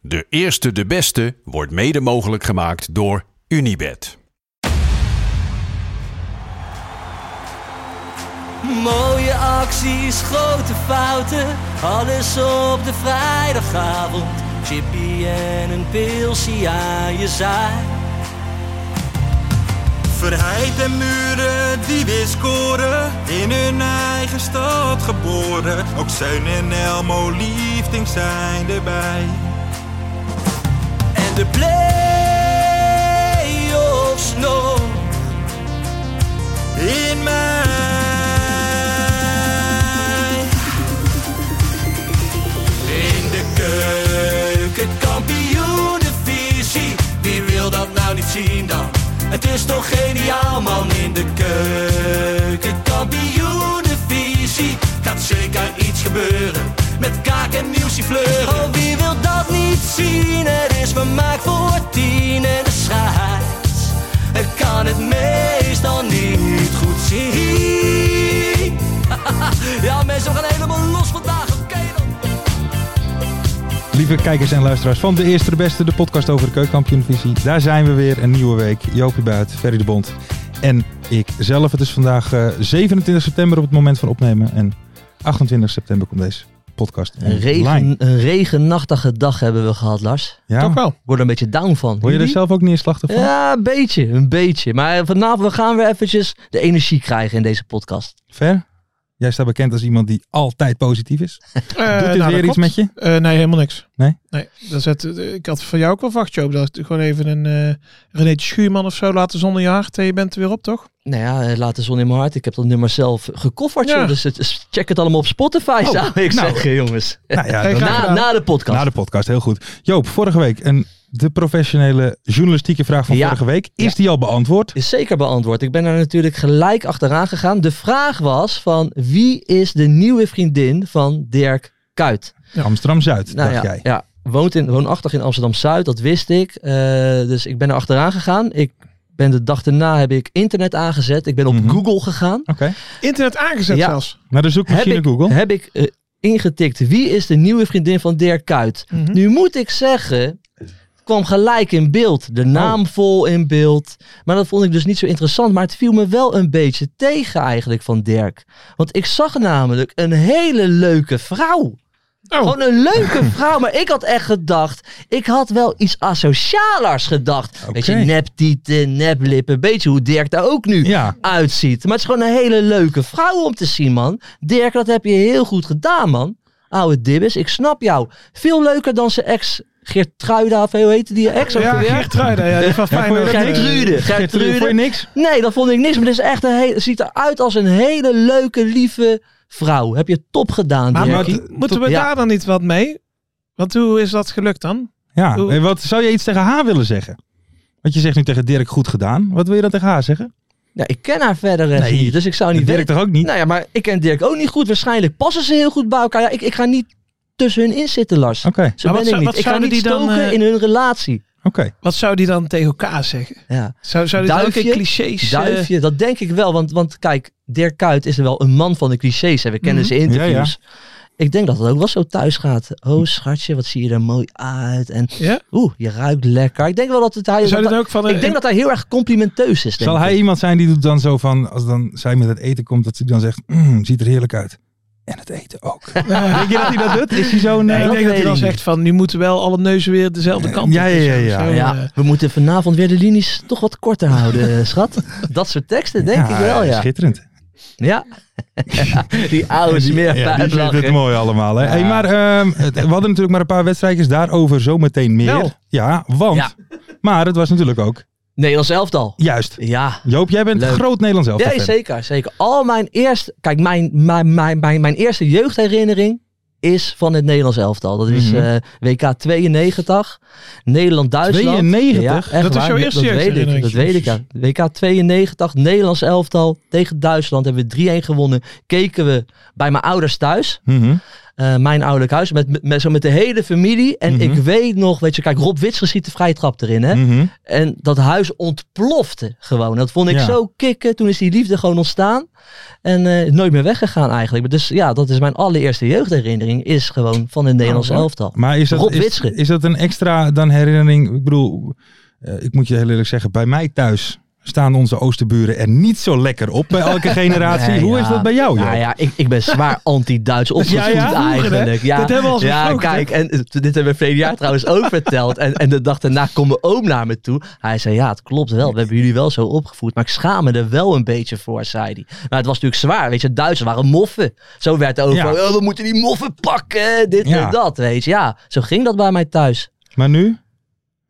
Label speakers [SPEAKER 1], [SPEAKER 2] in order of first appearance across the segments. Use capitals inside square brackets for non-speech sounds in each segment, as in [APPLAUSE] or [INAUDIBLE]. [SPEAKER 1] De eerste, de beste wordt mede mogelijk gemaakt door Unibed.
[SPEAKER 2] Mooie acties, grote fouten, alles op de vrijdagavond. Chippy en een pilsie aan je zaai.
[SPEAKER 3] Verheid en muren die weer scoren, in hun eigen stad geboren. Ook Zeun en Elmo liefding zijn erbij.
[SPEAKER 2] En de play-offs nog.
[SPEAKER 3] In mij.
[SPEAKER 2] In de keuken, kampioenenvisie. Wie wil dat nou niet zien dan? Het is toch geniaal man in de keuken, kampioenenvisie. Gaat zeker iets gebeuren met kaak en nieuwsie fleuren. Oh, wie wil dat niet zien? Het is vermaakt voor tien en de scheids. Ik kan het meestal niet goed zien. [LAUGHS] ja mensen, we gaan helemaal los vandaag, oké dan.
[SPEAKER 4] Lieve kijkers en luisteraars van De Eerste de Beste, de podcast over de keukenkampioenvisie. Daar zijn we weer, een nieuwe week. Joopie Buit, Ferry de Bond en ik zelf. Het is vandaag eh, 27 september op het moment van opnemen en 28 september komt deze podcast
[SPEAKER 5] Een,
[SPEAKER 4] online.
[SPEAKER 5] regen, een regenachtige dag hebben we gehad, Lars.
[SPEAKER 4] Ja,
[SPEAKER 5] Toch wel. Ik word er een beetje down van.
[SPEAKER 4] Word je er zelf ook neerslachtig van?
[SPEAKER 5] Ja, een beetje, een beetje. Maar vanavond gaan we eventjes de energie krijgen in deze podcast.
[SPEAKER 4] Ver? Jij staat bekend als iemand die altijd positief is.
[SPEAKER 6] Eh,
[SPEAKER 4] Doet dit
[SPEAKER 6] nou,
[SPEAKER 4] weer
[SPEAKER 6] dat
[SPEAKER 4] iets met
[SPEAKER 6] klopt.
[SPEAKER 4] je?
[SPEAKER 6] Eh, nee, helemaal niks.
[SPEAKER 4] Nee?
[SPEAKER 6] Nee, dat zet, ik had van jou ook wel wacht, Joop. Dat gewoon even een eh René Schuurman of zo laten zonder je hart. En je bent er weer op, toch?
[SPEAKER 5] Nou ja, eh, laat de zon in mijn hart. Ik heb dat nummer zelf gekofferd.
[SPEAKER 6] Ja.
[SPEAKER 5] joh. Dus het is- check het allemaal op Spotify,
[SPEAKER 4] Oh,
[SPEAKER 5] zou [LAUGHS] ik
[SPEAKER 4] nou.
[SPEAKER 5] zeggen, jongens.
[SPEAKER 4] Nou ja,
[SPEAKER 6] [LAUGHS] Hey,
[SPEAKER 4] dan-
[SPEAKER 6] graag
[SPEAKER 5] Na,
[SPEAKER 6] gedaan.
[SPEAKER 5] na de podcast.
[SPEAKER 4] na de podcast, heel goed. Joop, vorige week een, de professionele journalistieke vraag van
[SPEAKER 5] Ja.
[SPEAKER 4] vorige week. Is
[SPEAKER 5] Ja.
[SPEAKER 4] die al beantwoord?
[SPEAKER 5] Is zeker beantwoord. Ik ben er natuurlijk gelijk achteraan gegaan. De vraag was van wie is de nieuwe vriendin van Dirk Kuyt?
[SPEAKER 4] Amsterdam-Zuid,
[SPEAKER 5] Nou
[SPEAKER 4] dacht
[SPEAKER 5] ja,
[SPEAKER 4] jij.
[SPEAKER 5] ja, woont in, woonachtig in Amsterdam-Zuid, dat wist ik. Eh, dus ik ben er achteraan gegaan. Ik ben de dag daarna heb ik internet aangezet. Ik ben op
[SPEAKER 4] Mhm.
[SPEAKER 5] Google gegaan.
[SPEAKER 4] Oké,
[SPEAKER 6] Internet aangezet
[SPEAKER 5] Ja.
[SPEAKER 6] zelfs.
[SPEAKER 4] naar de zoekmachine
[SPEAKER 5] heb ik,
[SPEAKER 4] Google.
[SPEAKER 5] Heb ik eh, ingetikt wie is de nieuwe vriendin van Dirk Kuyt?
[SPEAKER 6] Mhm.
[SPEAKER 5] Nu moet ik zeggen, het kwam gelijk in beeld.
[SPEAKER 4] Oh.
[SPEAKER 5] De naam vol in beeld. Maar dat vond ik dus niet zo interessant. Maar het viel me wel een beetje tegen eigenlijk van Dirk. Want ik zag namelijk een hele leuke vrouw.
[SPEAKER 6] Oh,
[SPEAKER 5] Gewoon een
[SPEAKER 4] [LAUGHS]
[SPEAKER 5] leuke vrouw. Maar ik had echt gedacht. Ik had wel iets asocialers gedacht.
[SPEAKER 4] Oké.
[SPEAKER 5] Weet je, neptieten, neplippen. Beetje hoe Dirk daar ook nu
[SPEAKER 4] Ja,
[SPEAKER 5] uitziet. Maar het is gewoon een hele leuke vrouw om te zien, man. Dirk, dat heb je heel goed gedaan, man. Oude Dibbes, ik snap jou. Veel leuker dan zijn ex Geertruida, of hoe heette die ex ook
[SPEAKER 6] ja,
[SPEAKER 5] alweer?
[SPEAKER 6] Geertruida. Ja, die van Feyenoord.
[SPEAKER 5] Geertrude.
[SPEAKER 4] Gertrude, voor je
[SPEAKER 5] Geertrude.
[SPEAKER 4] niks?
[SPEAKER 5] Nee, dat vond ik niks. Maar dit is echt een hele, ziet eruit als een hele leuke, lieve vrouw. Heb je top gedaan,
[SPEAKER 6] Maar
[SPEAKER 5] Dirk.
[SPEAKER 6] wat- Hm. moeten we
[SPEAKER 5] Ja.
[SPEAKER 6] daar dan niet wat mee? Want hoe is dat gelukt dan?
[SPEAKER 4] Ja,
[SPEAKER 6] Hoe-
[SPEAKER 4] en wat zou je iets tegen haar willen zeggen? Want je zegt nu tegen Dirk goed gedaan. Wat wil je dan tegen haar zeggen?
[SPEAKER 5] Nou, ik ken haar verder echt
[SPEAKER 4] Nee,
[SPEAKER 5] niet, dus ik zou niet
[SPEAKER 4] Dirk
[SPEAKER 5] weten.
[SPEAKER 4] toch ook niet?
[SPEAKER 5] Nou ja, maar ik ken Dirk ook niet goed. Waarschijnlijk passen ze heel goed bij elkaar. Ja, ik, ik ga niet tussen hun in zitten, Lars.
[SPEAKER 4] Oké, oké.
[SPEAKER 5] Zo ben
[SPEAKER 6] Maar wat
[SPEAKER 5] ik
[SPEAKER 6] zou-
[SPEAKER 5] niet.
[SPEAKER 6] wat
[SPEAKER 5] Ik ga
[SPEAKER 6] zouden
[SPEAKER 5] niet
[SPEAKER 6] die dan,
[SPEAKER 5] stoken
[SPEAKER 6] eh,
[SPEAKER 5] in hun relatie.
[SPEAKER 6] Wat zou die dan tegen elkaar zeggen?
[SPEAKER 5] Ja.
[SPEAKER 6] Zou, zou die
[SPEAKER 5] Duifje?
[SPEAKER 6] leuke clichés... eh,
[SPEAKER 5] Duifje, dat denk ik wel. Want, want kijk, Dirk Kuyt is wel een man van de clichés. Hè? We kennen zijn interviews. Ik denk dat het ook wel zo thuis gaat. Oh, schatje, wat zie je er mooi uit. En
[SPEAKER 6] ja?
[SPEAKER 5] oeh, je ruikt lekker. Ik denk wel dat het hij...
[SPEAKER 6] Zou
[SPEAKER 5] dat
[SPEAKER 6] dit ook van...
[SPEAKER 5] hij-
[SPEAKER 6] een-
[SPEAKER 5] ik denk dat hij heel erg complimenteus is. denk
[SPEAKER 4] Zal hij
[SPEAKER 5] ik.
[SPEAKER 4] iemand zijn die doet dan zo van, als dan zij met het eten komt, dat ze dan zegt, "Mm, ziet er heerlijk uit. En het eten
[SPEAKER 5] [LAUGHS]
[SPEAKER 4] ook. Denk je dat hij dat doet? Is hij zo'n...
[SPEAKER 6] Nee,
[SPEAKER 4] eh,
[SPEAKER 6] ik denk dat hij
[SPEAKER 5] weet
[SPEAKER 6] dan
[SPEAKER 5] ik
[SPEAKER 6] zegt van... Nu moeten wel alle neuzen weer dezelfde kant op.
[SPEAKER 4] Ja, ja, ja,
[SPEAKER 6] Zo,
[SPEAKER 4] ja.
[SPEAKER 6] zo, eh,
[SPEAKER 5] Ja, we moeten vanavond weer de linies toch wat korter houden,
[SPEAKER 4] [LAUGHS]
[SPEAKER 5] eh, schat. Dat soort teksten denk
[SPEAKER 4] ja,
[SPEAKER 5] ik wel, ja.
[SPEAKER 4] Schitterend.
[SPEAKER 5] Ja. [LAUGHS] die oude smeer
[SPEAKER 4] Ja, die vindt het
[SPEAKER 5] ja,
[SPEAKER 4] mooi allemaal. Hè? Hey, maar ehm, het- we hadden natuurlijk maar een paar wedstrijdjes daarover zometeen meer.
[SPEAKER 6] Wel.
[SPEAKER 4] Ja, want...
[SPEAKER 5] Ja.
[SPEAKER 4] Maar het was natuurlijk ook...
[SPEAKER 5] Nederlands elftal.
[SPEAKER 4] Juist.
[SPEAKER 5] Ja.
[SPEAKER 4] Joop, jij bent
[SPEAKER 5] Leuk.
[SPEAKER 4] groot Nederlands elftal
[SPEAKER 5] Ja,
[SPEAKER 4] fan.
[SPEAKER 5] zeker, zeker. Al mijn eerste... Kijk, mijn, mijn, mijn, mijn, mijn eerste jeugdherinnering is van het Nederlands elftal. Dat is
[SPEAKER 4] Mhm.
[SPEAKER 5] eh, WK 92. Nederland-Duitsland.
[SPEAKER 4] 92?
[SPEAKER 5] echt
[SPEAKER 6] Dat is
[SPEAKER 5] waar.
[SPEAKER 6] jouw eerste
[SPEAKER 5] Dat weet ik,
[SPEAKER 6] jeugdherinnering.
[SPEAKER 5] dat weet ik ja. WK 92, Nederlands elftal tegen Duitsland. Hebben we 3-1 gewonnen. Keken we bij mijn ouders thuis.
[SPEAKER 4] Mhm.
[SPEAKER 5] Eh, mijn ouderlijk huis. Met, met, met, zo met de hele familie. En
[SPEAKER 4] Mhm.
[SPEAKER 5] ik weet nog, weet je, kijk, Rob Witsers schiet de vrije trap erin. Hè?
[SPEAKER 4] Mhm.
[SPEAKER 5] En dat huis ontplofte gewoon. Dat vond ik
[SPEAKER 4] Ja.
[SPEAKER 5] zo kicken. Toen is die liefde gewoon ontstaan. En eh, nooit meer weggegaan eigenlijk. Dus ja, dat is mijn allereerste jeugdherinnering. Is gewoon van het Nederlands
[SPEAKER 6] mooi.
[SPEAKER 5] elftal.
[SPEAKER 4] Nou, Maar is dat,
[SPEAKER 5] Rob
[SPEAKER 4] is,
[SPEAKER 5] Witsche.
[SPEAKER 4] is dat een extra dan herinnering? Ik bedoel, eh, ik moet je heel eerlijk zeggen, bij mij thuis staan onze oosterburen er niet zo lekker op bij
[SPEAKER 5] [LAUGHS]
[SPEAKER 4] elke generatie.
[SPEAKER 5] Nee,
[SPEAKER 4] Hoe
[SPEAKER 5] ja.
[SPEAKER 4] is dat bij jou?
[SPEAKER 5] Nou
[SPEAKER 4] joh?
[SPEAKER 5] ja, ik, ik ben
[SPEAKER 4] [LAUGHS]
[SPEAKER 5] zwaar anti-Duits opgevoed
[SPEAKER 4] Ja, ja, vroeger, hè?
[SPEAKER 5] eigenlijk. Ja,
[SPEAKER 6] Dat hebben we al eens
[SPEAKER 5] ja
[SPEAKER 6] besproken,
[SPEAKER 5] kijk, en eh, dit hebben we vorig jaar trouwens ook verteld. En, en de dag daarna kwam mijn oom naar me toe. Hij zei, ja, het klopt wel. We hebben jullie wel zo opgevoed. Maar ik schaam me er wel een beetje voor, zei hij. Maar het was natuurlijk zwaar, weet je. Duitsers waren moffen. Zo werd er over,
[SPEAKER 4] Ja.
[SPEAKER 5] oh, we moeten die moffen pakken, dit
[SPEAKER 4] Ja.
[SPEAKER 5] en dat, weet je. Ja, zo ging dat bij mij thuis.
[SPEAKER 4] Maar nu?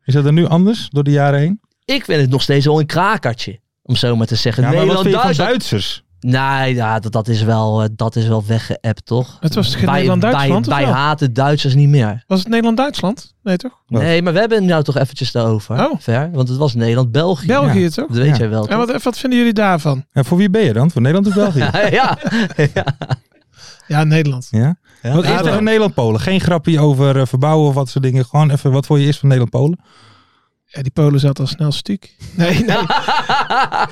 [SPEAKER 4] Is dat er nu anders door de jaren heen?
[SPEAKER 5] Ik vind het nog steeds wel een krakertje. Om zo maar te zeggen.
[SPEAKER 4] Ja, maar wat vind je van
[SPEAKER 5] Nederland-Duitsland.
[SPEAKER 4] Duitsers?
[SPEAKER 5] Nee, ja, dat, dat is wel, eh, dat is wel weggeëpt, toch?
[SPEAKER 6] Het was geen
[SPEAKER 5] Wij-
[SPEAKER 6] Nederland-Duitsland,
[SPEAKER 5] Wij,
[SPEAKER 6] of
[SPEAKER 5] wij
[SPEAKER 6] wel?
[SPEAKER 5] haten Duitsers niet meer.
[SPEAKER 6] Was het Nederland-Duitsland? Nee, toch?
[SPEAKER 4] Wat?
[SPEAKER 5] Nee, maar we hebben het nou toch eventjes daarover.
[SPEAKER 6] Oh.
[SPEAKER 5] Ver, want het was Nederland-België.
[SPEAKER 6] België,
[SPEAKER 4] Ja.
[SPEAKER 6] toch?
[SPEAKER 5] Dat weet
[SPEAKER 4] Ja.
[SPEAKER 5] jij wel.
[SPEAKER 6] En
[SPEAKER 5] toch?
[SPEAKER 6] wat, wat vinden jullie daarvan?
[SPEAKER 4] Ja, voor wie ben je dan? Voor Nederland of
[SPEAKER 5] [LAUGHS]
[SPEAKER 4] België?
[SPEAKER 5] ja.
[SPEAKER 6] Ja, Nederland.
[SPEAKER 4] ja? Wat is
[SPEAKER 5] ja,
[SPEAKER 4] tegen
[SPEAKER 5] wel.
[SPEAKER 4] Nederland-Polen? Geen grapje over eh, verbouwen of wat soort dingen. Gewoon even, wat voor je is van Nederland-Polen?
[SPEAKER 6] Ja, die Polen zaten al snel stuk. Nee, nee.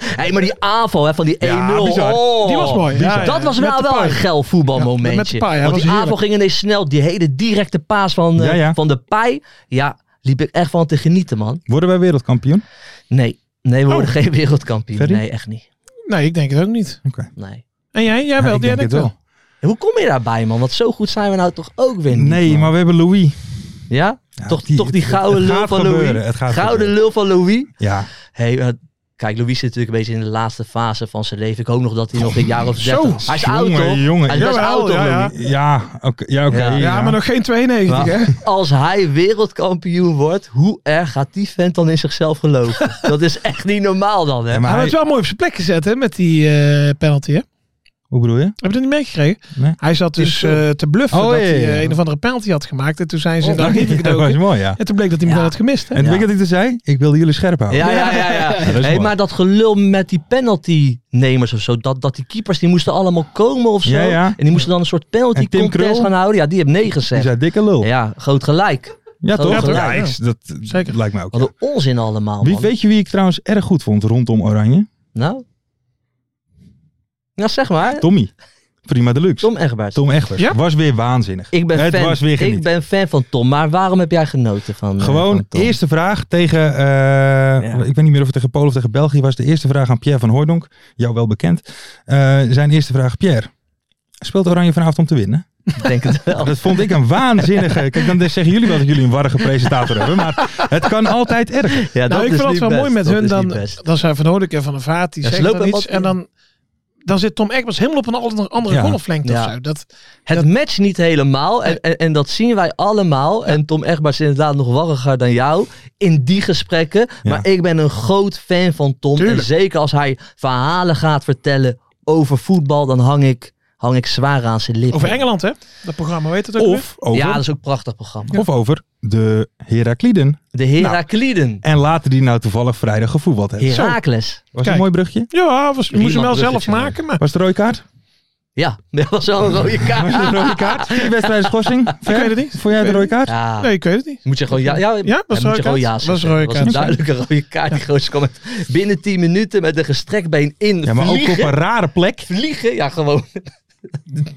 [SPEAKER 5] hey, maar die aanval hè, van die 1-0.
[SPEAKER 4] Ja, bizar.
[SPEAKER 5] oh.
[SPEAKER 6] Die was mooi. Ja, ja,
[SPEAKER 5] dat was
[SPEAKER 6] met
[SPEAKER 5] nou
[SPEAKER 6] de
[SPEAKER 5] wel
[SPEAKER 6] paai.
[SPEAKER 5] een geil
[SPEAKER 6] Ja,
[SPEAKER 5] voetbalmomentje.
[SPEAKER 6] met de paai, ja,
[SPEAKER 5] Want
[SPEAKER 6] was
[SPEAKER 5] die aanval
[SPEAKER 6] heerlijk.
[SPEAKER 5] ging ineens snel. Die hele directe paas van, eh,
[SPEAKER 4] Ja, ja.
[SPEAKER 5] van de pij. Ja, liep ik echt van te genieten, man.
[SPEAKER 4] Worden wij wereldkampioen?
[SPEAKER 5] Nee, nee we
[SPEAKER 6] Oh.
[SPEAKER 5] worden geen wereldkampioen.
[SPEAKER 4] Ferry?
[SPEAKER 5] Nee, echt niet.
[SPEAKER 6] Nee, ik denk het ook niet.
[SPEAKER 4] Oké.
[SPEAKER 5] Nee.
[SPEAKER 6] En jij? Jij
[SPEAKER 4] Ja,
[SPEAKER 6] wel?
[SPEAKER 4] ik
[SPEAKER 6] jij
[SPEAKER 4] denk het
[SPEAKER 6] denkt
[SPEAKER 4] wel.
[SPEAKER 5] Hoe kom je daarbij, man? Want zo goed zijn we nou toch ook weer niet,
[SPEAKER 4] Nee,
[SPEAKER 5] man.
[SPEAKER 4] maar we hebben Louis.
[SPEAKER 5] Ja?
[SPEAKER 4] Ja,
[SPEAKER 5] toch, toch die
[SPEAKER 4] het-
[SPEAKER 5] gouden
[SPEAKER 4] het
[SPEAKER 5] lul
[SPEAKER 4] gaat
[SPEAKER 5] van
[SPEAKER 4] gebeuren,
[SPEAKER 5] Louis.
[SPEAKER 4] Het gaat
[SPEAKER 5] Gouden
[SPEAKER 4] gebeuren.
[SPEAKER 5] lul van Louis.
[SPEAKER 4] Ja,
[SPEAKER 5] Hey, eh, kijk, Louis zit natuurlijk een beetje in de laatste fase van zijn leven. Ik hoop nog dat hij nog een jaar of
[SPEAKER 6] Zo,
[SPEAKER 5] zes... Hij is oud,
[SPEAKER 4] jongen,
[SPEAKER 5] toch?
[SPEAKER 4] jongen.
[SPEAKER 5] Hij is best
[SPEAKER 6] Jawel,
[SPEAKER 5] oud, toch,
[SPEAKER 6] ja, ja.
[SPEAKER 5] Louis?
[SPEAKER 4] Ja, oké. Ja, oké.
[SPEAKER 5] Ja.
[SPEAKER 6] Ja, maar nog geen 92,
[SPEAKER 5] Maar-
[SPEAKER 6] hè?
[SPEAKER 5] Als hij wereldkampioen wordt, hoe erg gaat die vent dan in
[SPEAKER 4] [LAUGHS]
[SPEAKER 5] zichzelf geloven? dat is echt niet normaal dan,
[SPEAKER 4] Ja,
[SPEAKER 5] hè?
[SPEAKER 6] Maar
[SPEAKER 4] maar
[SPEAKER 6] hij
[SPEAKER 4] hij-
[SPEAKER 6] werd wel mooi op zijn plek gezet, hè, met die eh, penalty, hè?
[SPEAKER 4] Hoe bedoel je?
[SPEAKER 6] Heb je dat niet meegekregen?
[SPEAKER 4] Nee.
[SPEAKER 6] Hij zat dus eh, te bluffen
[SPEAKER 4] Oh,
[SPEAKER 6] dat
[SPEAKER 4] ja,
[SPEAKER 6] hij
[SPEAKER 4] ja,
[SPEAKER 6] eh,
[SPEAKER 4] ja.
[SPEAKER 6] een of andere penalty had gemaakt. En toen zijn ze in de
[SPEAKER 4] Ja,
[SPEAKER 6] archieven
[SPEAKER 4] dat was
[SPEAKER 6] gedoken.
[SPEAKER 4] mooi, ja.
[SPEAKER 6] En toen bleek dat hij hem
[SPEAKER 5] Ja.
[SPEAKER 6] wel had gemist, hè?
[SPEAKER 4] En
[SPEAKER 5] Ja.
[SPEAKER 4] weet je wat ik er zei? Ik wilde jullie scherp houden.
[SPEAKER 5] Ja,
[SPEAKER 4] [LAUGHS]
[SPEAKER 5] ja, ja. ja.
[SPEAKER 4] dat is
[SPEAKER 5] hey,
[SPEAKER 4] mooi.
[SPEAKER 5] maar dat gelul met die penaltynemers of zo. Dat, dat die keepers die moesten allemaal komen of zo.
[SPEAKER 4] Ja, ja.
[SPEAKER 5] En die moesten dan een soort penalty
[SPEAKER 4] En Tim
[SPEAKER 5] contest
[SPEAKER 4] Krul?
[SPEAKER 5] gaan houden. Ja, die heeft nee
[SPEAKER 4] Die
[SPEAKER 5] gezegd.
[SPEAKER 4] zei dikke lul. Ja,
[SPEAKER 5] Ja, groot gelijk.
[SPEAKER 4] toch?
[SPEAKER 5] Ja, toch?
[SPEAKER 4] Ja, ik- dat
[SPEAKER 6] Zeker.
[SPEAKER 4] lijkt mij ook.
[SPEAKER 5] Wat
[SPEAKER 4] ja.
[SPEAKER 5] een onzin allemaal,
[SPEAKER 4] Wie,
[SPEAKER 5] man.
[SPEAKER 4] weet je wie ik trouwens erg goed vond rondom Oranje?
[SPEAKER 5] Nou? Nou, zeg maar. Tom,
[SPEAKER 4] Tommy. Prima Deluxe. Tom,
[SPEAKER 5] Egberts.
[SPEAKER 4] Egbers.
[SPEAKER 6] Ja?
[SPEAKER 4] Was weer waanzinnig.
[SPEAKER 5] ik ben,
[SPEAKER 4] Het
[SPEAKER 5] fan,
[SPEAKER 4] was weer
[SPEAKER 5] ik
[SPEAKER 4] geniet.
[SPEAKER 5] ben fan van Tom, maar waarom heb jij genoten van eh,
[SPEAKER 4] Gewoon,
[SPEAKER 5] van Tom?
[SPEAKER 4] eerste vraag tegen, eh, ik weet niet meer of het tegen Polen of tegen België was. De eerste vraag aan Pierre van Hooijdonk, jou wel bekend. Eh, zijn eerste vraag, Pierre, speelt Oranje vanavond om te winnen?
[SPEAKER 5] Ik denk het wel.
[SPEAKER 4] Dat vond ik een waanzinnige. Kijk, dan zeggen jullie wel dat jullie een warrige presentator hebben. Maar het kan altijd erg.
[SPEAKER 5] [LAUGHS] Ja,
[SPEAKER 6] nou,
[SPEAKER 5] dat
[SPEAKER 6] ik
[SPEAKER 5] is
[SPEAKER 6] vind het
[SPEAKER 5] niet
[SPEAKER 6] wel
[SPEAKER 5] best.
[SPEAKER 6] mooi met
[SPEAKER 5] Dat
[SPEAKER 6] hun.
[SPEAKER 5] is
[SPEAKER 6] Dan,
[SPEAKER 5] niet best.
[SPEAKER 6] dan zijn Van Hoornik en Van der Vaart, die
[SPEAKER 5] Ja, ze
[SPEAKER 6] zeggen dan
[SPEAKER 5] lopen
[SPEAKER 6] iets.
[SPEAKER 5] wat-
[SPEAKER 6] En dan, dan zit Tom Egbers helemaal op een andere, andere
[SPEAKER 4] Ja.
[SPEAKER 6] golflengte
[SPEAKER 5] Ja.
[SPEAKER 6] of zo. Dat,
[SPEAKER 5] Het matcht niet helemaal en, en, en dat zien wij allemaal. En Tom Egbers is inderdaad nog warriger dan jou in die gesprekken.
[SPEAKER 4] Ja.
[SPEAKER 5] Maar ik ben een groot fan van Tom.
[SPEAKER 6] Tuurlijk.
[SPEAKER 5] En zeker als hij verhalen gaat vertellen over voetbal, dan hang ik, hang ik zwaar aan zijn lippen.
[SPEAKER 6] over Engeland, hè? Dat programma weet het ook weer.
[SPEAKER 4] Of over,
[SPEAKER 5] Ja, dat is ook een prachtig programma.
[SPEAKER 4] of over de Herakliden.
[SPEAKER 5] De Herakliden.
[SPEAKER 4] En laten die nou toevallig vrijdag gevoetbald hebben. Eh, Zo,
[SPEAKER 5] Herakles.
[SPEAKER 4] was het
[SPEAKER 6] Kijk.
[SPEAKER 4] een mooi brugje?
[SPEAKER 6] Ja, was, moest hem wel zelf
[SPEAKER 5] Bruggetje,
[SPEAKER 6] maken, maar
[SPEAKER 4] Was het rode kaart?
[SPEAKER 5] Ja, [LAUGHS] dat was wel een rode
[SPEAKER 4] Was het
[SPEAKER 5] kaart.
[SPEAKER 4] een rode kaart? Vier wedstrijden schorsing? Ver?
[SPEAKER 6] Ik weet het niet.
[SPEAKER 4] Vond jij de rode kaart?
[SPEAKER 5] Ja.
[SPEAKER 6] nee, ik weet het niet.
[SPEAKER 5] Moet je gewoon ja, ja,
[SPEAKER 6] Ja, was
[SPEAKER 5] moet
[SPEAKER 6] rode
[SPEAKER 5] je gewoon
[SPEAKER 6] kaart.
[SPEAKER 5] ja
[SPEAKER 6] Was
[SPEAKER 5] zeggen.
[SPEAKER 6] rode
[SPEAKER 5] Dat was een
[SPEAKER 6] kaart.
[SPEAKER 5] duidelijke rode kaart. Die gozer kwam met binnen 10 minuten met een gestrekt been in
[SPEAKER 4] Ja, maar ook
[SPEAKER 5] vliegen.
[SPEAKER 4] op een rare plek.
[SPEAKER 5] Vliegen, ja gewoon.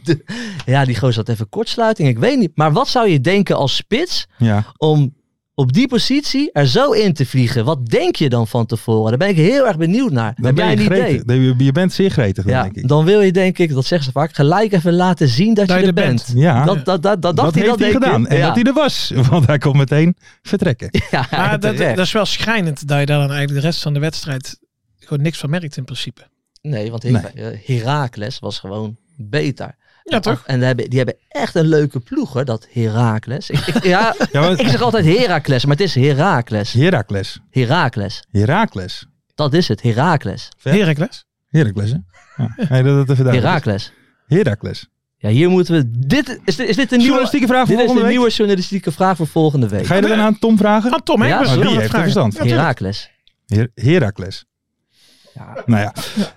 [SPEAKER 5] De- ja, die gozer had even kortsluiting. Ik weet niet. Maar wat zou je denken als spits
[SPEAKER 4] Ja.
[SPEAKER 5] om op die positie er zo in te vliegen? Wat denk je dan van tevoren? Daar ben ik heel erg benieuwd naar.
[SPEAKER 4] Dan
[SPEAKER 5] Heb
[SPEAKER 4] ben
[SPEAKER 5] jij
[SPEAKER 4] je,
[SPEAKER 5] een idee?
[SPEAKER 4] gretig. Nee, Je, je bent zeer gretig, dan
[SPEAKER 5] Ja,
[SPEAKER 4] denk ik.
[SPEAKER 5] dan wil je denk ik, dat zeggen ze vaak, gelijk even laten zien dat, je er bent.
[SPEAKER 4] Ah, Ja,
[SPEAKER 5] Dat, dat, dat, dat,
[SPEAKER 4] dat
[SPEAKER 5] dacht
[SPEAKER 4] heeft
[SPEAKER 5] hij, dat
[SPEAKER 4] hij
[SPEAKER 5] denk
[SPEAKER 4] gedaan.
[SPEAKER 5] ik.
[SPEAKER 4] En
[SPEAKER 5] Ja.
[SPEAKER 4] dat hij er was. [LAUGHS] Want hij kon meteen vertrekken.
[SPEAKER 5] [LAUGHS] Ja,
[SPEAKER 6] Maar dat,
[SPEAKER 5] terecht.
[SPEAKER 6] dat is wel schrijnend dat je daar dan eigenlijk de rest van de wedstrijd gewoon niks van merkt in principe.
[SPEAKER 5] Nee, want Her- eh, Heracles was gewoon beter.
[SPEAKER 6] Ja, toch?
[SPEAKER 5] En die hebben, die hebben echt een leuke ploeg, hoor, dat Heracles. Ik, ik- ja,
[SPEAKER 4] Ja,
[SPEAKER 5] ik [LAUGHS]
[SPEAKER 4] maar,
[SPEAKER 5] zeg altijd Heracles, maar het is Heracles.
[SPEAKER 4] Herakles.
[SPEAKER 5] Heracles.
[SPEAKER 4] Herakles.
[SPEAKER 5] Dat is het, Heracles.
[SPEAKER 4] Ver?
[SPEAKER 6] Heracles.
[SPEAKER 4] Heracles, hè? Ja. Nee, dat het even duidelijk is.
[SPEAKER 5] Heracles.
[SPEAKER 4] Heracles.
[SPEAKER 5] Ja, hier moeten we... Dit, is, dit, is dit een nieuwe...
[SPEAKER 4] Journalistieke vraag voor
[SPEAKER 5] Dit is
[SPEAKER 4] volgende
[SPEAKER 5] een
[SPEAKER 4] week.
[SPEAKER 5] nieuwe journalistieke vraag voor volgende week.
[SPEAKER 4] Ga je dat dan aan Tom vragen?
[SPEAKER 6] Aan Tom, hè?
[SPEAKER 5] Ja,
[SPEAKER 6] Ik ben
[SPEAKER 5] maar
[SPEAKER 6] zo
[SPEAKER 4] oh, die
[SPEAKER 6] aan het
[SPEAKER 4] heeft er
[SPEAKER 6] vragen.
[SPEAKER 4] verstand
[SPEAKER 6] Ja, tuurlijk.
[SPEAKER 5] Herakles.
[SPEAKER 4] Her Herakles.
[SPEAKER 5] Ja.
[SPEAKER 4] Nou ja.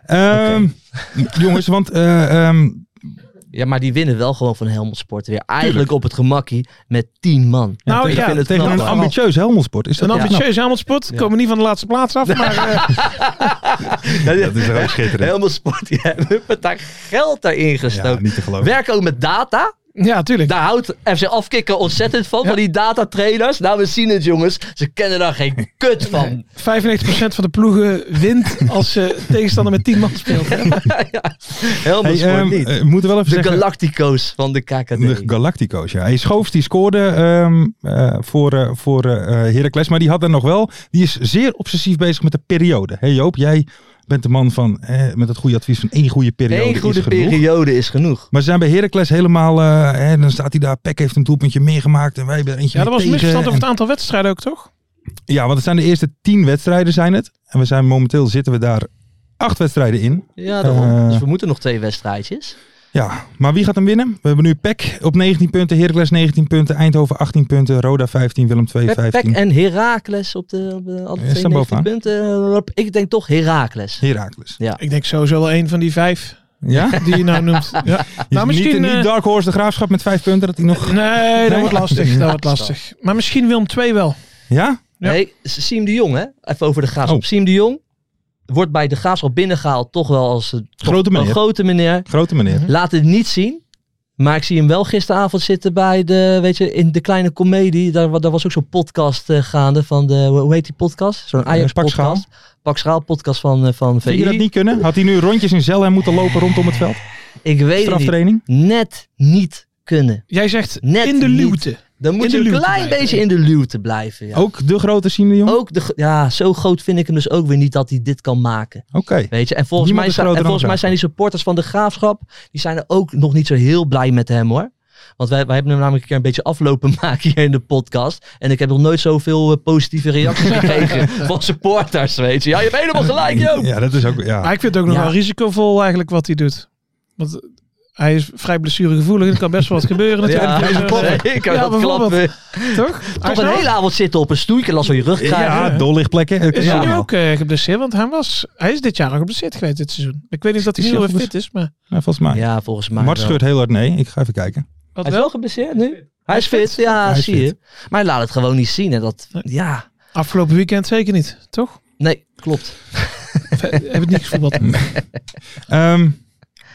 [SPEAKER 4] Ehm, Jongens, want eh, ehm,
[SPEAKER 5] ja, maar die winnen wel gewoon van Helmond Sport weer. Eigenlijk op het gemakkie met tien man.
[SPEAKER 4] ja,
[SPEAKER 6] Nou,
[SPEAKER 4] tegen,
[SPEAKER 6] ja,
[SPEAKER 4] tegen
[SPEAKER 5] het
[SPEAKER 4] een
[SPEAKER 5] knap, hoor.
[SPEAKER 4] ambitieus Helmondsport is dat
[SPEAKER 6] Een
[SPEAKER 4] knap?
[SPEAKER 6] ambitieus Helmond-spot. Komen niet van de laatste plaats af,
[SPEAKER 5] [LAUGHS]
[SPEAKER 6] maar eh,
[SPEAKER 4] Dat is wel schitterend.
[SPEAKER 5] Helmond Sport, [LAUGHS] die hebben daar geld daarin
[SPEAKER 4] Ja,
[SPEAKER 5] gestoken.
[SPEAKER 4] niet te geloven.
[SPEAKER 5] Werken ook met data.
[SPEAKER 6] ja, tuurlijk.
[SPEAKER 5] Daar houdt FC Afkikker ontzettend van, van die datatrainers. Nou, we zien het jongens. Ze kennen daar geen kut van.
[SPEAKER 6] 95% van de ploegen wint als ze tegenstander met 10 man speelt. hè.
[SPEAKER 5] Helmond
[SPEAKER 4] Hey,
[SPEAKER 5] Sport
[SPEAKER 4] ehm,
[SPEAKER 5] niet.
[SPEAKER 4] eh, moeten we wel even
[SPEAKER 5] De
[SPEAKER 4] zeggen...
[SPEAKER 5] Galactico's van de KKD.
[SPEAKER 4] De Galactico's, ja. Hij schoof, die scoorde ehm, eh, voor, eh, voor eh, Heracles. Maar die had er nog wel... Die is zeer obsessief bezig met de periode. Hey Joop, jij bent de man van... eh, met het goede advies van één goede periode
[SPEAKER 5] Eén goede
[SPEAKER 4] is genoeg.
[SPEAKER 5] periode is genoeg.
[SPEAKER 4] Maar ze zijn bij Heracles helemaal... eh, hè, dan staat hij daar, Peck heeft een doelpuntje meegemaakt en wij hebben er eentje
[SPEAKER 6] Ja, dat was een
[SPEAKER 4] tegen.
[SPEAKER 6] misverstand over
[SPEAKER 4] En-
[SPEAKER 6] het aantal wedstrijden ook, toch?
[SPEAKER 4] Ja, want het zijn de eerste tien wedstrijden zijn het. En we zijn momenteel zitten we daar acht wedstrijden in.
[SPEAKER 5] Ja, daarom.
[SPEAKER 4] Eh.
[SPEAKER 5] dus we moeten nog twee wedstrijdjes.
[SPEAKER 4] Ja, maar wie gaat hem winnen? We hebben nu PEC op 19 punten, Heracles 19 punten, Eindhoven 18 punten, Roda 15, Willem 2
[SPEAKER 5] Pek,
[SPEAKER 4] 15.
[SPEAKER 5] Pek en Herakles op de, op de alle
[SPEAKER 4] Ja,
[SPEAKER 5] twee
[SPEAKER 4] staan
[SPEAKER 5] 19
[SPEAKER 4] bovenaan.
[SPEAKER 5] punten. Ik denk toch Herakles.
[SPEAKER 4] Heracles.
[SPEAKER 6] Ik denk sowieso wel één van die vijf
[SPEAKER 5] [LAUGHS]
[SPEAKER 4] Ja?
[SPEAKER 6] die je nou noemt. Ja.
[SPEAKER 4] Nou, misschien
[SPEAKER 6] misschien,
[SPEAKER 4] niet,
[SPEAKER 6] eh,
[SPEAKER 4] Dark Horse de Graafschap met 5 punten, dat hij nog...
[SPEAKER 6] Nee, dat
[SPEAKER 4] Nee.
[SPEAKER 6] wordt lastig. Dat wordt lastig. Maar misschien Wilm 2 wel.
[SPEAKER 4] Ja?
[SPEAKER 6] Ja.
[SPEAKER 5] Nee, Siem de Jong, hè? Even over de graafschap.
[SPEAKER 4] Oh.
[SPEAKER 5] Siem de Jong wordt bij de graafschap binnengehaald toch wel als een,
[SPEAKER 4] Grote
[SPEAKER 5] een
[SPEAKER 4] meneer.
[SPEAKER 5] grote meneer.
[SPEAKER 4] Grote meneer.
[SPEAKER 5] Laat het niet zien. Maar ik zie hem wel gisteravond zitten bij de, weet je, in de kleine comedie. Daar, wa- daar was ook zo'n podcast eh, gaande van de, hoe heet die podcast? Zo'n Ajax
[SPEAKER 4] Eh, Pak Schaal.
[SPEAKER 5] podcast. Pak Schaal podcast van, eh, van
[SPEAKER 4] Vind je dat
[SPEAKER 5] VI.
[SPEAKER 4] niet kunnen? Had hij nu rondjes in Zelhem moeten lopen rondom het veld?
[SPEAKER 5] Ik weet het niet.
[SPEAKER 4] Straftraining?
[SPEAKER 5] Net niet kunnen.
[SPEAKER 6] Jij zegt
[SPEAKER 5] Net
[SPEAKER 6] in de
[SPEAKER 5] niet.
[SPEAKER 6] luwte.
[SPEAKER 5] Dan
[SPEAKER 6] In
[SPEAKER 5] moet
[SPEAKER 6] de
[SPEAKER 5] je een
[SPEAKER 6] luwte
[SPEAKER 5] klein
[SPEAKER 6] blijven.
[SPEAKER 5] beetje in de luwte blijven. Ja.
[SPEAKER 4] Ook de grote Siem de Jong?
[SPEAKER 5] Ook de, gro- ja, zo groot vind ik hem dus ook weer niet dat hij dit kan maken.
[SPEAKER 4] Oké.
[SPEAKER 5] Weet je, en volgens,
[SPEAKER 4] Niemand
[SPEAKER 5] mij,
[SPEAKER 4] is
[SPEAKER 5] zijn- en
[SPEAKER 4] groter dan
[SPEAKER 5] volgens mij
[SPEAKER 4] Graafschap.
[SPEAKER 5] zijn die supporters van de graafschap. die zijn er ook nog niet zo heel blij met hem hoor. Want wij, wij hebben hem namelijk een keer een beetje aflopen [LAUGHS] maken hier in de podcast. En ik heb nog nooit zoveel eh, positieve reacties
[SPEAKER 4] [LAUGHS]
[SPEAKER 5] gekregen van supporters. Weet je, ja, je hebt helemaal gelijk, joh.
[SPEAKER 4] Ja, dat is ook... Ja.
[SPEAKER 6] Maar ik vind het ook nog
[SPEAKER 5] Ja.
[SPEAKER 6] wel risicovol eigenlijk wat hij doet. Want eh, hij is vrij blessuregevoelig en er kan best wel wat gebeuren natuurlijk. Hij is een klapper, [LAUGHS]
[SPEAKER 5] ik kan
[SPEAKER 6] Ja,
[SPEAKER 5] dat
[SPEAKER 6] bijvoorbeeld.
[SPEAKER 5] klappen.
[SPEAKER 6] toch? Hij
[SPEAKER 5] Toch
[SPEAKER 6] is
[SPEAKER 5] een
[SPEAKER 6] nou-
[SPEAKER 5] hele avond zitten op een stoeltje en last van je rug krijgen.
[SPEAKER 4] ja, dollichtplekken. eh,
[SPEAKER 6] Is
[SPEAKER 4] ja.
[SPEAKER 6] hij nu ook eh, geblesseerd? Want hij, was, hij is dit jaar al geblesseerd geweest dit seizoen. Ik weet niet dat hij
[SPEAKER 4] Is
[SPEAKER 6] nu
[SPEAKER 4] hij
[SPEAKER 6] weer
[SPEAKER 4] al
[SPEAKER 6] fit is, maar
[SPEAKER 4] Ja, volgens mij.
[SPEAKER 5] Ja, volgens mij.
[SPEAKER 4] Mart
[SPEAKER 5] wel.
[SPEAKER 4] scheurt heel hard nee. Ik ga even kijken.
[SPEAKER 6] wat
[SPEAKER 5] Hij is
[SPEAKER 6] wel?
[SPEAKER 5] wel geblesseerd nu. Hij is fit, ja,
[SPEAKER 4] Hij is
[SPEAKER 5] zie
[SPEAKER 4] fit.
[SPEAKER 5] je. Maar hij laat het gewoon niet zien. En dat, ja,
[SPEAKER 6] Afgelopen weekend zeker niet, toch?
[SPEAKER 5] nee, klopt.
[SPEAKER 6] Heb het niet
[SPEAKER 5] [LAUGHS]
[SPEAKER 6] gesvoetbald.
[SPEAKER 4] Ehm,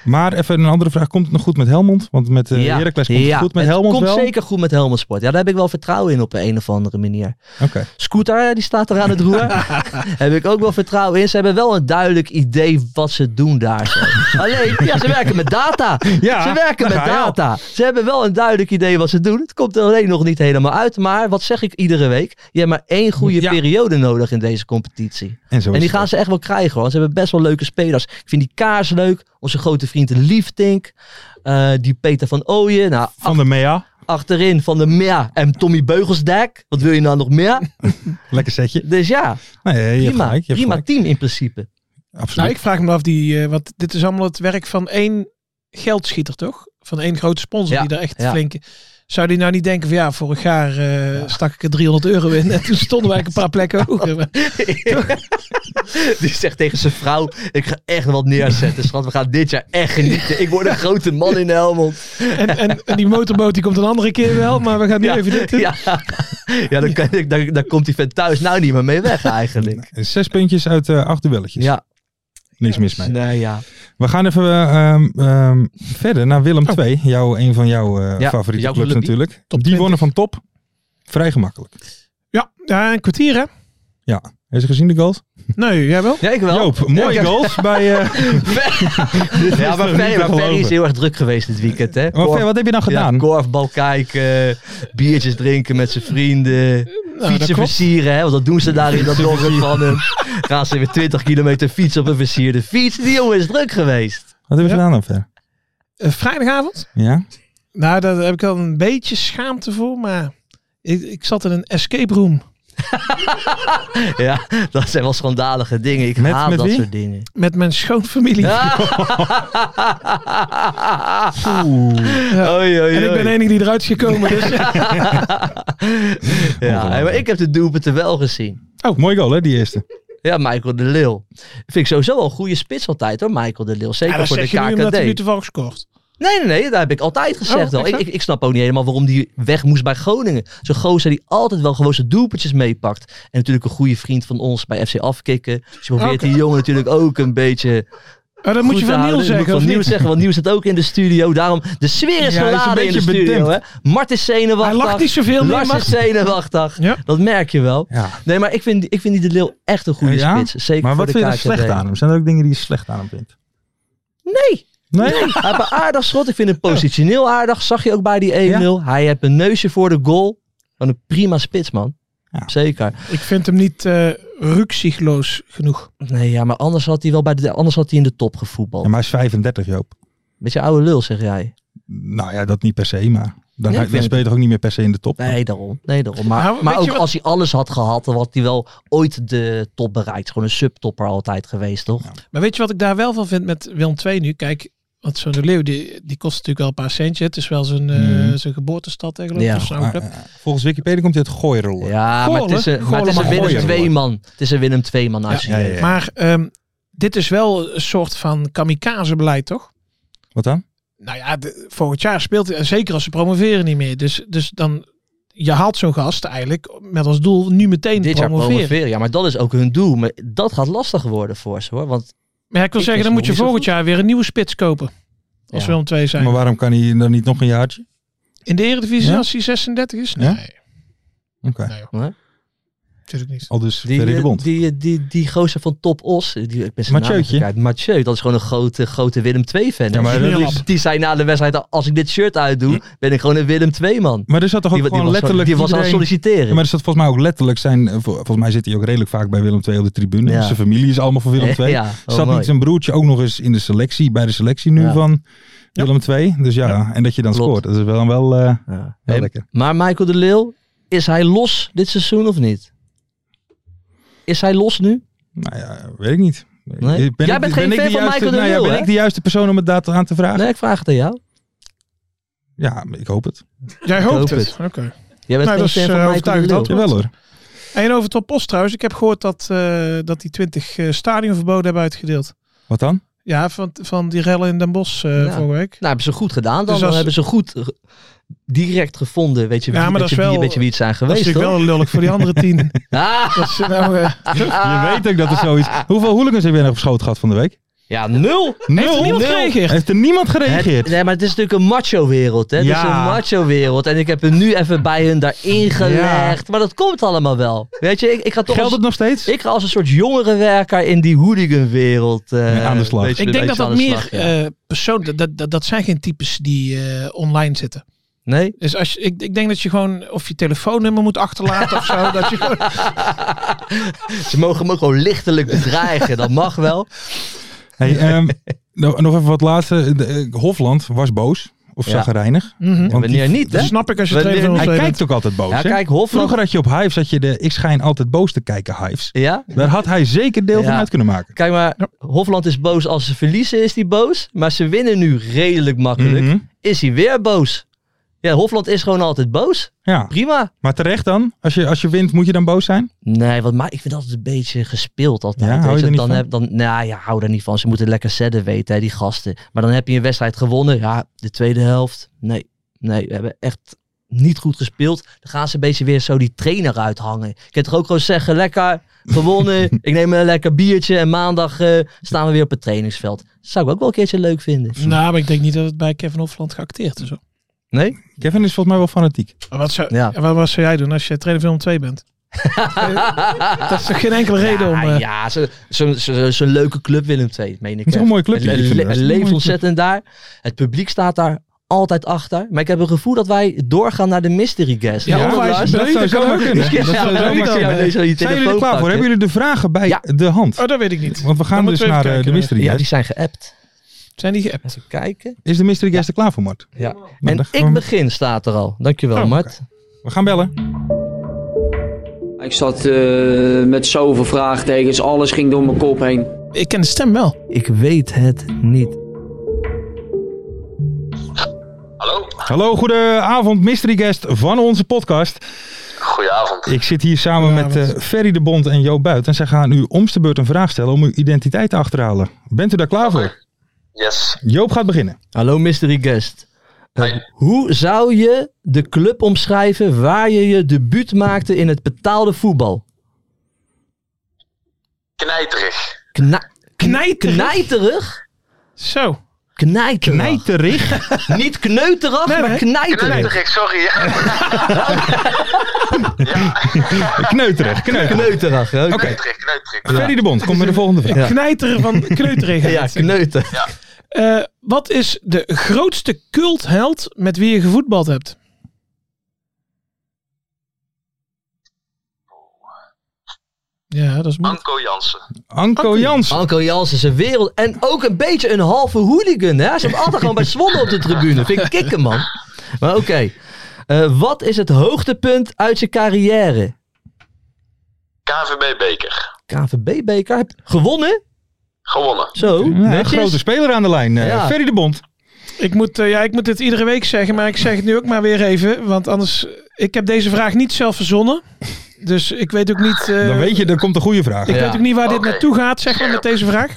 [SPEAKER 4] maar even een andere vraag. Komt het nog goed met Helmond? Want met eh
[SPEAKER 5] Ja.
[SPEAKER 4] Heracles komt
[SPEAKER 5] Ja,
[SPEAKER 4] het goed met
[SPEAKER 5] het
[SPEAKER 4] Helmond
[SPEAKER 5] komt
[SPEAKER 4] wel?
[SPEAKER 5] zeker goed met Helmond Sport. Ja, daar heb ik wel vertrouwen in op een of andere manier.
[SPEAKER 4] Oké.
[SPEAKER 5] Scooter, eh, die staat er aan het
[SPEAKER 4] [LAUGHS]
[SPEAKER 5] roer. heb ik ook wel vertrouwen in. Ze hebben wel een duidelijk idee wat ze doen
[SPEAKER 4] [LAUGHS]
[SPEAKER 5] daar. zo. Alleen, ja, ze werken met data.
[SPEAKER 4] Ja,
[SPEAKER 5] ze werken
[SPEAKER 4] daar ga
[SPEAKER 5] met
[SPEAKER 4] je al.
[SPEAKER 5] data. Ze hebben wel een duidelijk idee wat ze doen. Het komt er alleen nog niet helemaal uit. Maar wat zeg ik iedere week? Je hebt maar één goede
[SPEAKER 4] Ja.
[SPEAKER 5] periode nodig in deze competitie.
[SPEAKER 4] En, zo
[SPEAKER 5] En
[SPEAKER 4] is
[SPEAKER 5] die
[SPEAKER 4] het
[SPEAKER 5] gaan ze echt wel krijgen hoor. Want ze hebben best wel leuke spelers. Ik vind die Kaars leuk. Onze grote vriend Liefdink. Eh, die Peter van Ooyen. Nou,
[SPEAKER 4] ook. Van de MEA.
[SPEAKER 5] achterin van de Mea en Tommy Beugelsdijk. Wat wil je nou nog meer?
[SPEAKER 4] Lekker setje.
[SPEAKER 5] Dus ja,
[SPEAKER 4] Nee, je hebt
[SPEAKER 5] prima,
[SPEAKER 4] gelijk. Je hebt
[SPEAKER 5] prima
[SPEAKER 4] gelijk.
[SPEAKER 5] team in
[SPEAKER 4] [LAUGHS]
[SPEAKER 5] principe.
[SPEAKER 6] Nou,
[SPEAKER 4] Absoluut.
[SPEAKER 6] ik vraag me af, die, eh, wat, dit is allemaal het werk van één geldschieter, toch? Van één grote sponsor
[SPEAKER 5] Ja,
[SPEAKER 6] die daar echt
[SPEAKER 5] ja.
[SPEAKER 6] flinke... Zou die nou niet denken van ja, vorig jaar eh, stak ik er 300 euro in en toen stonden wij een paar plekken
[SPEAKER 5] [LAUGHS]
[SPEAKER 6] hoger. Maar
[SPEAKER 5] Die zegt tegen zijn vrouw, ik ga echt wat neerzetten schat. We gaan dit jaar echt genieten. Ik word een grote man in Helmond.
[SPEAKER 6] En, en, en die motorboot die komt een andere keer wel, maar we gaan nu
[SPEAKER 5] Ja,
[SPEAKER 6] even dit doen.
[SPEAKER 5] ja. ja dan, kan ik, dan, dan komt die vent thuis nou niet meer mee weg eigenlijk.
[SPEAKER 4] Zes puntjes uit eh, acht duelletjes.
[SPEAKER 5] Ja,
[SPEAKER 4] Niks mis mee.
[SPEAKER 5] nee, ja.
[SPEAKER 4] We gaan even eh, ehm, ehm, verder naar Willem II. Jou, een van jouw eh,
[SPEAKER 5] Oh. Ja,
[SPEAKER 4] favoriete
[SPEAKER 5] jouw
[SPEAKER 4] clubs
[SPEAKER 5] clubje.
[SPEAKER 4] natuurlijk.
[SPEAKER 6] Top
[SPEAKER 4] die
[SPEAKER 6] 20.
[SPEAKER 4] wonnen van top. Vrij gemakkelijk.
[SPEAKER 6] Ja, ja, een kwartier hè?
[SPEAKER 4] Heb je gezien de goals?
[SPEAKER 6] Nee, jij wel?
[SPEAKER 5] Ja, ik wel.
[SPEAKER 4] Joop, mooie
[SPEAKER 5] Ja, ik-
[SPEAKER 4] goals bij... eh
[SPEAKER 5] [LAUGHS] Ja, maar
[SPEAKER 4] niet
[SPEAKER 5] Ferry,
[SPEAKER 4] te
[SPEAKER 5] maar Ferry is
[SPEAKER 4] geloven.
[SPEAKER 5] heel erg druk geweest dit weekend. Hè?
[SPEAKER 4] maar Fer, wat heb je dan gedaan?
[SPEAKER 5] Ja, korfbal kijken, biertjes drinken met zijn vrienden,
[SPEAKER 6] dat
[SPEAKER 5] fietsen
[SPEAKER 6] klopt.
[SPEAKER 5] versieren. Hè, want dat doen ze daar in dat dorp van hem. Gaan ze weer 20 kilometer fietsen op een versierde fiets. Die jongen is druk geweest.
[SPEAKER 4] Wat heb je
[SPEAKER 6] Ja.
[SPEAKER 4] gedaan dan Fer?
[SPEAKER 6] Eh, vrijdagavond?
[SPEAKER 4] Ja?
[SPEAKER 6] Nou, daar heb ik wel een beetje schaamte voor, maar ik, ik zat in een escape room.
[SPEAKER 5] ja, dat zijn wel schandalige dingen. Ik
[SPEAKER 4] Met-
[SPEAKER 5] haat
[SPEAKER 4] met
[SPEAKER 5] dat
[SPEAKER 4] wie?
[SPEAKER 5] soort dingen.
[SPEAKER 6] Met mijn schoonfamilie.
[SPEAKER 5] Ah.
[SPEAKER 6] Ja.
[SPEAKER 5] Oei, oei,
[SPEAKER 6] En ik ben de
[SPEAKER 5] oei.
[SPEAKER 6] enige die eruit is gekomen.
[SPEAKER 5] [LAUGHS]
[SPEAKER 6] Dus.
[SPEAKER 5] Ja, maar ik heb de doelpunten wel gezien.
[SPEAKER 4] Oh, mooi goal hè, die eerste.
[SPEAKER 5] Ja, Michael de Leeuw. Vind ik sowieso wel een goede spits altijd hoor, Michael de Leeuw. Zeker
[SPEAKER 6] Ja, dat
[SPEAKER 5] voor de
[SPEAKER 6] zeg je nu omdat
[SPEAKER 5] KKD.
[SPEAKER 6] hij nu toevallig scoort.
[SPEAKER 5] Nee, nee, nee, dat heb ik altijd gezegd al.
[SPEAKER 6] Oh, echt,
[SPEAKER 5] Ik,
[SPEAKER 6] hè?
[SPEAKER 5] ik, ik snap ook niet helemaal waarom die weg moest bij Groningen. Zo'n gozer die altijd wel gewoon zijn doelpuntjes meepakt. En natuurlijk een goede vriend van ons bij FC Afkikken. Dus je probeert
[SPEAKER 6] Oké.
[SPEAKER 5] die jongen natuurlijk ook een beetje
[SPEAKER 6] Maar Eh, dat moet
[SPEAKER 5] goed
[SPEAKER 6] je
[SPEAKER 5] te
[SPEAKER 6] van Niel
[SPEAKER 5] houden. Dat moet ik
[SPEAKER 6] zeggen, of
[SPEAKER 5] Van Niel
[SPEAKER 6] niet?
[SPEAKER 5] zeggen, want Niel zit ook in de studio. Daarom, de sfeer is
[SPEAKER 4] Ja, hij is
[SPEAKER 5] geladen
[SPEAKER 4] een
[SPEAKER 5] in de
[SPEAKER 4] beetje
[SPEAKER 5] studio. Hè?
[SPEAKER 4] bedempt.
[SPEAKER 5] Mart is
[SPEAKER 6] Hij
[SPEAKER 5] zenuwachtig.
[SPEAKER 6] lacht niet zoveel meer,
[SPEAKER 5] Lars
[SPEAKER 6] maar...
[SPEAKER 5] is eh, zenuwachtig.
[SPEAKER 6] Ja.
[SPEAKER 5] Dat merk je wel.
[SPEAKER 4] Ja.
[SPEAKER 5] Nee, maar ik vind, ik vind die de Leeuw echt een goede
[SPEAKER 4] Ja?
[SPEAKER 5] spits. Zeker
[SPEAKER 4] Maar
[SPEAKER 5] voor
[SPEAKER 4] wat
[SPEAKER 5] de
[SPEAKER 4] vind je er
[SPEAKER 5] KKD.
[SPEAKER 4] slecht aan hem? Zijn er ook dingen die je slecht aan hem vindt?
[SPEAKER 5] Nee.
[SPEAKER 4] Nee?
[SPEAKER 5] Hij heeft een aardig schot. Ik vind het positioneel aardig. Zag je ook bij die 1-0. Hij heeft een neusje voor de goal. Van een prima spits, man.
[SPEAKER 4] Ja.
[SPEAKER 5] Zeker.
[SPEAKER 6] Ik vind hem niet eh rukzichtloos genoeg.
[SPEAKER 5] Nee, ja, maar anders had hij wel bij de, anders had hij in de top gevoetbald.
[SPEAKER 4] Ja, maar hij is 35, Joop.
[SPEAKER 5] Beetje oude lul, zeg jij.
[SPEAKER 4] Nou ja, dat niet per se, maar dan,
[SPEAKER 5] Nee, ik
[SPEAKER 4] dan
[SPEAKER 5] vind-
[SPEAKER 4] speel je toch ook niet meer per se in de top?
[SPEAKER 5] Nee, daarom. Nee, daarom. Maar, maar,
[SPEAKER 6] Nou, weet je
[SPEAKER 5] ook
[SPEAKER 6] wat-
[SPEAKER 5] als hij alles had gehad, dan had hij wel ooit de top bereikt. Gewoon een subtopper altijd geweest, toch?
[SPEAKER 6] Maar weet je wat ik daar wel van vind met Willem II nu? Kijk, want zo'n De Leeuw, die, die kost natuurlijk wel een paar centjes. Het is wel zijn, eh,
[SPEAKER 4] Mhm.
[SPEAKER 6] zijn geboortestad, hè, geloof ik.
[SPEAKER 5] Ja.
[SPEAKER 6] of zo'n
[SPEAKER 4] Maar,
[SPEAKER 6] club.
[SPEAKER 4] eh, volgens Wikipedia komt hij uit Gooirollen.
[SPEAKER 5] Ja,
[SPEAKER 6] Goal,
[SPEAKER 5] maar het is
[SPEAKER 6] hè?
[SPEAKER 5] een, maar het is
[SPEAKER 6] Goal,
[SPEAKER 5] een
[SPEAKER 6] maar
[SPEAKER 5] Willem
[SPEAKER 4] gooi, hoor.
[SPEAKER 5] 2 man. Het is een Willem 2 man. actie.
[SPEAKER 4] Ja, ja, ja.
[SPEAKER 6] Maar ehm, dit is wel een soort van kamikaze-beleid, toch?
[SPEAKER 4] Wat dan?
[SPEAKER 6] Nou ja, de- volgend jaar speelt hij, en zeker als ze promoveren niet meer. Dus, dus dan, je haalt zo'n gast eigenlijk met als doel nu meteen
[SPEAKER 5] Dit jaar
[SPEAKER 6] promoveren.
[SPEAKER 5] promoveren. Ja, maar dat is ook hun doel. Maar dat gaat lastig worden voor ze, hoor. Want
[SPEAKER 6] Maar ja, ik wil
[SPEAKER 5] Ik
[SPEAKER 6] zeggen,
[SPEAKER 5] vind
[SPEAKER 6] dan moet
[SPEAKER 5] ze
[SPEAKER 6] je
[SPEAKER 5] nog niet
[SPEAKER 6] volgend
[SPEAKER 5] zo
[SPEAKER 6] jaar weer een nieuwe spits kopen. Als
[SPEAKER 5] Ja.
[SPEAKER 6] Willem II zijn.
[SPEAKER 4] Maar waarom kan hij dan niet nog een jaartje?
[SPEAKER 6] In de Eredivisie
[SPEAKER 4] Ja?
[SPEAKER 6] als hij 36 is?
[SPEAKER 4] Ja?
[SPEAKER 6] Nee,
[SPEAKER 4] Oké.
[SPEAKER 6] nee joh.
[SPEAKER 5] Nee?
[SPEAKER 6] Natuurlijk niet.
[SPEAKER 4] Al dus
[SPEAKER 5] Die,
[SPEAKER 4] Ferry de
[SPEAKER 5] eh,
[SPEAKER 4] Bond.
[SPEAKER 5] Die, die, die, gozer van Top Os. eh, Die, ik ben zijn naam
[SPEAKER 4] Mathieutje.
[SPEAKER 5] even kwijt. Mathieu, dat is gewoon een grote, grote Willem II-fan.
[SPEAKER 4] Ja, maar dat
[SPEAKER 6] is- Hm.
[SPEAKER 5] Die zei na de wedstrijd, als ik dit shirt uitdoe, ben ik gewoon een Willem II-man.
[SPEAKER 4] Maar er zat toch ook
[SPEAKER 5] Die, wa- die,
[SPEAKER 4] gewoon
[SPEAKER 5] was, gewoon-
[SPEAKER 4] letterlijk
[SPEAKER 5] die was aan het
[SPEAKER 4] iedereen-
[SPEAKER 5] solliciteren.
[SPEAKER 4] Ja, maar er zat volgens mij ook letterlijk zijn... eh, vol- Volgens mij zit hij ook redelijk vaak bij Willem II op de tribune.
[SPEAKER 5] Ja.
[SPEAKER 4] Zijn familie is allemaal voor
[SPEAKER 5] [LAUGHS]
[SPEAKER 4] Willem II.
[SPEAKER 5] Ja, oh,
[SPEAKER 4] zat
[SPEAKER 5] mooi.
[SPEAKER 4] niet zijn broertje ook nog eens in de selectie, bij de selectie nu
[SPEAKER 5] Ja.
[SPEAKER 4] van Willem II. Dus ja, en dat je dan
[SPEAKER 5] Klopt.
[SPEAKER 4] scoort. Dat is wel, wel, eh,
[SPEAKER 5] Ja.
[SPEAKER 4] wel
[SPEAKER 5] Hey,
[SPEAKER 4] lekker.
[SPEAKER 5] Maar Michael de Leeuw, is hij los dit seizoen of niet? Is hij los nu?
[SPEAKER 4] Nou ja, weet ik niet.
[SPEAKER 5] Nee?
[SPEAKER 4] Ben
[SPEAKER 5] Jij
[SPEAKER 4] ik-
[SPEAKER 5] bent
[SPEAKER 4] ben
[SPEAKER 5] geen
[SPEAKER 4] ik
[SPEAKER 5] fan
[SPEAKER 4] juiste-
[SPEAKER 5] van Michael de
[SPEAKER 4] nou ja,
[SPEAKER 5] Leeuw,
[SPEAKER 4] Ben
[SPEAKER 5] hè?
[SPEAKER 4] ik de juiste persoon om het daar aan te vragen?
[SPEAKER 5] Nee, ik vraag het aan jou.
[SPEAKER 4] Ja, ik hoop het.
[SPEAKER 6] Jij
[SPEAKER 5] hoop
[SPEAKER 6] hoopt het.
[SPEAKER 5] het.
[SPEAKER 6] Oké.
[SPEAKER 5] Jij bent
[SPEAKER 6] Nou,
[SPEAKER 5] geen
[SPEAKER 6] dat is,
[SPEAKER 5] fan
[SPEAKER 6] eh,
[SPEAKER 5] van Michael de
[SPEAKER 6] overtuigend
[SPEAKER 5] Leeuw.
[SPEAKER 6] antwoord.
[SPEAKER 4] Jawel hoor.
[SPEAKER 6] En over Top Post trouwens. Ik heb gehoord dat, eh, dat die 20 eh, stadionverboden hebben uitgedeeld.
[SPEAKER 4] Wat dan?
[SPEAKER 6] Ja, van, van die rellen in Den Bosch eh,
[SPEAKER 5] Ja.
[SPEAKER 6] vorige week.
[SPEAKER 5] Nou, hebben ze goed gedaan dan.
[SPEAKER 6] Dus
[SPEAKER 5] dan
[SPEAKER 6] als-
[SPEAKER 5] hebben ze goed eh, direct gevonden, weet je,
[SPEAKER 6] Ja,
[SPEAKER 5] wie,
[SPEAKER 6] maar
[SPEAKER 5] weet
[SPEAKER 6] dat
[SPEAKER 5] je,
[SPEAKER 6] is
[SPEAKER 5] wie,
[SPEAKER 6] wel-
[SPEAKER 5] weet je wie het zijn
[SPEAKER 6] Dat is
[SPEAKER 5] geweest,
[SPEAKER 6] natuurlijk
[SPEAKER 5] hoor.
[SPEAKER 6] wel lullig voor die andere [LAUGHS] tien.
[SPEAKER 5] Ah,
[SPEAKER 6] [LAUGHS] Dat ze nou, eh,
[SPEAKER 4] Je weet ook dat er zoiets... Hoeveel hooligans heb jij nog op schoot gehad van de week?
[SPEAKER 5] ja, nul.
[SPEAKER 4] Nul.
[SPEAKER 6] heeft er niemand gereageerd?
[SPEAKER 4] Heeft er niemand
[SPEAKER 5] Het-
[SPEAKER 4] gereageerd?
[SPEAKER 5] nee, maar het is natuurlijk een macho-wereld, hè. Het is
[SPEAKER 4] Ja.
[SPEAKER 5] een macho-wereld. En ik heb hem nu even bij hun daarin gelegd. Maar dat komt allemaal wel. Weet je, ik, ik ga toch
[SPEAKER 4] Geldt
[SPEAKER 5] als,
[SPEAKER 4] het nog steeds?
[SPEAKER 5] ik ga als een soort jongerenwerker in die hooligan-wereld. eh,
[SPEAKER 4] Ja, aan de slag.
[SPEAKER 5] weet je,
[SPEAKER 6] Ik
[SPEAKER 5] weet
[SPEAKER 6] denk
[SPEAKER 5] je,
[SPEAKER 6] dat dat
[SPEAKER 5] aan de
[SPEAKER 6] meer
[SPEAKER 5] slag, ja.
[SPEAKER 6] eh persoon... Dat, dat, dat zijn geen types die eh, online zitten.
[SPEAKER 5] nee?
[SPEAKER 6] Dus als je, ik, ik denk dat je gewoon... Of je telefoonnummer moet achterlaten of [LAUGHS] zo. Dat je gewoon,
[SPEAKER 5] Ze mogen me gewoon lichtelijk bedreigen. dat mag wel.
[SPEAKER 4] Oh, Hey, ehm, nog nog even wat laatste. De, eh, Hofland was boos. Of
[SPEAKER 5] Ja.
[SPEAKER 4] zagrijnig.
[SPEAKER 6] Mhm.
[SPEAKER 4] Want
[SPEAKER 5] Wanneer
[SPEAKER 4] die-
[SPEAKER 5] niet, hè?
[SPEAKER 6] Dat snap ik als je
[SPEAKER 5] Wanneer-
[SPEAKER 6] trainer van ons
[SPEAKER 4] Hij
[SPEAKER 6] bent.
[SPEAKER 4] kijkt ook altijd boos.
[SPEAKER 5] Ja,
[SPEAKER 4] hè?
[SPEAKER 5] kijk, Hofland...
[SPEAKER 4] Vroeger had je op Hives, had je de Ik schijn altijd boos te kijken Hives.
[SPEAKER 5] Ja?
[SPEAKER 4] Daar had hij zeker deel van
[SPEAKER 5] Ja.
[SPEAKER 4] uit kunnen maken.
[SPEAKER 5] Kijk maar, Hofland is boos als ze verliezen, is hij boos. Maar ze winnen nu redelijk makkelijk.
[SPEAKER 4] Mhm.
[SPEAKER 5] Is hij weer boos? Ja, Hofland is gewoon altijd boos.
[SPEAKER 4] Ja,
[SPEAKER 5] Prima.
[SPEAKER 4] maar terecht dan. Als je, als je wint, moet je dan boos zijn?
[SPEAKER 5] Nee, want maar ik vind dat altijd een beetje gespeeld altijd.
[SPEAKER 4] Ja,
[SPEAKER 5] weet
[SPEAKER 4] hou je er niet
[SPEAKER 5] dan
[SPEAKER 4] van?
[SPEAKER 5] Heb, dan, nou ja, hou daar niet van. Ze moeten lekker zetten weten, hè, die gasten. Maar dan heb je een wedstrijd gewonnen. Ja, de tweede helft. Nee, nee, we hebben echt niet goed gespeeld. Dan gaan ze een beetje weer zo die trainer uithangen. Ik kan toch ook gewoon zeggen, lekker
[SPEAKER 4] [LAUGHS]
[SPEAKER 5] gewonnen. ik neem een lekker biertje en maandag eh, staan we weer op het trainingsveld. Zou ik ook wel een keertje leuk vinden.
[SPEAKER 6] Nou, maar ik denk niet dat het bij Kevin Hofland geacteerd is. hoor.
[SPEAKER 5] Nee? [LAUGHS]
[SPEAKER 4] Kevin is volgens mij wel fanatiek.
[SPEAKER 6] Maar Wat zou,
[SPEAKER 5] Ja.
[SPEAKER 6] ja. wat, wat zou jij doen als je trainer van 2 bent? dat is toch geen enkele reden om...
[SPEAKER 5] Ja,
[SPEAKER 6] eh,
[SPEAKER 5] ja zo'n zo, zo, zo'n leuke club Willem II, meen ik.
[SPEAKER 4] Het is
[SPEAKER 5] echt.
[SPEAKER 4] een mooi clubje,
[SPEAKER 5] Het,
[SPEAKER 4] ik
[SPEAKER 5] le-
[SPEAKER 4] vind
[SPEAKER 5] le-
[SPEAKER 4] het best.
[SPEAKER 5] het
[SPEAKER 4] Een
[SPEAKER 5] leeft
[SPEAKER 4] mooi
[SPEAKER 5] ontzettend daar. Het publiek staat daar altijd achter. Maar ik heb een gevoel dat wij doorgaan naar de mystery guest.
[SPEAKER 6] Ja,
[SPEAKER 5] Hoor,
[SPEAKER 6] of hij
[SPEAKER 5] Lars?
[SPEAKER 6] is beu,
[SPEAKER 4] dat zou
[SPEAKER 6] dat kan
[SPEAKER 4] zomaar
[SPEAKER 6] ook.
[SPEAKER 4] kunnen.
[SPEAKER 5] [LAUGHS] Ja,
[SPEAKER 4] Dat zou
[SPEAKER 5] dat
[SPEAKER 4] zomaar
[SPEAKER 5] kan ook.
[SPEAKER 4] kunnen.
[SPEAKER 5] Ja, deze die
[SPEAKER 4] Zijn jullie er
[SPEAKER 5] telefoon
[SPEAKER 4] klaar voor?
[SPEAKER 5] pakken.
[SPEAKER 4] Hebben jullie de vragen bij
[SPEAKER 5] Ja.
[SPEAKER 4] de hand?
[SPEAKER 6] Oh, dat weet ik niet.
[SPEAKER 4] Want we gaan
[SPEAKER 6] Dan
[SPEAKER 4] dus
[SPEAKER 6] moeten we
[SPEAKER 4] naar
[SPEAKER 6] even
[SPEAKER 4] eh, de
[SPEAKER 6] kijken.
[SPEAKER 4] mystery
[SPEAKER 5] Ja,
[SPEAKER 4] guest.
[SPEAKER 5] die zijn geappt.
[SPEAKER 6] Zijn die geappt?
[SPEAKER 5] Even kijken.
[SPEAKER 4] Is de mystery guest er klaar voor, Mart?
[SPEAKER 5] Ja.
[SPEAKER 4] dan
[SPEAKER 5] En
[SPEAKER 4] gaan we- Oh,
[SPEAKER 5] ik begin staat er al. Dankjewel,
[SPEAKER 6] Oh,
[SPEAKER 5] Mart.
[SPEAKER 4] We gaan bellen.
[SPEAKER 5] Hij
[SPEAKER 7] Ik zat eh, met zoveel vraagtekens, alles ging door mijn kop heen.
[SPEAKER 6] Ik ken de stem wel.
[SPEAKER 5] Ik weet het niet.
[SPEAKER 4] Hallo, goedenavond, mystery guest van onze podcast.
[SPEAKER 8] Goedenavond.
[SPEAKER 4] Ik zit hier samen met eh, Ferry de Bond en Jo Buit. En zij gaan u om de beurt een vraag stellen om uw identiteit te achterhalen. Bent u daar klaar voor?
[SPEAKER 8] Yes.
[SPEAKER 4] Joop gaat beginnen.
[SPEAKER 5] Hallo mystery guest. Eh,
[SPEAKER 8] Hi.
[SPEAKER 5] hoe zou je de club omschrijven waar je je debuut maakte in het betaalde voetbal?
[SPEAKER 8] Knijterig.
[SPEAKER 5] Kna-
[SPEAKER 6] Knijterig?
[SPEAKER 5] Knijterig?
[SPEAKER 6] Zo.
[SPEAKER 5] Knijterig.
[SPEAKER 4] Knijterig.
[SPEAKER 5] Niet kneuterig, maar knijterig.
[SPEAKER 8] Knijterig, sorry. Ja.
[SPEAKER 4] Kneuterig. Kneuterig.
[SPEAKER 5] Kneuterig, hè?
[SPEAKER 4] Oké.
[SPEAKER 8] Knijterig, knijterig.
[SPEAKER 4] Ferry de Bond, kom met de volgende vraag.
[SPEAKER 5] Ja.
[SPEAKER 6] Knijter van kneuterigheid.
[SPEAKER 5] Ja, kneuter.
[SPEAKER 6] Eh, wat is de grootste cultheld met wie je gevoetbald hebt? Ja, dat is moeilijk.
[SPEAKER 8] Anko Jansen.
[SPEAKER 4] Anko Jans.
[SPEAKER 5] Anko Jans is een wereld. En ook een beetje een halve hooligan. Hè? Ze zat altijd gewoon bij Zwolle op de tribune. Vind ik kicken, man. Maar oké. Eh, wat is het hoogtepunt uit zijn carrière?
[SPEAKER 8] KVB Beker.
[SPEAKER 5] KVB-beker. Heb- Gewonnen? [LAUGHS]
[SPEAKER 8] Gewonnen.
[SPEAKER 5] Zo.
[SPEAKER 4] Ja, een
[SPEAKER 5] netjes.
[SPEAKER 4] grote speler aan de lijn. eh,
[SPEAKER 5] Ja.
[SPEAKER 4] Ferry de Bond.
[SPEAKER 6] Ik moet, eh, ja, ik moet dit iedere week zeggen, maar ik zeg het nu ook maar weer even. Want anders, eh, ik heb deze vraag niet zelf verzonnen. Dus ik weet ook niet, eh,
[SPEAKER 4] Dan weet je, er komt een goede vraag.
[SPEAKER 6] ik
[SPEAKER 5] Ja.
[SPEAKER 6] weet ook niet waar dit
[SPEAKER 8] Oké.
[SPEAKER 6] naartoe gaat, zeg maar, met deze vraag.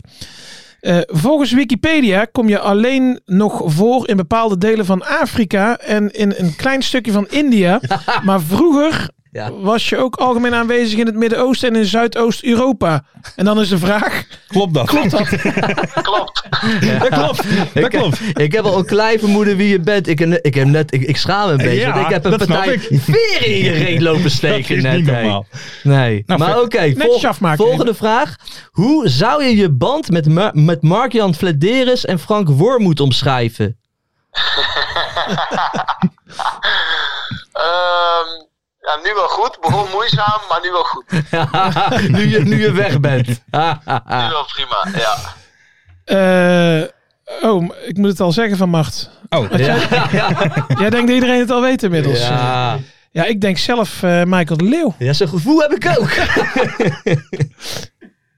[SPEAKER 6] Eh, volgens Wikipedia kom je alleen nog voor in bepaalde delen van Afrika en in een klein stukje van
[SPEAKER 5] [LAUGHS]
[SPEAKER 6] India. Maar vroeger
[SPEAKER 5] Ja.
[SPEAKER 6] was je ook algemeen aanwezig in het Midden-Oosten en in Zuidoost-Europa. En dan is de vraag,
[SPEAKER 4] Klopt dat?
[SPEAKER 6] klopt dat?
[SPEAKER 8] Klopt.
[SPEAKER 4] [LAUGHS] Dat klopt. Dat
[SPEAKER 5] Ik,
[SPEAKER 4] klopt.
[SPEAKER 5] ik heb al een klein vermoeden wie je bent. Ik, heb ne- ik, heb net, ik, ik schaam me een beetje.
[SPEAKER 4] Ja,
[SPEAKER 5] want ik heb een
[SPEAKER 4] dat snap
[SPEAKER 5] partij
[SPEAKER 4] ik.
[SPEAKER 5] veer in je reet
[SPEAKER 4] [LAUGHS]
[SPEAKER 5] lopen
[SPEAKER 4] Dat
[SPEAKER 5] steken
[SPEAKER 4] is
[SPEAKER 5] net.
[SPEAKER 4] niet
[SPEAKER 5] hè.
[SPEAKER 4] normaal.
[SPEAKER 5] Nee.
[SPEAKER 4] Nou,
[SPEAKER 5] maar
[SPEAKER 4] vet.
[SPEAKER 5] oké, vol-
[SPEAKER 6] Netjes afmaken,
[SPEAKER 5] volgende vraag. Hoe zou je je band met, Ma- met Mark-Jan Flederis en Frank Wormoed omschrijven? [LAUGHS]
[SPEAKER 8] Ehm, ja, nu wel goed. Begon moeizaam, maar nu wel goed. Nu
[SPEAKER 5] nu, je, nu je weg
[SPEAKER 4] [LAUGHS]
[SPEAKER 5] bent.
[SPEAKER 4] Oh,
[SPEAKER 8] wel prima. Ja.
[SPEAKER 6] Eh, oh, m- ik moet het al zeggen van Macht.
[SPEAKER 4] Oh,
[SPEAKER 6] Jij denkt dat iedereen het al weet inmiddels.
[SPEAKER 4] eh,
[SPEAKER 5] ja.
[SPEAKER 6] Ja, ik denk zelf eh, Michael de Leeuw.
[SPEAKER 5] ja, zo'n gevoel heb ik
[SPEAKER 4] [LAUGHS]
[SPEAKER 5] ook.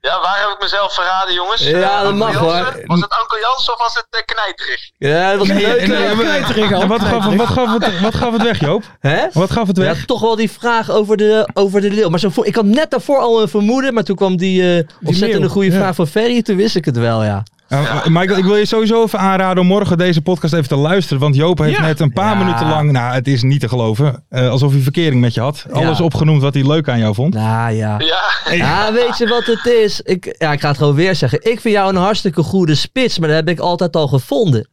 [SPEAKER 8] Ja, waar heb ik mezelf verraden, jongens?
[SPEAKER 5] Ja,
[SPEAKER 8] Eh,
[SPEAKER 5] dat
[SPEAKER 8] Anko
[SPEAKER 5] mag,
[SPEAKER 8] Jansen?
[SPEAKER 5] hoor.
[SPEAKER 8] Was het Anko Jansen of was het eh, Knijterig?
[SPEAKER 5] Ja, dat was
[SPEAKER 4] Nee,
[SPEAKER 5] leuk.
[SPEAKER 4] nee,
[SPEAKER 5] hè?
[SPEAKER 4] maar-
[SPEAKER 6] knijterig al.
[SPEAKER 4] en wat gaf, wat, gaf
[SPEAKER 5] [LAUGHS]
[SPEAKER 4] het, wat gaf het weg, Joop?
[SPEAKER 5] Hè?
[SPEAKER 4] Wat gaf het
[SPEAKER 5] Ja,
[SPEAKER 4] weg?
[SPEAKER 5] toch wel die vraag over de, over de leeuw. Maar zo voor, ik had net daarvoor al een vermoeden, maar toen kwam die eh, ontzettende
[SPEAKER 6] leeuw,
[SPEAKER 5] goede
[SPEAKER 6] ja.
[SPEAKER 5] vraag van Ferry. Toen wist ik het wel, ja.
[SPEAKER 4] Eh, Michael, ik wil je sowieso even aanraden om morgen deze podcast even te luisteren. Want Joop heeft
[SPEAKER 6] Ja.
[SPEAKER 4] net een paar
[SPEAKER 5] Ja.
[SPEAKER 4] minuten lang, nou het is niet te geloven, eh, alsof hij verkering met je had. Alles opgenoemd wat hij leuk aan jou vond.
[SPEAKER 5] Nou ja.
[SPEAKER 8] Ja.
[SPEAKER 5] Ja, weet je wat het is? Ik, ja, ik ga het gewoon weer zeggen. Ik vind jou een hartstikke goede spits, maar dat heb ik altijd al gevonden.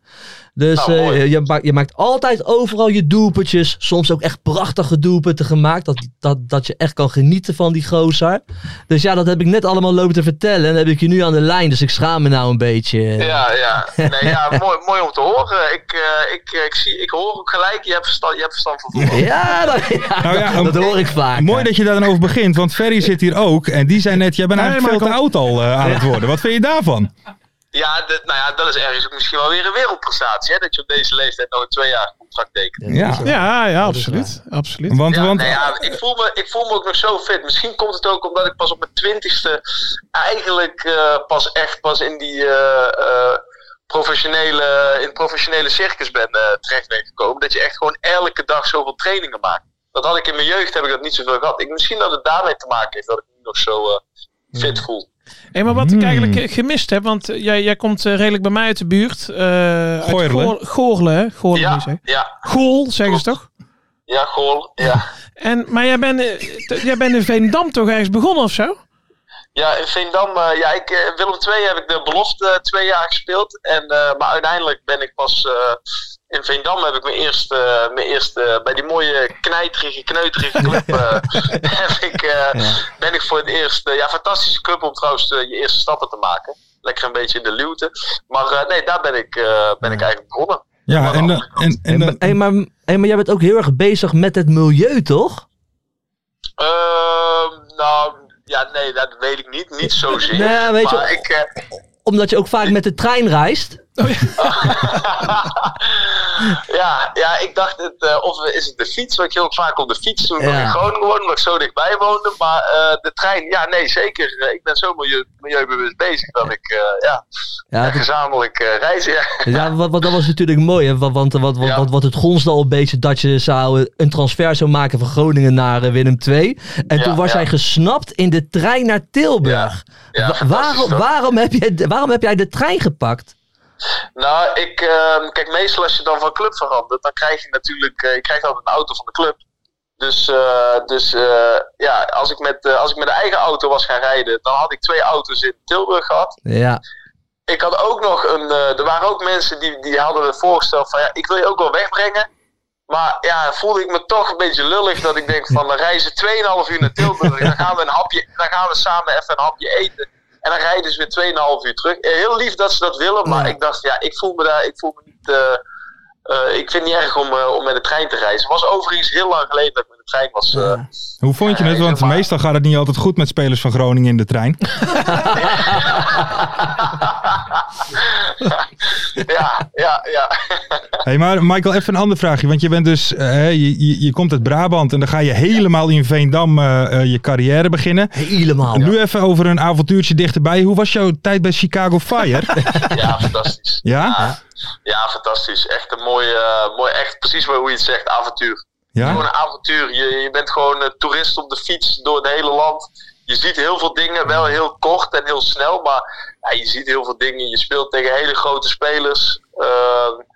[SPEAKER 5] Dus
[SPEAKER 8] Nou,
[SPEAKER 5] eh,
[SPEAKER 8] mooi.
[SPEAKER 5] je, ma- je maakt altijd overal je doelpuntjes. Soms ook echt prachtige doelpunten gemaakt. Dat, dat, dat je echt kan genieten van die gozer. Dus ja, dat heb ik net allemaal lopen te vertellen. En dan heb ik je nu aan de lijn, dus ik schaam me nou een beetje.
[SPEAKER 8] Ja, ja.
[SPEAKER 5] [LAUGHS]
[SPEAKER 8] Nee, ja mooi, mooi om te horen. Ik, eh, ik, eh, ik, zie, ik hoor ook gelijk, je hebt verstand, je hebt verstand van voetbal.
[SPEAKER 5] Ja, dat, ja,
[SPEAKER 4] Nou ja,
[SPEAKER 5] dat
[SPEAKER 4] een-
[SPEAKER 5] hoor ik vaak.
[SPEAKER 4] Mooi dat je daar dan over begint, want Ferry zit hier ook. En die zei net, jij bent
[SPEAKER 6] Nee,
[SPEAKER 4] eigenlijk veel te oud al eh, aan het worden. Wat vind je daarvan?
[SPEAKER 8] Ja, dit- nou ja, dat is ergens ook misschien wel weer een wereldprestatie. Hè? Dat je op deze leeftijd nog een twee jaar contract tekent.
[SPEAKER 5] Dus,
[SPEAKER 4] Ja,
[SPEAKER 6] Ja, ja,
[SPEAKER 5] is
[SPEAKER 6] absoluut. absoluut.
[SPEAKER 4] want...
[SPEAKER 8] Ja,
[SPEAKER 4] want
[SPEAKER 8] nou ja, ik, voel me, ik voel me ook nog zo fit. Misschien komt het ook omdat ik pas op mijn twintigste eigenlijk eh, pas echt pas in die eh, eh, professionele, in het professionele circus ben eh, terecht ben gekomen. Dat je echt gewoon elke dag zoveel trainingen maakt. Dat had ik in mijn jeugd heb ik dat niet zoveel gehad. Ik, misschien dat het daarmee te maken heeft dat ik nu nog zo eh, fit voel.
[SPEAKER 6] Hey, maar wat ik
[SPEAKER 4] Hmm.
[SPEAKER 6] eigenlijk eh, gemist heb, want eh, jij, jij komt eh, redelijk bij mij uit de buurt. eh uit
[SPEAKER 4] Goorlen.
[SPEAKER 6] Goor- Goorlen, hè? Goorlen, moet
[SPEAKER 8] Ja,
[SPEAKER 6] je zeggen.
[SPEAKER 8] ja,
[SPEAKER 6] Gool, zeggen ze toch?
[SPEAKER 8] ja, goal. Ja.
[SPEAKER 6] En, maar jij bent, eh, t- jij bent in Veendam toch ergens begonnen of zo?
[SPEAKER 8] ja, in Veendam, eh, ja, ik, eh, Willem II heb ik de belofte eh, twee jaar gespeeld. En, eh, maar uiteindelijk ben ik pas eh, in Veendam heb ik mijn eerste, eh, mijn eerste eh, bij die mooie knijterige, kneuterige club eh, heb ik, eh, ben ik voor het eerst, eh, ja, fantastische club om trouwens eh, je eerste stappen te maken. Lekker een beetje in de luwte. Maar eh, nee, daar ben ik, eh, ben ik eigenlijk begonnen.
[SPEAKER 4] ja, en, dan- en, en eh,
[SPEAKER 5] Hé, maar,
[SPEAKER 4] dan-
[SPEAKER 5] eh, hey, maar, hey, maar jij bent ook heel erg bezig met het milieu, toch?
[SPEAKER 8] Ehm, nou, ja, nee, dat weet ik niet. Niet zozeer.
[SPEAKER 5] Nee, weet je-
[SPEAKER 8] maar ik, eh,
[SPEAKER 5] Omdat je ook vaak met de trein reist.
[SPEAKER 8] ja, ja, ik dacht, het, eh, of is het de fiets? Want ik heel vaak op de fiets toen ik nog
[SPEAKER 5] Ja.
[SPEAKER 8] in Groningen woonde, omdat ik zo dichtbij woonde. Maar eh, de trein, ja, nee, zeker. Eh, Ik ben zo milieu, milieubewust bezig dat ik, eh, ja,
[SPEAKER 5] Ja, dat-
[SPEAKER 8] gezamenlijk eh, reizen. Ja. [LAUGHS]
[SPEAKER 5] Ja, want, want dat was natuurlijk mooi. Hè? Want, want, want, want,
[SPEAKER 8] Ja.
[SPEAKER 5] want het gonsde al een beetje dat je zou eh, een transfer zou maken van Groningen naar eh, Willem II. En
[SPEAKER 8] Ja,
[SPEAKER 5] toen was
[SPEAKER 8] ja.
[SPEAKER 5] jij gesnapt in de trein naar Tilburg.
[SPEAKER 8] Ja,
[SPEAKER 5] Wa-
[SPEAKER 8] fantastisch,
[SPEAKER 5] waarom,
[SPEAKER 8] toch?
[SPEAKER 5] waarom, heb jij, de- waarom heb jij de trein gepakt?
[SPEAKER 8] Nou, ik, ehm, kijk, meestal als je dan van club verandert, dan krijg je natuurlijk, eh, je krijgt altijd een auto van de club. Dus, eh, dus eh, ja, als ik, met, eh, als ik met de eigen auto was gaan rijden, dan had ik twee auto's in Tilburg gehad.
[SPEAKER 5] Ja,
[SPEAKER 8] ik had ook nog een. eh, er waren ook mensen die, die hadden het voorgesteld van ja, ik wil je ook wel wegbrengen. Maar ja, voelde ik me toch een beetje lullig dat ik denk van dan reizen 2,5 uur naar Tilburg. Dan gaan we een hapje, dan gaan we samen even een hapje eten. En dan rijden ze weer 2,5 uur terug. Eh, Heel lief dat ze dat willen, maar ik dacht, ja, ik voel me daar, ik voel me niet. eh, eh, ik vind het niet erg om, eh, om met de trein te reizen. Het was overigens heel lang geleden dat ik met de trein was. eh,
[SPEAKER 4] Hoe vond je het?
[SPEAKER 8] Ja,
[SPEAKER 4] Want
[SPEAKER 8] maar-
[SPEAKER 4] meestal gaat het niet altijd goed met spelers van Groningen in de
[SPEAKER 8] [LAUGHS]
[SPEAKER 4] trein.
[SPEAKER 8] ja, ja, ja. [LAUGHS]
[SPEAKER 4] Hey, maar Michael, even een ander vraagje. Want je bent dus, eh, hè, je, je, je komt uit Brabant en dan ga je helemaal in Veendam eh, eh, je carrière beginnen.
[SPEAKER 5] helemaal.
[SPEAKER 4] Nu even over een avontuurtje dichterbij. Hoe was jouw tijd bij Chicago
[SPEAKER 8] [LAUGHS]
[SPEAKER 4] Fire?
[SPEAKER 8] Ja, fantastisch.
[SPEAKER 4] Ja?
[SPEAKER 8] Ja, ja, fantastisch. Echt een mooi, eh, mooi echt precies hoe je het zegt, avontuur. Gewoon
[SPEAKER 4] ja?
[SPEAKER 8] een avontuur. Je, je bent gewoon een toerist op de fiets door het hele land. Je ziet heel veel dingen, wel heel kort en heel snel, maar ja, je ziet heel veel dingen. Je speelt tegen hele grote spelers. Ehm,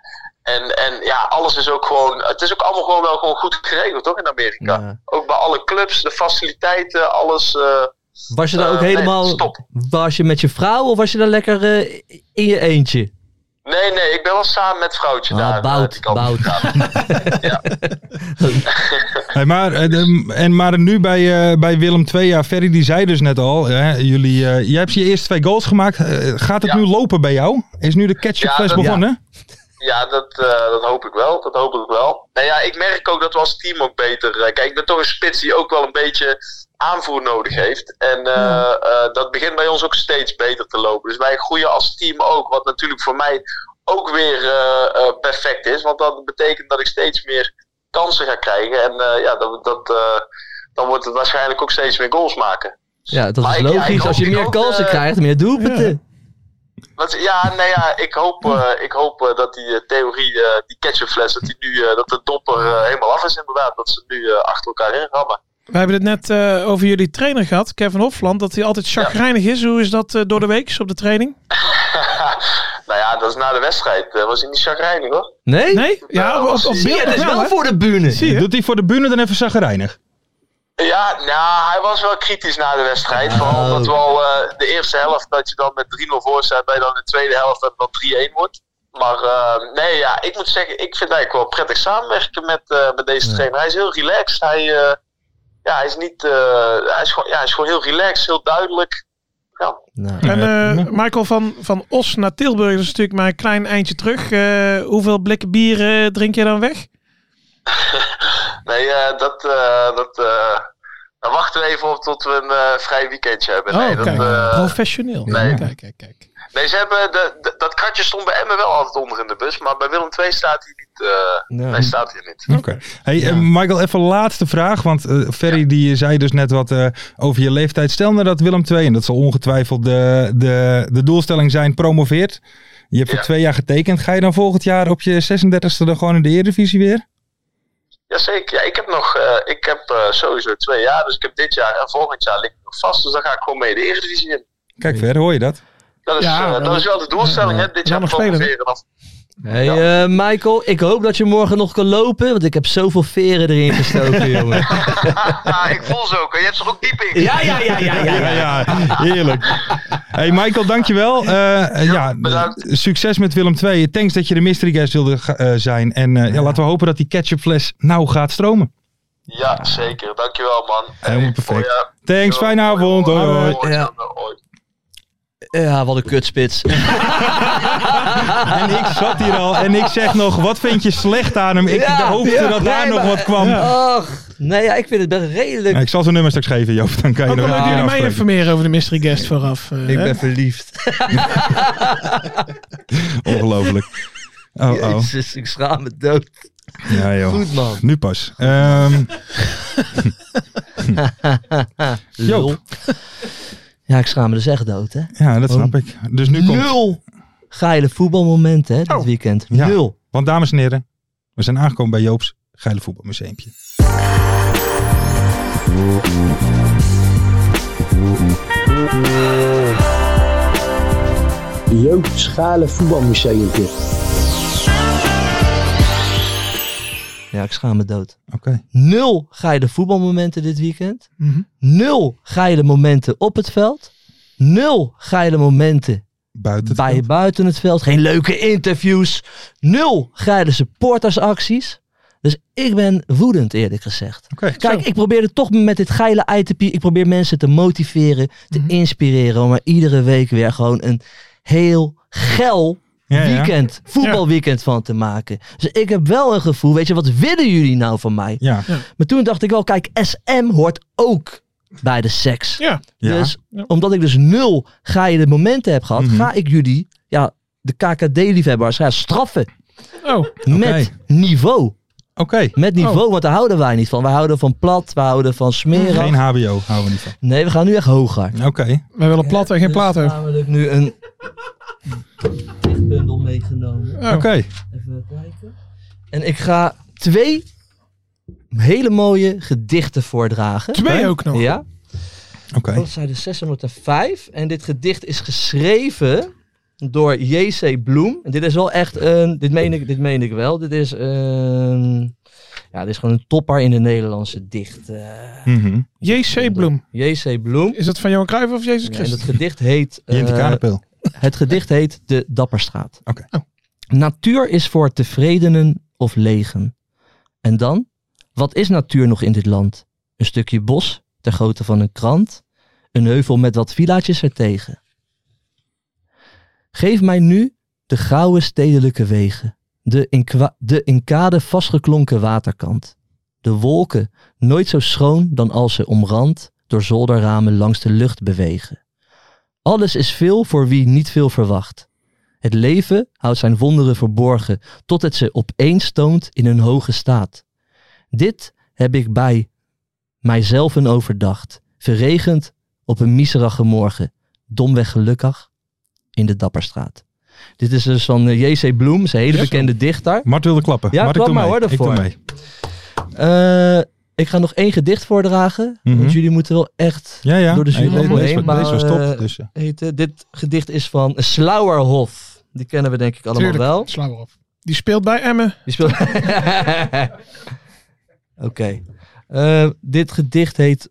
[SPEAKER 8] en, en ja, alles is ook gewoon. Het is ook allemaal gewoon wel gewoon goed geregeld, toch? In Amerika.
[SPEAKER 5] Ja.
[SPEAKER 8] Ook bij alle clubs, de faciliteiten, alles. eh,
[SPEAKER 5] Was je daar ook
[SPEAKER 8] Eh, nee,
[SPEAKER 5] helemaal.
[SPEAKER 8] stop.
[SPEAKER 5] was je met je vrouw of was je daar lekker eh, in je eentje?
[SPEAKER 8] Nee, nee, ik ben wel samen met vrouwtje
[SPEAKER 5] Ah,
[SPEAKER 8] daar. eh,
[SPEAKER 5] bout,
[SPEAKER 8] die kant op
[SPEAKER 5] bout.
[SPEAKER 8] gegaan.
[SPEAKER 4] Hey, maar, eh, de- en maar nu bij, eh, bij Willem II, ja, Ferry die zei dus net al, hè, jullie, eh, jij hebt je eerste twee goals gemaakt. Eh, gaat het
[SPEAKER 8] Ja.
[SPEAKER 4] nu lopen bij jou? Is nu de catch-up
[SPEAKER 8] Ja,
[SPEAKER 4] fles
[SPEAKER 8] dat-
[SPEAKER 4] begonnen?
[SPEAKER 8] Ja, dat, eh, dat hoop ik wel. Dat hoop ik wel. Nou ja, ik merk ook dat we als team ook beter. eh, kijk, ik ben toch een spits die ook wel een beetje aanvoer nodig heeft. En eh,
[SPEAKER 5] Hmm.
[SPEAKER 8] eh, dat begint bij ons ook steeds beter te lopen. Dus wij groeien als team ook. Wat natuurlijk voor mij ook weer eh, eh, perfect is. Want dat betekent dat ik steeds meer kansen ga krijgen. En eh, ja, dat, dat, eh, dan wordt het waarschijnlijk ook steeds meer goals maken.
[SPEAKER 5] Ja, dat
[SPEAKER 8] Maar
[SPEAKER 5] is
[SPEAKER 8] ik- ja, ik
[SPEAKER 5] logisch. Als je
[SPEAKER 8] ook- ik
[SPEAKER 5] meer
[SPEAKER 8] ook,
[SPEAKER 5] kansen
[SPEAKER 8] eh,
[SPEAKER 5] krijgt, meer doelpunten.
[SPEAKER 8] Wat, ja, nou ja, ik
[SPEAKER 6] Hm.
[SPEAKER 8] hoop, eh, ik hoop eh, dat die eh, theorie, eh, die ketchupfles, dat, die nu, eh, dat de dopper eh, helemaal af is inderdaad. Dat ze nu eh, achter elkaar in rammen.
[SPEAKER 6] We hebben het net eh, over jullie trainer gehad, Kevin Hofland, dat hij altijd chagrijnig is. Hoe is dat eh, door de week op de training?
[SPEAKER 8] [LAUGHS] nou ja, dat is na de wedstrijd. eh, was hij niet chagrijnig hoor.
[SPEAKER 5] Nee?
[SPEAKER 6] Nee? Ja, op, op, op
[SPEAKER 5] Zie je,
[SPEAKER 6] beeld
[SPEAKER 5] het is
[SPEAKER 6] wel,
[SPEAKER 5] wel
[SPEAKER 6] hè?
[SPEAKER 5] voor de bühne.
[SPEAKER 6] Zie je?
[SPEAKER 4] Doet hij voor de bühne dan even zagrijnig?
[SPEAKER 8] Ja, nou, hij was wel kritisch na de wedstrijd.
[SPEAKER 5] Oh.
[SPEAKER 8] Vooral omdat we al eh, de eerste helft, dat je dan met 3-0 voor staat, bij dan de tweede helft dat het dan 3-1 wordt. Maar eh, nee, ja, ik moet zeggen, ik vind het eigenlijk wel prettig samenwerken met, eh, met deze trainer. Hij is heel relaxed. Hij, eh, ja, hij, is niet, eh, hij, is gewoon, ja, hij is gewoon heel relaxed, heel duidelijk. Ja.
[SPEAKER 5] Nou,
[SPEAKER 6] En eh, Michael, van, van Os naar Tilburg dat is natuurlijk maar een klein eindje terug. Eh, hoeveel blikken bier eh, drink je dan weg?
[SPEAKER 8] Nee, eh, dat, eh, dat, eh, dan wachten we even op tot we een eh, vrij weekendje hebben. Nee,
[SPEAKER 6] oh,
[SPEAKER 8] dat,
[SPEAKER 6] kijk,
[SPEAKER 8] eh,
[SPEAKER 6] professioneel.
[SPEAKER 8] nee.
[SPEAKER 6] Kijk, kijk, kijk.
[SPEAKER 8] Nee, ze hebben de, de- dat kratje stond bij Emmen wel altijd onder in de bus, maar bij Willem II staat hij niet. eh,
[SPEAKER 5] Nee.
[SPEAKER 8] nee, staat hij niet.
[SPEAKER 4] Oké. Hey, eh, Michael, even laatste vraag. Want eh, Ferry die zei dus net wat eh, over je leeftijd. Stel nou dat Willem II, en dat zal ongetwijfeld de, de, de doelstelling zijn, promoveert. Je hebt voor
[SPEAKER 8] Ja.
[SPEAKER 4] twee jaar getekend. Ga je dan volgend jaar op je 36e dan gewoon in de Eredivisie weer?
[SPEAKER 8] Jazeker, ja, ik heb nog, eh, ik heb eh, sowieso twee jaar, dus ik heb dit jaar en volgend jaar ligt ik nog vast, dus dan ga ik gewoon mee de Eredivisie in.
[SPEAKER 4] Kijk, Ver, hoor je dat?
[SPEAKER 8] Dat is,
[SPEAKER 6] Ja,
[SPEAKER 8] eh,
[SPEAKER 6] wel-
[SPEAKER 8] dat is wel de doelstelling, hè? Dit
[SPEAKER 6] wel
[SPEAKER 8] jaar
[SPEAKER 6] nog spelen, hè?
[SPEAKER 8] promoveren. [LAUGHS] Of,
[SPEAKER 5] hey,
[SPEAKER 8] Ja.
[SPEAKER 5] eh, Michael, ik hoop dat je morgen nog kan lopen, want ik heb zoveel veren erin
[SPEAKER 4] [LAUGHS]
[SPEAKER 5] gestoken, jongen.
[SPEAKER 8] Ah, ik voel ze ook, hè. je hebt ze er ook diep in.
[SPEAKER 5] Ja, ja, ja, ja, ja.
[SPEAKER 4] Ja, ja, heerlijk. Hey Michael, dankjewel. Eh, ja,
[SPEAKER 8] bedankt.
[SPEAKER 4] Succes met Willem II. Thanks dat je de mystery guest wilde eh, zijn. En eh, ja, laten we hopen dat die ketchupfles nou gaat stromen.
[SPEAKER 8] Ja, zeker, dankjewel man.
[SPEAKER 4] Helemaal
[SPEAKER 8] Hey,
[SPEAKER 4] perfect.
[SPEAKER 8] hoi, ja.
[SPEAKER 4] Thanks, fijne avond. Hoi, hoi.
[SPEAKER 5] Ja.
[SPEAKER 8] hoi.
[SPEAKER 5] Ja, wat een kutspits.
[SPEAKER 4] En ik zat hier al en ik zeg nog, wat vind je slecht aan hem? Ik
[SPEAKER 5] Ja,
[SPEAKER 4] hoopte
[SPEAKER 5] ja,
[SPEAKER 4] dat daar
[SPEAKER 5] nee,
[SPEAKER 4] nog
[SPEAKER 5] maar-
[SPEAKER 4] wat kwam.
[SPEAKER 5] Ach, Nee, ja, ik vind het best redelijk.
[SPEAKER 4] Nou, ik zal zijn nummer straks geven, Joop. Dan kan je
[SPEAKER 5] Oh,
[SPEAKER 6] Ook al
[SPEAKER 4] nog een
[SPEAKER 6] leuk
[SPEAKER 4] keer
[SPEAKER 6] jullie mij
[SPEAKER 4] afspreken.
[SPEAKER 6] informeren over de mystery guest vooraf. eh,
[SPEAKER 5] Ik
[SPEAKER 6] hè?
[SPEAKER 5] ben verliefd. [LAUGHS]
[SPEAKER 4] Ongelooflijk. Oh, oh.
[SPEAKER 5] Jezus, ik schaam me dood.
[SPEAKER 4] Ja, joh.
[SPEAKER 5] Goed man.
[SPEAKER 4] Nu pas.
[SPEAKER 5] [LAUGHS]
[SPEAKER 4] Ehm,
[SPEAKER 5] Lul.
[SPEAKER 4] Joop.
[SPEAKER 5] Ja, ik schaam me dus echt dood, hè.
[SPEAKER 4] ja,
[SPEAKER 6] Oh.
[SPEAKER 4] dat snap ik. Dus nu komt... Oh.
[SPEAKER 5] Nul geile voetbalmomenten, hè, dit weekend.
[SPEAKER 4] Ja.
[SPEAKER 5] Nul.
[SPEAKER 4] Want dames en heren, we zijn aangekomen bij Joop's Geile Voetbalmuseumpje.
[SPEAKER 9] Jeugdschalen voetbalmuseumpje.
[SPEAKER 5] Ja, ik schaam me dood.
[SPEAKER 4] Oké.
[SPEAKER 5] Nul geile voetbalmomenten dit weekend.
[SPEAKER 6] Mhm.
[SPEAKER 5] Nul geile momenten op het veld. Nul geile momenten
[SPEAKER 4] Buiten het
[SPEAKER 5] bij
[SPEAKER 4] veld.
[SPEAKER 5] buiten het veld. Geen leuke interviews. Nul geile supportersacties. Dus ik ben woedend eerlijk gezegd.
[SPEAKER 4] Oké,
[SPEAKER 5] Kijk, ik probeer het toch met dit geile ITP. Ik probeer mensen te motiveren, te
[SPEAKER 4] Mhm.
[SPEAKER 5] inspireren. Om er iedere week weer gewoon een heel geil
[SPEAKER 4] Ja, ja.
[SPEAKER 5] weekend, voetbalweekend van te maken. Dus ik heb wel een gevoel, weet je, wat willen jullie nou van mij?
[SPEAKER 4] Ja.
[SPEAKER 5] Maar toen dacht ik wel, kijk, SM hoort ook bij de seks.
[SPEAKER 6] Ja,
[SPEAKER 4] Ja.
[SPEAKER 5] Dus omdat ik dus nul geile momenten heb gehad,
[SPEAKER 4] Mhm.
[SPEAKER 5] ga ik jullie, ja, de KKD-liefhebbers, ja, straffen.
[SPEAKER 6] oh,
[SPEAKER 5] Met niveau.
[SPEAKER 4] Oké.
[SPEAKER 5] Met niveau, want daar houden wij niet van. Wij houden van plat, wij houden van smeren.
[SPEAKER 4] Geen HBO houden we niet van.
[SPEAKER 5] Nee, we gaan nu echt hoger.
[SPEAKER 4] Oké.
[SPEAKER 6] wij willen plat en geen plaat
[SPEAKER 5] Dus
[SPEAKER 6] over.
[SPEAKER 5] namelijk nu een dichtbundel meegenomen.
[SPEAKER 6] Oh.
[SPEAKER 4] Oké.
[SPEAKER 5] Even kijken. En ik ga twee hele mooie gedichten voordragen.
[SPEAKER 6] Twee ook nog.
[SPEAKER 5] Ja,
[SPEAKER 4] Oké.
[SPEAKER 5] dat zijn er 605. En dit gedicht is geschreven door J.C. Bloem. En dit is wel echt een... Dit meen ik, dit meen ik wel. Dit is een... Ja, dit is gewoon een topper in de Nederlandse dicht. eh,
[SPEAKER 4] Mhm.
[SPEAKER 6] J.C. Bloem.
[SPEAKER 5] J.C. Bloem.
[SPEAKER 6] Is dat van Johan Cruijff of Jezus
[SPEAKER 5] Ja, en
[SPEAKER 6] Christus?
[SPEAKER 5] het gedicht heet. eh,
[SPEAKER 4] Jente Kanepil.
[SPEAKER 5] het gedicht heet De Dapperstraat.
[SPEAKER 4] Oké.
[SPEAKER 6] Oh.
[SPEAKER 5] Natuur is voor tevredenen of legen. En dan? Wat is natuur nog in dit land? Een stukje bos, ter grootte van een krant. Een heuvel met wat villaatjes ertegen. Geef mij nu de grauwe stedelijke wegen. De in, kwa- de in kade vastgeklonken waterkant. De wolken, nooit zo schoon dan als ze omrand door zolderramen langs de lucht bewegen. Alles is veel voor wie niet veel verwacht. Het leven houdt zijn wonderen verborgen tot het ze opeens toont in een hoge staat. Dit heb ik bij mijzelf een overdacht, verregend op een miserige morgen, domweg gelukkig in de Dapperstraat. Dit is dus van eh, J.C. Bloem, zijn hele bekende dichter.
[SPEAKER 4] Mart wilde klappen.
[SPEAKER 5] Ja,
[SPEAKER 4] Mart,
[SPEAKER 5] klap
[SPEAKER 4] ik doe
[SPEAKER 5] maar,
[SPEAKER 4] mee.
[SPEAKER 5] hoor,
[SPEAKER 4] ik doe
[SPEAKER 5] daarvoor.
[SPEAKER 4] mee.
[SPEAKER 5] Eh, ik ga nog één gedicht voordragen,
[SPEAKER 4] Mhm.
[SPEAKER 5] want jullie moeten wel echt
[SPEAKER 4] Ja, ja.
[SPEAKER 5] Door de
[SPEAKER 4] Nee,
[SPEAKER 5] jury
[SPEAKER 4] deze-
[SPEAKER 5] doorheen,
[SPEAKER 4] deze, was-
[SPEAKER 5] maar,
[SPEAKER 4] deze was top.
[SPEAKER 5] eh,
[SPEAKER 4] dus, ja.
[SPEAKER 5] heten. Dit gedicht is van Slauerhof. Die kennen we denk ik allemaal
[SPEAKER 6] Tuurlijk,
[SPEAKER 5] wel.
[SPEAKER 6] sla maar op. Die speelt bij Emmen.
[SPEAKER 5] Die speelt. [LAUGHS] Oké. Eh, dit gedicht heet.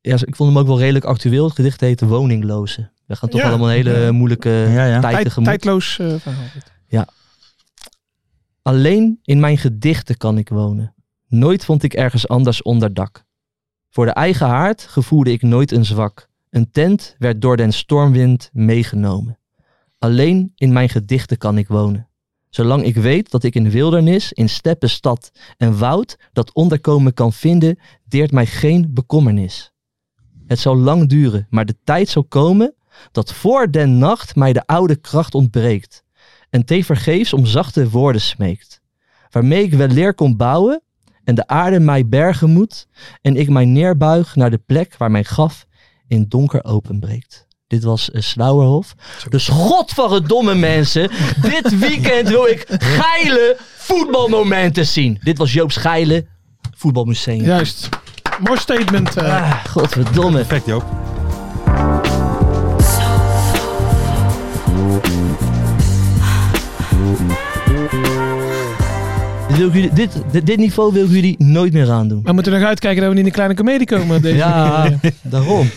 [SPEAKER 5] Ja, ik vond hem ook wel redelijk actueel. Het gedicht heet Woninglozen. We gaan toch
[SPEAKER 6] Ja.
[SPEAKER 5] allemaal een hele moeilijke
[SPEAKER 4] Ja, ja.
[SPEAKER 5] tijd
[SPEAKER 6] Tijd,
[SPEAKER 5] tegemoet.
[SPEAKER 6] tijdloos eh, verhaal.
[SPEAKER 5] Alleen in mijn gedichten kan ik wonen. Nooit vond ik ergens anders onderdak. Voor de eigen haard gevoelde ik nooit een zwak. Een tent werd door den stormwind meegenomen. Alleen in mijn gedichten kan ik wonen. Zolang ik weet dat ik in wildernis, in steppen, stad en woud dat onderkomen kan vinden, deert mij geen bekommernis. Het zal lang duren, maar de tijd zal komen dat voor den nacht mij de oude kracht ontbreekt en tevergeefs om zachte woorden smeekt. Waarmee ik wel leer kon bouwen en de aarde mij bergen moet en ik mij neerbuig naar de plek waar mijn graf in donker openbreekt. Dit was eh, Slauerhof. Dus godverdomme mensen, dit weekend wil ik geile voetbalmomenten zien. Dit was Joop's geile voetbalmuseum.
[SPEAKER 6] Juist. Mooi statement. eh.
[SPEAKER 5] Ah, godverdomme.
[SPEAKER 4] Perfect, Joop.
[SPEAKER 5] Dit, wil ik jullie- dit, dit, dit niveau wil ik jullie nooit meer aandoen.
[SPEAKER 6] We moeten nog uitkijken dat we niet in een kleine comedie komen. op Deze
[SPEAKER 5] Ja, [LAUGHS]
[SPEAKER 6] manier.
[SPEAKER 5] daarom.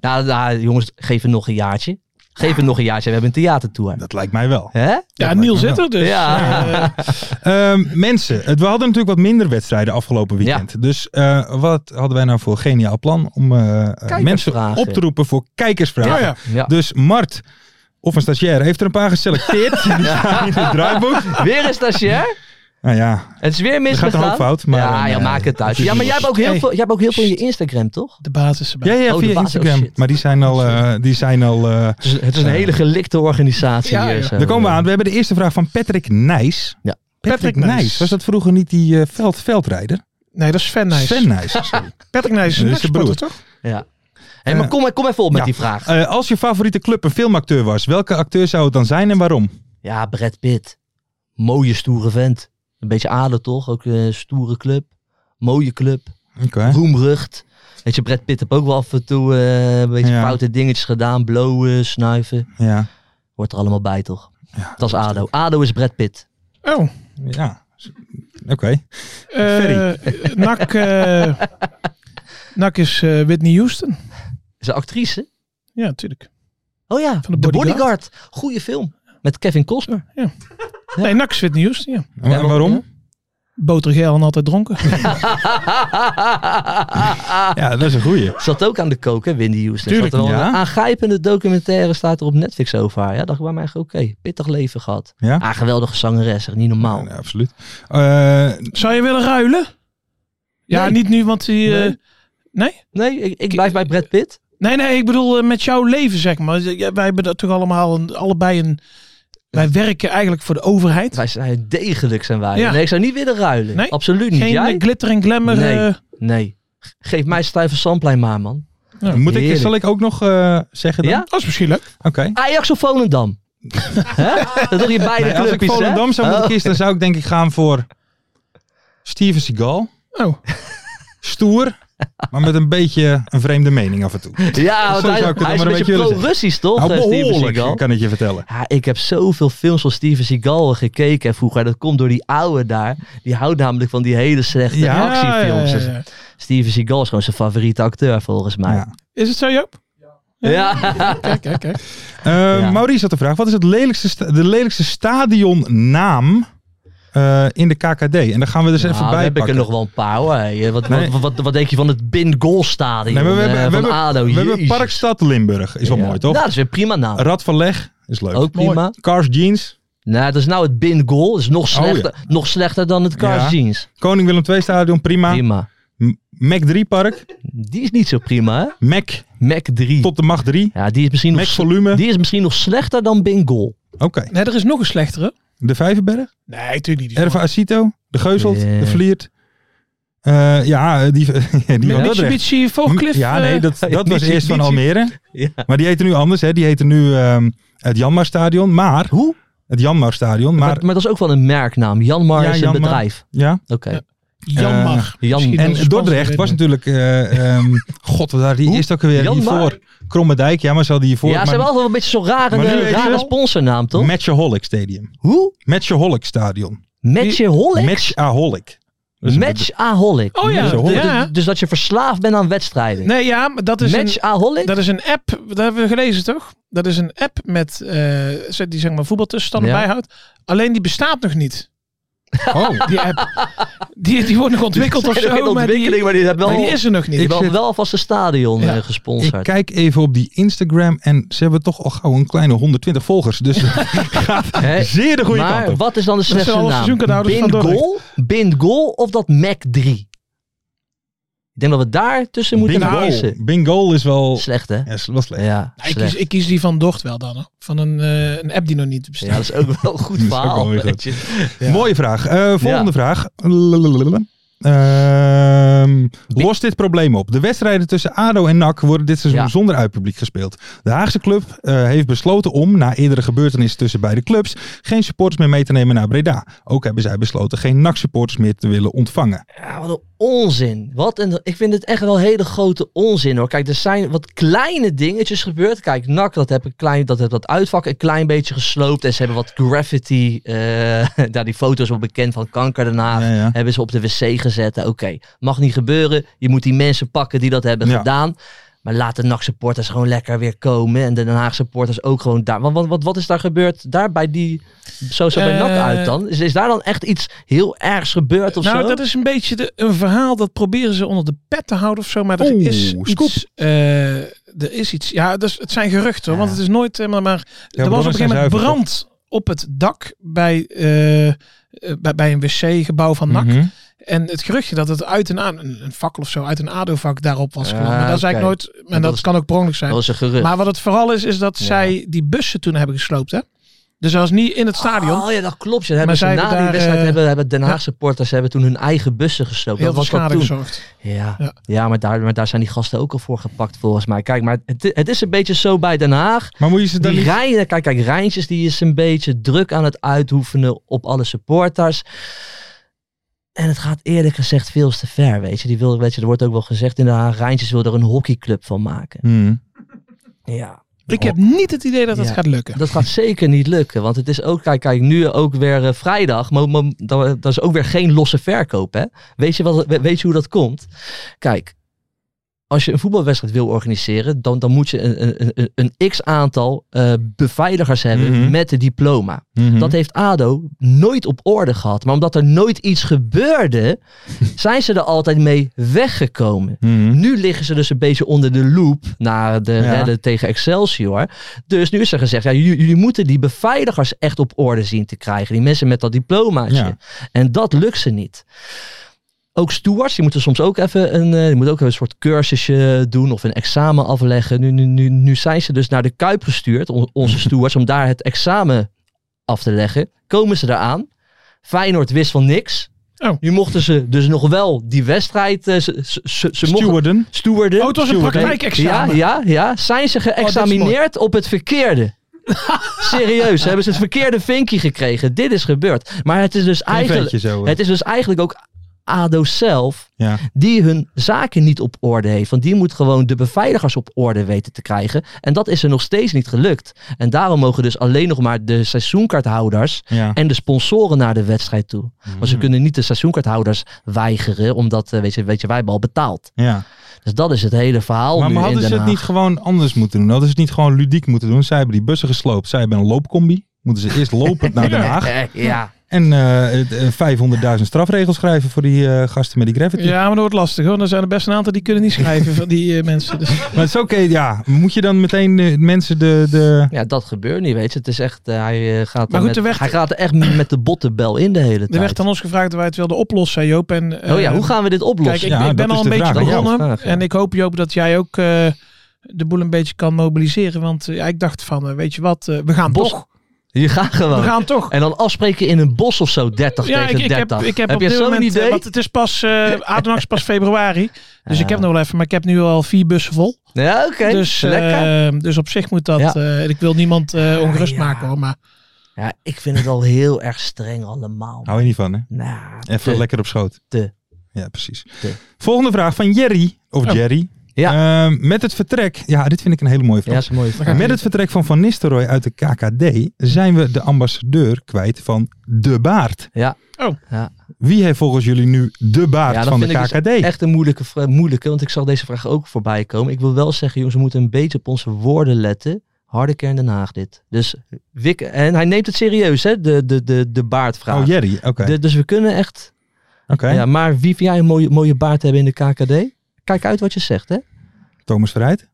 [SPEAKER 5] nou, nou, jongens, geef het nog een jaartje. Geef het nog een jaartje. We hebben een theatertour.
[SPEAKER 4] Dat lijkt mij wel.
[SPEAKER 5] Hè?
[SPEAKER 6] ja Niel zit er dus.
[SPEAKER 5] ja.
[SPEAKER 4] Ehm, mensen, het, we hadden natuurlijk wat minder wedstrijden afgelopen weekend. Dus eh, wat hadden wij nou voor geniaal plan om eh, eh, mensen
[SPEAKER 5] Kijkersvragen.
[SPEAKER 4] op te roepen voor kijkersvragen?
[SPEAKER 6] Oh ja.
[SPEAKER 5] Ja.
[SPEAKER 4] Dus Mart,
[SPEAKER 5] [LAUGHS]
[SPEAKER 4] of een stagiair, heeft er een paar geselecteerd. Die staan in het draaiboek.
[SPEAKER 5] Weer een stagiair?
[SPEAKER 4] Nou ja,
[SPEAKER 5] Het is weer
[SPEAKER 4] gaat
[SPEAKER 5] misgegaan.
[SPEAKER 4] dan ook fout, maar
[SPEAKER 5] ja,
[SPEAKER 4] dan,
[SPEAKER 5] ja,
[SPEAKER 4] eh,
[SPEAKER 5] maak het thuis.
[SPEAKER 4] het is
[SPEAKER 5] Ja, maar jij hebt ook heel
[SPEAKER 6] Hey.
[SPEAKER 5] veel, jij hebt ook heel veel in je Instagram, toch?
[SPEAKER 6] De basis erbij.
[SPEAKER 4] ja, ja
[SPEAKER 5] Oh, de
[SPEAKER 4] via
[SPEAKER 5] baas, oh
[SPEAKER 4] Instagram.
[SPEAKER 5] shit.
[SPEAKER 4] maar die zijn al... eh, die zijn al eh,
[SPEAKER 5] Het is, het is een
[SPEAKER 4] Ja.
[SPEAKER 5] hele gelikte organisatie.
[SPEAKER 6] Ja,
[SPEAKER 5] hier,
[SPEAKER 6] ja.
[SPEAKER 5] zo.
[SPEAKER 4] daar komen we aan. We hebben de eerste vraag van Patrick Nijs.
[SPEAKER 5] Ja.
[SPEAKER 4] Patrick, nou,
[SPEAKER 6] Patrick
[SPEAKER 4] Nijs.
[SPEAKER 6] Nijs.
[SPEAKER 4] Was dat vroeger niet die eh, veld, veldrijder?
[SPEAKER 6] Nee, dat is Sven Nijs.
[SPEAKER 4] Sven Nijs.
[SPEAKER 5] [LAUGHS]
[SPEAKER 4] sorry.
[SPEAKER 6] Patrick Nijs is
[SPEAKER 4] Dat
[SPEAKER 6] een
[SPEAKER 4] is de
[SPEAKER 6] ex-sporter,
[SPEAKER 4] broer.
[SPEAKER 6] toch?
[SPEAKER 5] Ja. Hey, maar kom, kom even op met
[SPEAKER 4] eh, Ja.
[SPEAKER 5] die vraag.
[SPEAKER 4] Eh, als je favoriete club een filmacteur was, welke acteur zou het dan zijn en waarom?
[SPEAKER 5] Ja, Brad Pitt. Mooie, stoere vent. Een beetje aardig, toch? Ook een stoere club. Mooie club.
[SPEAKER 4] Oké.
[SPEAKER 5] Roemrucht. Weet je, Brad Pitt heeft ook wel af en toe eh, een beetje
[SPEAKER 4] Ja.
[SPEAKER 5] foute dingetjes gedaan. Blowen, snuiven.
[SPEAKER 4] Ja.
[SPEAKER 5] Hoort er allemaal bij, toch? dat is ADO. ADO is Brad Pitt.
[SPEAKER 6] Oh,
[SPEAKER 4] Ja. Oké.
[SPEAKER 6] eh Nak, eh, Nak is eh, Whitney Houston.
[SPEAKER 5] Is een actrice?
[SPEAKER 6] Ja, natuurlijk.
[SPEAKER 5] Oh ja,
[SPEAKER 6] Van de
[SPEAKER 5] The
[SPEAKER 6] Bodyguard.
[SPEAKER 5] Bodyguard. Goeie film. Met Kevin Costner. [LAUGHS]
[SPEAKER 6] Nee, Nak is Whitney Houston, ja.
[SPEAKER 4] En
[SPEAKER 5] Ja,
[SPEAKER 4] waarom?
[SPEAKER 6] Botergeel en altijd
[SPEAKER 5] [LAUGHS]
[SPEAKER 6] dronken.
[SPEAKER 4] Ja, dat is een goeie.
[SPEAKER 5] Zat ook aan de kook, hè, Windy Houston.
[SPEAKER 4] Tuurlijk,
[SPEAKER 5] Zat er wel
[SPEAKER 4] ja.
[SPEAKER 5] Een aangrijpende documentaire staat er op Netflix over haar. Ja, dacht ik bij mij eigenlijk, oké, pittig leven gehad.
[SPEAKER 4] Ja?
[SPEAKER 5] Ah, geweldige zangeres, echt niet normaal.
[SPEAKER 4] Ja, absoluut. Eh,
[SPEAKER 6] Zou je willen ruilen? Ja,
[SPEAKER 5] Nee.
[SPEAKER 6] niet nu, want die... eh,
[SPEAKER 5] Nee.
[SPEAKER 6] nee?
[SPEAKER 5] Nee, ik, ik blijf bij Brad Pitt.
[SPEAKER 6] Nee, nee, ik bedoel eh, met jouw leven, zeg maar. Ja, Wij hebben dat toch allemaal een, allebei een... Wij werken eigenlijk voor de overheid.
[SPEAKER 5] Wij zijn degelijk, zijn wij.
[SPEAKER 6] Ja.
[SPEAKER 5] Nee, ik zou niet willen ruilen.
[SPEAKER 6] Nee?
[SPEAKER 5] Absoluut niet.
[SPEAKER 6] Geen
[SPEAKER 5] Jij?
[SPEAKER 6] eh, glitter en glamour.
[SPEAKER 5] Nee.
[SPEAKER 6] eh,
[SPEAKER 5] Nee. Geef mij Stuyven Sandplein maar, man.
[SPEAKER 4] moet ik,
[SPEAKER 5] heerlijk.
[SPEAKER 4] zal ik ook nog eh, zeggen dan?
[SPEAKER 5] Ja?
[SPEAKER 6] dat is misschien leuk.
[SPEAKER 4] Oké.
[SPEAKER 5] Ajax of
[SPEAKER 4] [LAUGHS]
[SPEAKER 5] Volendam? Hè? dat doe je beide
[SPEAKER 4] Nee, Nou als ik
[SPEAKER 5] clubjes, hè?
[SPEAKER 4] Volendam zou moeten
[SPEAKER 5] Oh.
[SPEAKER 4] kiezen, dan zou ik denk ik gaan voor Steven Seagal.
[SPEAKER 6] Oh.
[SPEAKER 4] Stoer, maar met een beetje een vreemde mening af en toe.
[SPEAKER 5] Ja, want
[SPEAKER 4] zou
[SPEAKER 5] hij,
[SPEAKER 4] ik het
[SPEAKER 5] hij
[SPEAKER 4] dan maar
[SPEAKER 5] is een beetje
[SPEAKER 4] een beetje willen
[SPEAKER 5] pro-Russisch, toch?
[SPEAKER 4] Nou,
[SPEAKER 5] eh, Steven Seagal?
[SPEAKER 4] behoorlijk, kan het je vertellen.
[SPEAKER 5] Ja, ik heb zoveel films van Steven Seagal gekeken vroeger. Dat komt door die ouwe daar. Die houdt namelijk van die hele slechte
[SPEAKER 4] Ja,
[SPEAKER 5] actiefilms.
[SPEAKER 6] Ja, ja, ja.
[SPEAKER 5] Steven Seagal is gewoon zijn favoriete acteur volgens mij.
[SPEAKER 4] Ja.
[SPEAKER 5] Ja.
[SPEAKER 6] Is het zo, Joop? Kijk, kijk,
[SPEAKER 4] [LAUGHS]
[SPEAKER 6] kijk.
[SPEAKER 4] Eh,
[SPEAKER 5] Ja.
[SPEAKER 4] Maurice had de vraag: wat is het lelijkste sta- de lelijkste stadionnaam eh, in de KKD? En daar gaan we dus
[SPEAKER 5] Nou,
[SPEAKER 4] even
[SPEAKER 5] dan
[SPEAKER 4] bij
[SPEAKER 5] heb ik er
[SPEAKER 4] pakken.
[SPEAKER 5] nog wel een paar hoor. Hey, Wat,
[SPEAKER 4] Nee.
[SPEAKER 5] wat, wat, wat denk je van het Bin Goal Stadion
[SPEAKER 4] Nee, maar we
[SPEAKER 5] eh,
[SPEAKER 4] hebben, we
[SPEAKER 5] van
[SPEAKER 4] hebben,
[SPEAKER 5] ADO?
[SPEAKER 4] we hebben
[SPEAKER 5] Jezus.
[SPEAKER 4] Parkstad Limburg. Is wel
[SPEAKER 5] Ja.
[SPEAKER 4] mooi, toch?
[SPEAKER 5] Nou, dat is weer prima naam.
[SPEAKER 4] Rad van Leg is leuk.
[SPEAKER 5] Ook prima.
[SPEAKER 4] Mooi. Cars Jeans.
[SPEAKER 5] Nou, dat is nou het Bin Goal. Dat is nog
[SPEAKER 4] Oh, ja.
[SPEAKER 5] slechter, nog slechter dan het Cars
[SPEAKER 4] Ja.
[SPEAKER 5] Jeans.
[SPEAKER 4] Koning Willem II Stadion, prima.
[SPEAKER 5] Prima.
[SPEAKER 4] M- Mac 3 Park.
[SPEAKER 5] Die is niet zo prima hè.
[SPEAKER 4] Mac
[SPEAKER 5] Mac 3.
[SPEAKER 4] tot de macht 3.
[SPEAKER 5] Ja, die is misschien, nog,
[SPEAKER 4] Mac
[SPEAKER 5] sle-
[SPEAKER 4] volume.
[SPEAKER 5] die is misschien nog slechter dan Bin Goal.
[SPEAKER 4] Oké.
[SPEAKER 6] Nee, er is nog een slechtere.
[SPEAKER 4] De Vijverberg.
[SPEAKER 6] Nee, natuurlijk niet. Die
[SPEAKER 4] Erva Acito. De Geuzelt.
[SPEAKER 5] Ja.
[SPEAKER 4] De Vliert. Eh, ja, die, [LAUGHS] die van Dordrecht.
[SPEAKER 6] Mitsubishi Voorcliff.
[SPEAKER 4] Ja, nee, dat,
[SPEAKER 5] [LAUGHS]
[SPEAKER 4] dat was
[SPEAKER 5] eh, Mitsubishi.
[SPEAKER 4] eerst van Almere.
[SPEAKER 5] Ja.
[SPEAKER 4] Maar die heette nu anders, hè. Die heette nu ehm het Janmarstadion. Maar...
[SPEAKER 5] Hoe?
[SPEAKER 4] Het Janmarstadion. Maar,
[SPEAKER 5] Maar, maar, dat is ook wel een merknaam. Janmar
[SPEAKER 4] Ja,
[SPEAKER 5] is een
[SPEAKER 4] Janmar.
[SPEAKER 5] bedrijf.
[SPEAKER 4] ja.
[SPEAKER 5] Oké.
[SPEAKER 6] Jammer.
[SPEAKER 5] Eh, Jan-
[SPEAKER 6] Misschien
[SPEAKER 4] En
[SPEAKER 6] onze
[SPEAKER 4] Dordrecht
[SPEAKER 6] sponsor
[SPEAKER 4] was
[SPEAKER 6] weet
[SPEAKER 4] natuurlijk... eh, ehm, [LAUGHS] God, wat daar die
[SPEAKER 5] Hoe?
[SPEAKER 4] eerst ook weer
[SPEAKER 5] Janmar?
[SPEAKER 4] hiervoor. Kromme Dijk, ja, maar ze hadden hiervoor...
[SPEAKER 5] Ja, ze
[SPEAKER 4] maar,
[SPEAKER 5] hebben altijd een beetje zo'n rare,
[SPEAKER 4] Maar nu weet je
[SPEAKER 5] rare
[SPEAKER 4] wel-
[SPEAKER 5] sponsornaam, toch?
[SPEAKER 4] Matchaholic Stadium.
[SPEAKER 5] Hoe?
[SPEAKER 4] Matchaholic Stadion.
[SPEAKER 5] Matchaholic?
[SPEAKER 4] Matchaholic. Dus een bed-
[SPEAKER 5] Matchaholic.
[SPEAKER 6] Oh ja,
[SPEAKER 5] Dus-
[SPEAKER 6] ja.
[SPEAKER 5] Dus, dus dat je verslaafd bent aan wedstrijden.
[SPEAKER 6] niet. Nee, ja, maar dat is, een,
[SPEAKER 5] Matchaholic?
[SPEAKER 6] dat is een app. Dat hebben we gelezen, toch? Dat is een app met, eh, die zeg maar voetbaltussenstanden
[SPEAKER 5] Ja.
[SPEAKER 6] bijhoudt. Alleen die bestaat nog niet.
[SPEAKER 4] Oh,
[SPEAKER 6] Die app.
[SPEAKER 5] [LAUGHS]
[SPEAKER 6] die, die wordt nog ontwikkeld of
[SPEAKER 5] Zijn nog in
[SPEAKER 6] zo. Maar die,
[SPEAKER 5] ontwikkeling, maar die hebben
[SPEAKER 6] maar
[SPEAKER 5] wel,
[SPEAKER 6] die is er nog niet.
[SPEAKER 5] die hebben
[SPEAKER 4] zit-
[SPEAKER 5] wel alvast een stadion
[SPEAKER 6] Ja.
[SPEAKER 5] eh,
[SPEAKER 4] ik
[SPEAKER 5] gesponsord.
[SPEAKER 4] kijk even op die Instagram en ze hebben toch al gauw een kleine 120 volgers.
[SPEAKER 5] [LAUGHS]
[SPEAKER 4] Dus
[SPEAKER 5] Hè?
[SPEAKER 4] zeer de goede kant
[SPEAKER 5] Maar
[SPEAKER 4] op.
[SPEAKER 5] wat is dan de slechtste
[SPEAKER 6] zijn alle
[SPEAKER 5] naam?
[SPEAKER 6] seizoenkaarthouders van
[SPEAKER 5] Bind
[SPEAKER 6] Dordrecht.
[SPEAKER 5] goal, Bind goal of dat Mac 3? Ik denk dat we daar tussen moeten
[SPEAKER 4] Bingo.
[SPEAKER 5] kiezen.
[SPEAKER 4] Bingo is wel...
[SPEAKER 5] Slecht hè?
[SPEAKER 4] Ja, is wel slecht.
[SPEAKER 5] Ja,
[SPEAKER 6] Nou, ik, kies,
[SPEAKER 5] slecht.
[SPEAKER 6] ik kies die van Dort wel dan. Hoor. Van een, eh, een app die nog niet
[SPEAKER 5] Ja, dat
[SPEAKER 6] bestaat.
[SPEAKER 5] is ook wel een
[SPEAKER 4] [LAUGHS]
[SPEAKER 5] goed
[SPEAKER 4] ook wel
[SPEAKER 5] verhaal.
[SPEAKER 4] weer
[SPEAKER 5] weet
[SPEAKER 4] goed.
[SPEAKER 5] je.
[SPEAKER 4] Mooie vraag. Eh, volgende
[SPEAKER 5] Ja.
[SPEAKER 4] vraag. Lalalala. Ehm, lost dit probleem op? De wedstrijden tussen ADO en NAC worden dit seizoen
[SPEAKER 5] Ja.
[SPEAKER 4] zonder uitpubliek gespeeld. De Haagse club eh, heeft besloten om, na eerdere gebeurtenissen tussen beide clubs, geen supporters meer mee te nemen naar Breda. Ook hebben zij besloten geen NAC-supporters meer te willen ontvangen.
[SPEAKER 5] Ja, wat een onzin. Wat een, ik vind het echt wel hele grote onzin hoor. Kijk, er zijn wat kleine dingetjes gebeurd. Kijk, NAC, dat heb, een klein, dat, heb dat uitvak een klein beetje gesloopt. En ze hebben wat graffiti, eh, [LAUGHS] daar die foto's wel bekend van kanker daarna.
[SPEAKER 4] Ja, ja.
[SPEAKER 5] Hebben ze op de wc gezet. Nou, Oké, mag niet gebeuren. Je moet die mensen pakken die dat hebben
[SPEAKER 4] Ja.
[SPEAKER 5] gedaan. Maar laat de NAC-supporters gewoon lekker weer komen. En de Den Haag-supporters ook gewoon daar. Want, want, wat- wat is daar gebeurd? Daar bij die... Zo, zo bij
[SPEAKER 6] Eh,
[SPEAKER 5] NAC uit dan? Is, is daar dan echt iets heel ergs gebeurd of
[SPEAKER 6] nou,
[SPEAKER 5] zo?
[SPEAKER 6] dat is een beetje de, een verhaal dat proberen ze onder de pet te houden of zo. Maar er
[SPEAKER 4] Oeh,
[SPEAKER 6] is
[SPEAKER 4] scoop.
[SPEAKER 6] iets. eh, er is iets. Ja, dus het zijn geruchten, hoor, want het is nooit. eh, maar maar er
[SPEAKER 4] bronnen
[SPEAKER 6] was op een
[SPEAKER 4] zijn
[SPEAKER 6] gegeven moment
[SPEAKER 4] zuiver,
[SPEAKER 6] brand op het dak bij, eh, eh, bij, bij een wc-gebouw van NAC.
[SPEAKER 4] Mhm.
[SPEAKER 6] En het geruchtje dat het uit een, a- een een fakkel of zo, uit een ADO-vak daarop was
[SPEAKER 5] Ja,
[SPEAKER 6] gekomen. Maar dat is eigenlijk
[SPEAKER 5] oké.
[SPEAKER 6] nooit,
[SPEAKER 5] Maar
[SPEAKER 6] en dat,
[SPEAKER 5] dat is-
[SPEAKER 6] kan ook per ongeluk
[SPEAKER 5] Dat
[SPEAKER 6] zijn.
[SPEAKER 5] was een gerucht.
[SPEAKER 6] Maar wat het vooral is, is dat
[SPEAKER 5] Ja.
[SPEAKER 6] zij die bussen toen hebben gesloopt, hè? Dus dat was niet in het stadion.
[SPEAKER 5] Oh ja, dat klopt. Ja. Dan Hebben ze
[SPEAKER 6] zij
[SPEAKER 5] na
[SPEAKER 6] hebben
[SPEAKER 5] die
[SPEAKER 6] daar,
[SPEAKER 5] wedstrijd
[SPEAKER 6] eh,
[SPEAKER 5] hebben, hebben Den Haag supporters hebben toen hun eigen bussen gesloopt.
[SPEAKER 6] heel
[SPEAKER 5] Dat
[SPEAKER 6] veel
[SPEAKER 5] was dat
[SPEAKER 6] schade
[SPEAKER 5] toen.
[SPEAKER 6] gezorgd.
[SPEAKER 5] Ja, ja.
[SPEAKER 6] Ja.
[SPEAKER 5] maar, daar, maar daar zijn die gasten ook al voor gepakt volgens mij. Kijk, maar het, het is een beetje zo bij Den Haag.
[SPEAKER 4] Maar moet je ze dan
[SPEAKER 5] Die
[SPEAKER 4] niet...
[SPEAKER 5] Rijn, kijk, kijk, Rijntjes die is een beetje druk aan het uitoefenen op alle supporters. En het gaat eerlijk gezegd veel te ver, weet je. Die wil, weet je, er wordt ook wel gezegd in de Haag, Rijntjes wil er een hockeyclub van maken.
[SPEAKER 4] Hmm.
[SPEAKER 5] Ja,
[SPEAKER 6] Ik heb niet het idee dat dat
[SPEAKER 5] Ja.
[SPEAKER 6] gaat lukken.
[SPEAKER 5] dat gaat zeker niet lukken. Want het is ook, kijk, kijk nu ook weer eh, vrijdag, maar, maar dat, dat eh, is ook weer geen losse verkoop, hè. Weet je, wat, we- weet je hoe dat komt? Kijk, als je een voetbalwedstrijd wil organiseren, dan, dan moet je een, een, een, een x-aantal eh, beveiligers hebben
[SPEAKER 4] Mhm.
[SPEAKER 5] met een diploma.
[SPEAKER 4] Mhm.
[SPEAKER 5] Dat heeft ADO nooit op orde gehad. Maar omdat er nooit iets
[SPEAKER 4] [LAUGHS]
[SPEAKER 5] gebeurde, zijn ze er altijd mee weggekomen.
[SPEAKER 4] Mhm.
[SPEAKER 5] Nu liggen ze dus een beetje onder de loep na de
[SPEAKER 4] Ja.
[SPEAKER 5] redden tegen Excelsior. Dus nu is er gezegd, ja, jullie, jullie moeten die beveiligers echt op orde zien te krijgen. Die mensen met dat diplomaatje.
[SPEAKER 4] Ja.
[SPEAKER 5] En dat lukt ze niet. Ook stewards, die moeten soms ook even een, eh, die moeten ook een soort cursusje doen of een examen afleggen. Nu, nu, nu, nu zijn ze dus naar de Kuip gestuurd, on-
[SPEAKER 4] [LAUGHS]
[SPEAKER 5] onze stewards, om daar het examen af te leggen. Komen ze eraan. Feyenoord wist van niks.
[SPEAKER 6] Oh.
[SPEAKER 5] Nu mochten ze dus nog wel die wedstrijd. eh, ze, ze, ze, ze mochten
[SPEAKER 4] Stewarden.
[SPEAKER 5] stewarden.
[SPEAKER 6] Oh, het was een
[SPEAKER 5] Stewarden.
[SPEAKER 6] praktijkexamen.
[SPEAKER 5] Ja, ja, ja. Zijn ze geëxamineerd op het verkeerde? Serieus, hebben ze het verkeerde vinkje gekregen. Dit is gebeurd. Maar het is dus
[SPEAKER 4] Een
[SPEAKER 5] eigenlijk,
[SPEAKER 4] ventje zo. eh.
[SPEAKER 5] het is dus eigenlijk ook ADO zelf
[SPEAKER 4] Ja.
[SPEAKER 5] die hun zaken niet op orde heeft. Want die moet gewoon de beveiligers op orde weten te krijgen. En dat is er nog steeds niet gelukt. En daarom mogen dus alleen nog maar de seizoenkaarthouders
[SPEAKER 4] Ja.
[SPEAKER 5] en de sponsoren naar de wedstrijd toe. Maar ze kunnen niet de seizoenkaarthouders weigeren, omdat eh, weet je, weet je, wij hebben al betaald.
[SPEAKER 4] ja.
[SPEAKER 5] Dus dat is het hele verhaal
[SPEAKER 4] Maar,
[SPEAKER 5] nu
[SPEAKER 4] maar hadden
[SPEAKER 5] in
[SPEAKER 4] ze
[SPEAKER 5] Den
[SPEAKER 4] het
[SPEAKER 5] Haag.
[SPEAKER 4] niet gewoon anders moeten doen? Hadden ze het niet gewoon ludiek moeten doen? Zij hebben die bussen gesloopt. Zij hebben een loopcombi. Moeten ze eerst
[SPEAKER 5] [LAUGHS]
[SPEAKER 4] lopend naar Den Haag.
[SPEAKER 5] Eh, ja.
[SPEAKER 4] En eh, het, eh, 500.000 strafregels schrijven voor die eh, gasten met die gravity.
[SPEAKER 6] Ja, maar dat wordt lastig hoor. Er zijn er best een aantal die kunnen niet schrijven van die eh, mensen. Dus.
[SPEAKER 4] Maar het is oké, ja. Moet je dan meteen eh, mensen de... de...
[SPEAKER 5] ja, dat gebeurt niet, weet je. Het is echt, eh, hij, eh, gaat er
[SPEAKER 6] goed,
[SPEAKER 5] met,
[SPEAKER 6] er werd-
[SPEAKER 5] hij gaat er echt met de bottenbel in de hele
[SPEAKER 6] Er
[SPEAKER 5] tijd.
[SPEAKER 6] werd aan ons gevraagd of wij het wilden oplossen, Joop. En, eh,
[SPEAKER 5] oh ja, hoe gaan we dit oplossen?
[SPEAKER 6] Kijk, ik,
[SPEAKER 4] Ja,
[SPEAKER 6] ik
[SPEAKER 4] dat
[SPEAKER 6] ben
[SPEAKER 4] is
[SPEAKER 6] al
[SPEAKER 4] de
[SPEAKER 6] een beetje
[SPEAKER 4] vraag,
[SPEAKER 5] hè?
[SPEAKER 6] begonnen.
[SPEAKER 5] Ja, vraag, ja.
[SPEAKER 6] En ik hoop, Joop, dat jij ook eh, de boel een beetje kan mobiliseren. Want eh, ik dacht van, eh, weet je wat, eh, we gaan
[SPEAKER 5] Bos-
[SPEAKER 6] toch.
[SPEAKER 5] Je gaat gewoon.
[SPEAKER 6] We gaan toch.
[SPEAKER 5] En dan afspreken in een bos of zo, 30
[SPEAKER 6] Ja, ik,
[SPEAKER 5] tegen
[SPEAKER 6] ik
[SPEAKER 5] 30.
[SPEAKER 6] heb, ik heb, op
[SPEAKER 5] je
[SPEAKER 6] dit
[SPEAKER 5] zo'n
[SPEAKER 6] moment, eh,
[SPEAKER 5] idee?
[SPEAKER 6] want het is
[SPEAKER 5] [LAUGHS]
[SPEAKER 6] pas, eh Adenach is pas februari. Dus
[SPEAKER 5] Ja.
[SPEAKER 6] ik heb nog wel even, maar ik heb nu al vier bussen vol.
[SPEAKER 5] Ja, oké.
[SPEAKER 6] Dus, eh,
[SPEAKER 5] Lekker.
[SPEAKER 6] dus op zich moet dat,
[SPEAKER 5] Ja. Ah,
[SPEAKER 6] eh, ik wil niemand eh, ongerust
[SPEAKER 5] Ja.
[SPEAKER 6] maken hoor. Maar
[SPEAKER 5] Ja, ik vind het al heel erg streng allemaal.
[SPEAKER 4] Hou je niet van, hè?
[SPEAKER 5] Nou,
[SPEAKER 4] Even
[SPEAKER 5] te-
[SPEAKER 4] lekker op schoot.
[SPEAKER 5] te.
[SPEAKER 4] Ja, precies.
[SPEAKER 5] Te.
[SPEAKER 4] Volgende vraag van Jerry. Of
[SPEAKER 6] Oh.
[SPEAKER 4] Jerry.
[SPEAKER 5] Ja.
[SPEAKER 4] Ehm, met het vertrek... Ja, dit vind ik een hele mooie
[SPEAKER 5] Ja,
[SPEAKER 4] vraag.
[SPEAKER 5] dat is een mooie vraag.
[SPEAKER 4] Met het vertrek van Van Nistelrooy uit de KKD... zijn we de ambassadeur kwijt van de baard.
[SPEAKER 5] Ja.
[SPEAKER 6] Oh.
[SPEAKER 5] Ja.
[SPEAKER 4] Wie heeft volgens jullie nu de baard
[SPEAKER 5] Ja, dat
[SPEAKER 4] van de
[SPEAKER 5] vind ik dus
[SPEAKER 4] KKD?
[SPEAKER 5] Echt een moeilijke, vra- moeilijke, want ik zag deze vraag ook voorbij komen. Ik wil wel zeggen, jongens, we moeten een beetje op onze woorden letten. Harde kern Den Haag dit. Dus Wik, en hij neemt het serieus, hè, de, de, de, de baardvraag.
[SPEAKER 4] Oh, Jerry. Oké.
[SPEAKER 5] De- dus we kunnen echt...
[SPEAKER 4] Oké.
[SPEAKER 5] Ja, maar wie vind jij een mooie, mooie baard hebben in de KKD? Kijk uit wat je zegt, hè?
[SPEAKER 4] Thomas Verheid.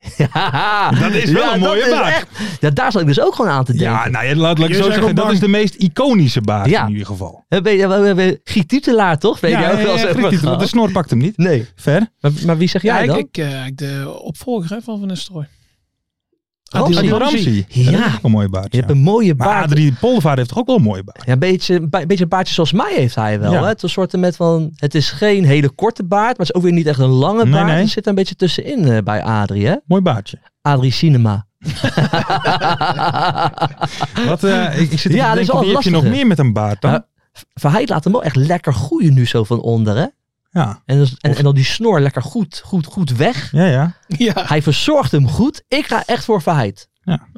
[SPEAKER 5] [LAUGHS] Ja,
[SPEAKER 4] Dat is wel een mooie
[SPEAKER 5] is
[SPEAKER 4] baard.
[SPEAKER 5] echt- ja, daar zat ik dus ook gewoon aan te denken.
[SPEAKER 4] Ja, nou, ja, laat, laat ik
[SPEAKER 6] Jullie
[SPEAKER 4] zo
[SPEAKER 6] zijn
[SPEAKER 4] zeggen.
[SPEAKER 6] gewoon
[SPEAKER 4] Dat
[SPEAKER 6] bang.
[SPEAKER 4] is de meest iconische baard
[SPEAKER 5] Ja.
[SPEAKER 4] in ieder geval.
[SPEAKER 5] We hebben- we hebben Giet Titelaar, toch? Weet jij ook wel Oh, eens
[SPEAKER 4] nou- ja, Dus-
[SPEAKER 5] over
[SPEAKER 4] Griet,
[SPEAKER 5] gehad?
[SPEAKER 4] de snor pakt hem niet.
[SPEAKER 5] Nee.
[SPEAKER 4] Ver.
[SPEAKER 5] Maar, maar wie zeg
[SPEAKER 6] ja,
[SPEAKER 5] jij
[SPEAKER 6] ik,
[SPEAKER 5] dan?
[SPEAKER 6] ik, eh, ik de opvolger hè, van
[SPEAKER 5] [LAUGHS]
[SPEAKER 6] Van Nistelrooy.
[SPEAKER 5] Ramsey.
[SPEAKER 4] Adil
[SPEAKER 5] Ramsey.
[SPEAKER 4] Ramsey.
[SPEAKER 5] Ja.
[SPEAKER 4] Dat is ook een mooie baard. ja.
[SPEAKER 5] Je hebt een mooie
[SPEAKER 4] Maar
[SPEAKER 5] baard.
[SPEAKER 4] Adrie Polvaart heeft toch ook wel een mooie baard.
[SPEAKER 5] Ja, een beetje, een ba- beetje een baardje zoals mij heeft hij wel.
[SPEAKER 4] Ja.
[SPEAKER 5] Hè? Het, is een soort met van, het is geen hele korte baard, maar het is ook weer niet echt een lange
[SPEAKER 4] Nee,
[SPEAKER 5] baard.
[SPEAKER 4] nee.
[SPEAKER 5] Het zit er een beetje tussenin eh, bij Adrie, hè?
[SPEAKER 4] Mooi baardje.
[SPEAKER 5] Adrie
[SPEAKER 4] [LAUGHS]
[SPEAKER 5] Cinema.
[SPEAKER 4] Wat, eh, ik, ik zit
[SPEAKER 5] Ah, Ja,
[SPEAKER 4] ja,
[SPEAKER 5] dat is
[SPEAKER 4] te
[SPEAKER 5] wel
[SPEAKER 4] denken, wie heb je nog
[SPEAKER 5] lastige.
[SPEAKER 4] meer met een baard dan?
[SPEAKER 5] Ja. Verheid laat hem wel echt lekker groeien nu zo van onder, hè?
[SPEAKER 4] Ja,
[SPEAKER 5] En, dus- en, en dan die snor lekker goed, goed, goed weg.
[SPEAKER 4] ja, ja.
[SPEAKER 6] Ja.
[SPEAKER 5] Hij verzorgt hem goed. Ik ga echt voor Verheid.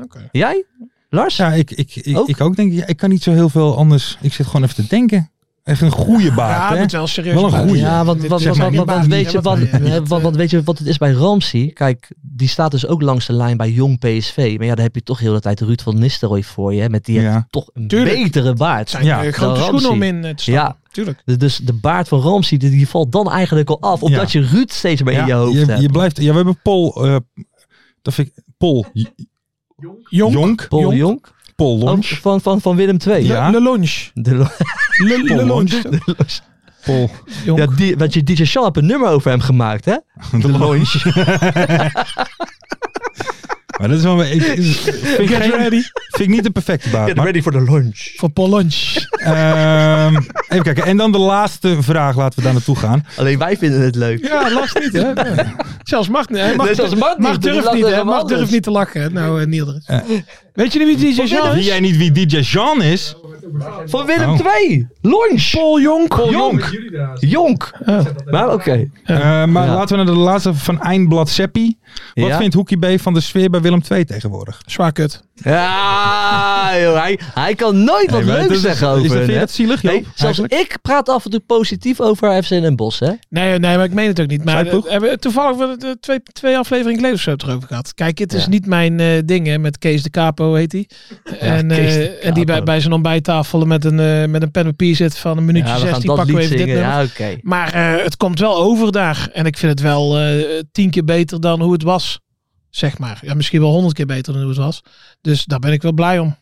[SPEAKER 6] Oké.
[SPEAKER 5] Jij? Lars?
[SPEAKER 4] Ja, ik, ik, ik,
[SPEAKER 5] Ook?
[SPEAKER 4] ik ook denk, ja, ik kan niet zo heel veel anders. Ik zit gewoon even te denken. Echt een goede
[SPEAKER 6] Ja,
[SPEAKER 4] baard,
[SPEAKER 6] het
[SPEAKER 4] hè?
[SPEAKER 6] moet wel serieus.
[SPEAKER 4] Wel een
[SPEAKER 6] zijn.
[SPEAKER 4] goeie.
[SPEAKER 5] Ja, want
[SPEAKER 6] Dit
[SPEAKER 5] wat,
[SPEAKER 6] zeg
[SPEAKER 5] wat,
[SPEAKER 6] maar
[SPEAKER 5] wat,
[SPEAKER 6] niet
[SPEAKER 5] wat-
[SPEAKER 6] waar,
[SPEAKER 5] weet
[SPEAKER 6] hè,
[SPEAKER 5] je wat,
[SPEAKER 6] wat wij, eh,
[SPEAKER 5] eh,
[SPEAKER 6] niet,
[SPEAKER 5] wat,
[SPEAKER 6] eh,
[SPEAKER 5] wat weet je wat het is bij Ramsey? Kijk, die staat dus ook langs de lijn bij jong PSV. Maar ja, daar heb je toch heel de tijd Ruud van Nistelrooy voor je. hè, Met die
[SPEAKER 4] Ja.
[SPEAKER 5] heeft toch een
[SPEAKER 6] Tuurlijk.
[SPEAKER 5] betere
[SPEAKER 6] Het
[SPEAKER 5] baard.
[SPEAKER 6] zijn
[SPEAKER 4] Ja.
[SPEAKER 6] eh, grote
[SPEAKER 5] Dan
[SPEAKER 6] schoenen om
[SPEAKER 5] Ramsey.
[SPEAKER 6] in eh, te stappen. Ja. Tuurlijk.
[SPEAKER 5] D- Dus de baard van Ramsey, die, die valt dan eigenlijk al af. Omdat je Ruud steeds meer
[SPEAKER 4] Ja,
[SPEAKER 5] in je hoofd
[SPEAKER 4] je,
[SPEAKER 5] hebt.
[SPEAKER 4] je blijft, ja, we hebben Pol, eh, dat vind ik, Pol, J-
[SPEAKER 6] Jong.
[SPEAKER 4] Jonk.
[SPEAKER 5] Paul
[SPEAKER 6] Jonk.
[SPEAKER 5] Jonk.
[SPEAKER 4] Pol
[SPEAKER 5] Oh,
[SPEAKER 4] Lonch.
[SPEAKER 5] van, van, van Willem II.
[SPEAKER 4] Ja.
[SPEAKER 6] Le lunch.
[SPEAKER 5] De lo-
[SPEAKER 6] Le,
[SPEAKER 4] Pol
[SPEAKER 6] le
[SPEAKER 4] Lonch.
[SPEAKER 6] lunch.
[SPEAKER 4] Pol.
[SPEAKER 6] Jong.
[SPEAKER 5] ja die, want je DJ Sean hebt een nummer over hem gemaakt, hè?
[SPEAKER 4] [LAUGHS] De Lonch. [LAUGHS] maar dat is wel... Ik, ik- vind, ik
[SPEAKER 6] Get
[SPEAKER 4] geen-
[SPEAKER 6] ready.
[SPEAKER 4] vind ik niet de perfecte baat. maar-
[SPEAKER 5] ready for the lunch.
[SPEAKER 6] Voor Paul lunch.
[SPEAKER 4] Ehm, even kijken. En dan de laatste vraag. Laten we daar naartoe gaan.
[SPEAKER 5] Alleen wij vinden het leuk.
[SPEAKER 6] Ja, last niet, hè? Ja. Zelfs Mart, hè? Mart,
[SPEAKER 5] Nee, zelfs Mart niet.
[SPEAKER 6] Mart
[SPEAKER 5] Die
[SPEAKER 6] durft
[SPEAKER 5] lacht
[SPEAKER 6] niet, hè?
[SPEAKER 5] helemaal dus.
[SPEAKER 6] Mart
[SPEAKER 5] anders.
[SPEAKER 6] durft niet te lachen, hè? Nou, eh, Nielder. Weet je niet wie DJ Jean
[SPEAKER 4] Weet
[SPEAKER 6] is?
[SPEAKER 4] jij niet wie DJ Jean is?
[SPEAKER 5] Van Willem
[SPEAKER 4] Oh.
[SPEAKER 5] II. Lunch.
[SPEAKER 6] Paul Jonk.
[SPEAKER 4] Jonk.
[SPEAKER 5] Jonk. Maar oké.
[SPEAKER 4] Eh, maar
[SPEAKER 5] Ja.
[SPEAKER 4] laten we naar de laatste van Eindblad Seppi. Wat
[SPEAKER 5] Ja.
[SPEAKER 4] vindt Hoekie B van de sfeer bij Willem II tegenwoordig?
[SPEAKER 6] Zwaar kut.
[SPEAKER 5] Ja, joh, hij, hij kan nooit wat
[SPEAKER 4] Hey, maar
[SPEAKER 5] leuks
[SPEAKER 4] dat is-
[SPEAKER 5] zeggen
[SPEAKER 4] is dat-
[SPEAKER 5] over
[SPEAKER 4] vind je
[SPEAKER 5] hen,
[SPEAKER 4] dat
[SPEAKER 5] hè?
[SPEAKER 4] zielig, Joop,
[SPEAKER 5] Nee, zelfs
[SPEAKER 4] eigenlijk?
[SPEAKER 5] ik praat af en toe positief over FC Den Bosch, hè?
[SPEAKER 6] Nee, nee, maar ik meen het ook niet. Maar
[SPEAKER 4] Zuidploeg?
[SPEAKER 6] eh, hebben we toevallig we het, eh, twee, twee afleveringen geleden of zo het erover gehad. Kijk, het is
[SPEAKER 5] Ja.
[SPEAKER 6] niet mijn eh, ding, hè? Met Kees de Capo heet hij. en, eh,
[SPEAKER 5] Kees de
[SPEAKER 6] en die bij,
[SPEAKER 5] Capo.
[SPEAKER 6] bij zijn ontbijttafel met een, eh, met een pen en papier zit van een minuutje
[SPEAKER 5] Ja, we gaan
[SPEAKER 6] 16.
[SPEAKER 5] dat
[SPEAKER 6] Pakken we
[SPEAKER 5] lied
[SPEAKER 6] even dit
[SPEAKER 5] zingen.
[SPEAKER 6] nummer.
[SPEAKER 5] Ja, oké.
[SPEAKER 6] Maar eh, het komt wel over daar. En ik vind het wel eh, tien keer beter dan hoe het was. Zeg maar. Ja, misschien wel honderd keer beter dan hoe het was. Dus daar ben ik wel blij om.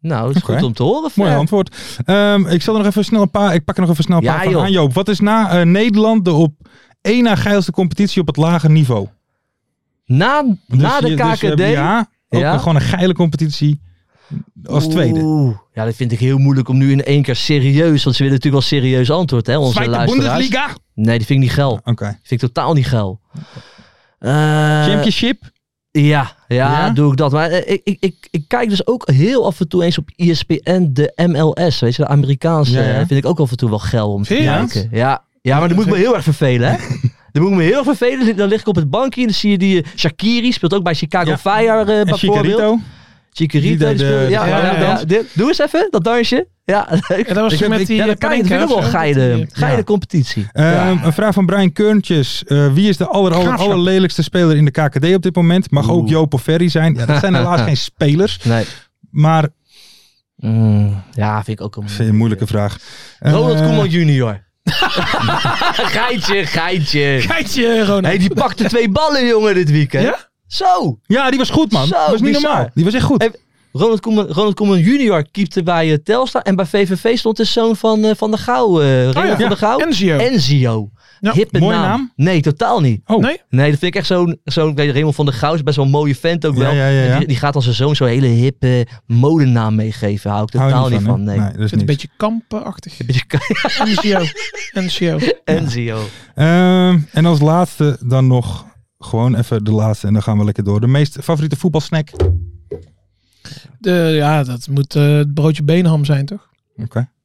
[SPEAKER 5] Nou, het is
[SPEAKER 4] Oké.
[SPEAKER 5] goed om te horen.
[SPEAKER 4] Mooi
[SPEAKER 5] Fer.
[SPEAKER 4] antwoord. Ehm, ik zal er nog even snel een paar. Ik pak er nog even snel een
[SPEAKER 5] Ja,
[SPEAKER 4] paar van
[SPEAKER 5] joh.
[SPEAKER 4] aan Joop. Wat is na eh, Nederland de op één na geilste competitie op het lage niveau?
[SPEAKER 5] Na, na
[SPEAKER 4] Dus
[SPEAKER 5] de
[SPEAKER 4] je- dus
[SPEAKER 5] KKD...
[SPEAKER 4] we hebben ja, ook
[SPEAKER 5] Ja.
[SPEAKER 4] een- gewoon een geile competitie als tweede.
[SPEAKER 5] Oeh. Ja, dat vind ik heel moeilijk om nu in één keer serieus... Want ze willen natuurlijk wel serieus antwoord, hè, onze
[SPEAKER 4] Zweite
[SPEAKER 5] luisteraars.
[SPEAKER 4] Bundesliga.
[SPEAKER 5] Nee, die vind ik niet geil.
[SPEAKER 4] Oké.
[SPEAKER 5] Die vind ik totaal niet geil. Eh,
[SPEAKER 4] Championship.
[SPEAKER 5] Ja, ja,
[SPEAKER 4] Ja?
[SPEAKER 5] doe ik dat. Maar eh, ik, ik, ik, ik kijk dus ook heel af en toe eens op E ESPN de MLS, weet je, de Amerikaanse.
[SPEAKER 4] Ja, ja.
[SPEAKER 5] eh, vind ik ook af en toe wel geil om te
[SPEAKER 6] Vind je dat?
[SPEAKER 5] kijken. Ja, ja, maar dan moet ik me heel erg vervelen, hè? Dan moet ik me heel erg vervelen. Dan lig ik op het bankje en dan zie je die eh, Shakiri, speelt ook bij Chicago
[SPEAKER 4] Ja.
[SPEAKER 5] Fire eh
[SPEAKER 4] En
[SPEAKER 5] bijvoorbeeld. Chicarito.
[SPEAKER 4] Chicarito. Die
[SPEAKER 5] die
[SPEAKER 4] deed de-
[SPEAKER 5] speelde- ja,
[SPEAKER 4] de-
[SPEAKER 5] ja,
[SPEAKER 6] ja,
[SPEAKER 5] ja,
[SPEAKER 6] ja.
[SPEAKER 5] ja. Dit- Doe eens even, dat dansje. Ja, [LAUGHS] leuk.
[SPEAKER 6] En dat was
[SPEAKER 4] Ik heb-
[SPEAKER 6] toch met
[SPEAKER 4] ik-
[SPEAKER 6] die
[SPEAKER 5] ja,
[SPEAKER 6] eh,
[SPEAKER 5] dat kan ik
[SPEAKER 6] Panenka
[SPEAKER 5] vind ik wel
[SPEAKER 6] of zo?
[SPEAKER 5] geile,
[SPEAKER 6] Die-
[SPEAKER 5] geile
[SPEAKER 4] Ja.
[SPEAKER 5] competitie.
[SPEAKER 4] Ehm,
[SPEAKER 5] Ja.
[SPEAKER 4] Een vraag van Brian Keurntjes. Eh, wie is de aller, aller,
[SPEAKER 6] Graafschap.
[SPEAKER 4] allerlelijkste speler in de KKD op dit moment? Mag ook Joop of Ferry zijn. Ja, dat zijn
[SPEAKER 5] [LAUGHS]
[SPEAKER 4] helaas geen spelers.
[SPEAKER 5] Nee.
[SPEAKER 4] Maar
[SPEAKER 5] Mm, ja, vind ik ook een
[SPEAKER 4] vind je een moeilijke vraag. Eh,
[SPEAKER 5] Ronald Koeman junior. [LAUGHS] geitje, geitje.
[SPEAKER 6] Geitje, Ronald.
[SPEAKER 5] Hey, die pakte twee ballen, jongen, dit weekend.
[SPEAKER 6] Ja?
[SPEAKER 5] Zo.
[SPEAKER 4] Ja, die was goed man.
[SPEAKER 5] Zo,
[SPEAKER 4] Dat was niet
[SPEAKER 5] bizar.
[SPEAKER 4] normaal. Die was echt goed.
[SPEAKER 5] Hey, Ronald Koeman, Ronald Koeman junior keepte bij eh, Telstar. En bij VVV stond de zoon van, eh, van de Gouw. eh
[SPEAKER 4] Oh
[SPEAKER 5] Ronald
[SPEAKER 6] ja.
[SPEAKER 5] van de Gouw.
[SPEAKER 6] Enzio.
[SPEAKER 5] Enzio.
[SPEAKER 6] Ja,
[SPEAKER 5] Hippe
[SPEAKER 4] mooie
[SPEAKER 5] naam.
[SPEAKER 4] naam.
[SPEAKER 5] Nee, totaal niet.
[SPEAKER 4] Oh.
[SPEAKER 6] Nee?
[SPEAKER 5] Nee, dat vind ik echt zo'n... zo'n weet je, Raymond van de Gouw is best wel een mooie vent ook
[SPEAKER 4] Ja,
[SPEAKER 5] wel.
[SPEAKER 4] ja, ja, ja.
[SPEAKER 5] Die, die gaat als zijn zoon zo'n hele hippe modenaam meegeven. Hou ik
[SPEAKER 4] Hou je
[SPEAKER 5] totaal niet van.
[SPEAKER 4] hè?
[SPEAKER 5] nee. [LAUGHS]
[SPEAKER 4] Nee, dat is
[SPEAKER 6] Ik vind het een
[SPEAKER 4] niks.
[SPEAKER 6] beetje kampenachtig.
[SPEAKER 4] [LAUGHS]
[SPEAKER 6] NCO. NCO.
[SPEAKER 5] Enzio.
[SPEAKER 4] Ehm, en als laatste dan nog gewoon even de laatste en dan gaan we lekker door. De meest favoriete voetbalsnack. Oké.
[SPEAKER 6] De, ja, dat moet eh, het broodje beenham zijn, toch?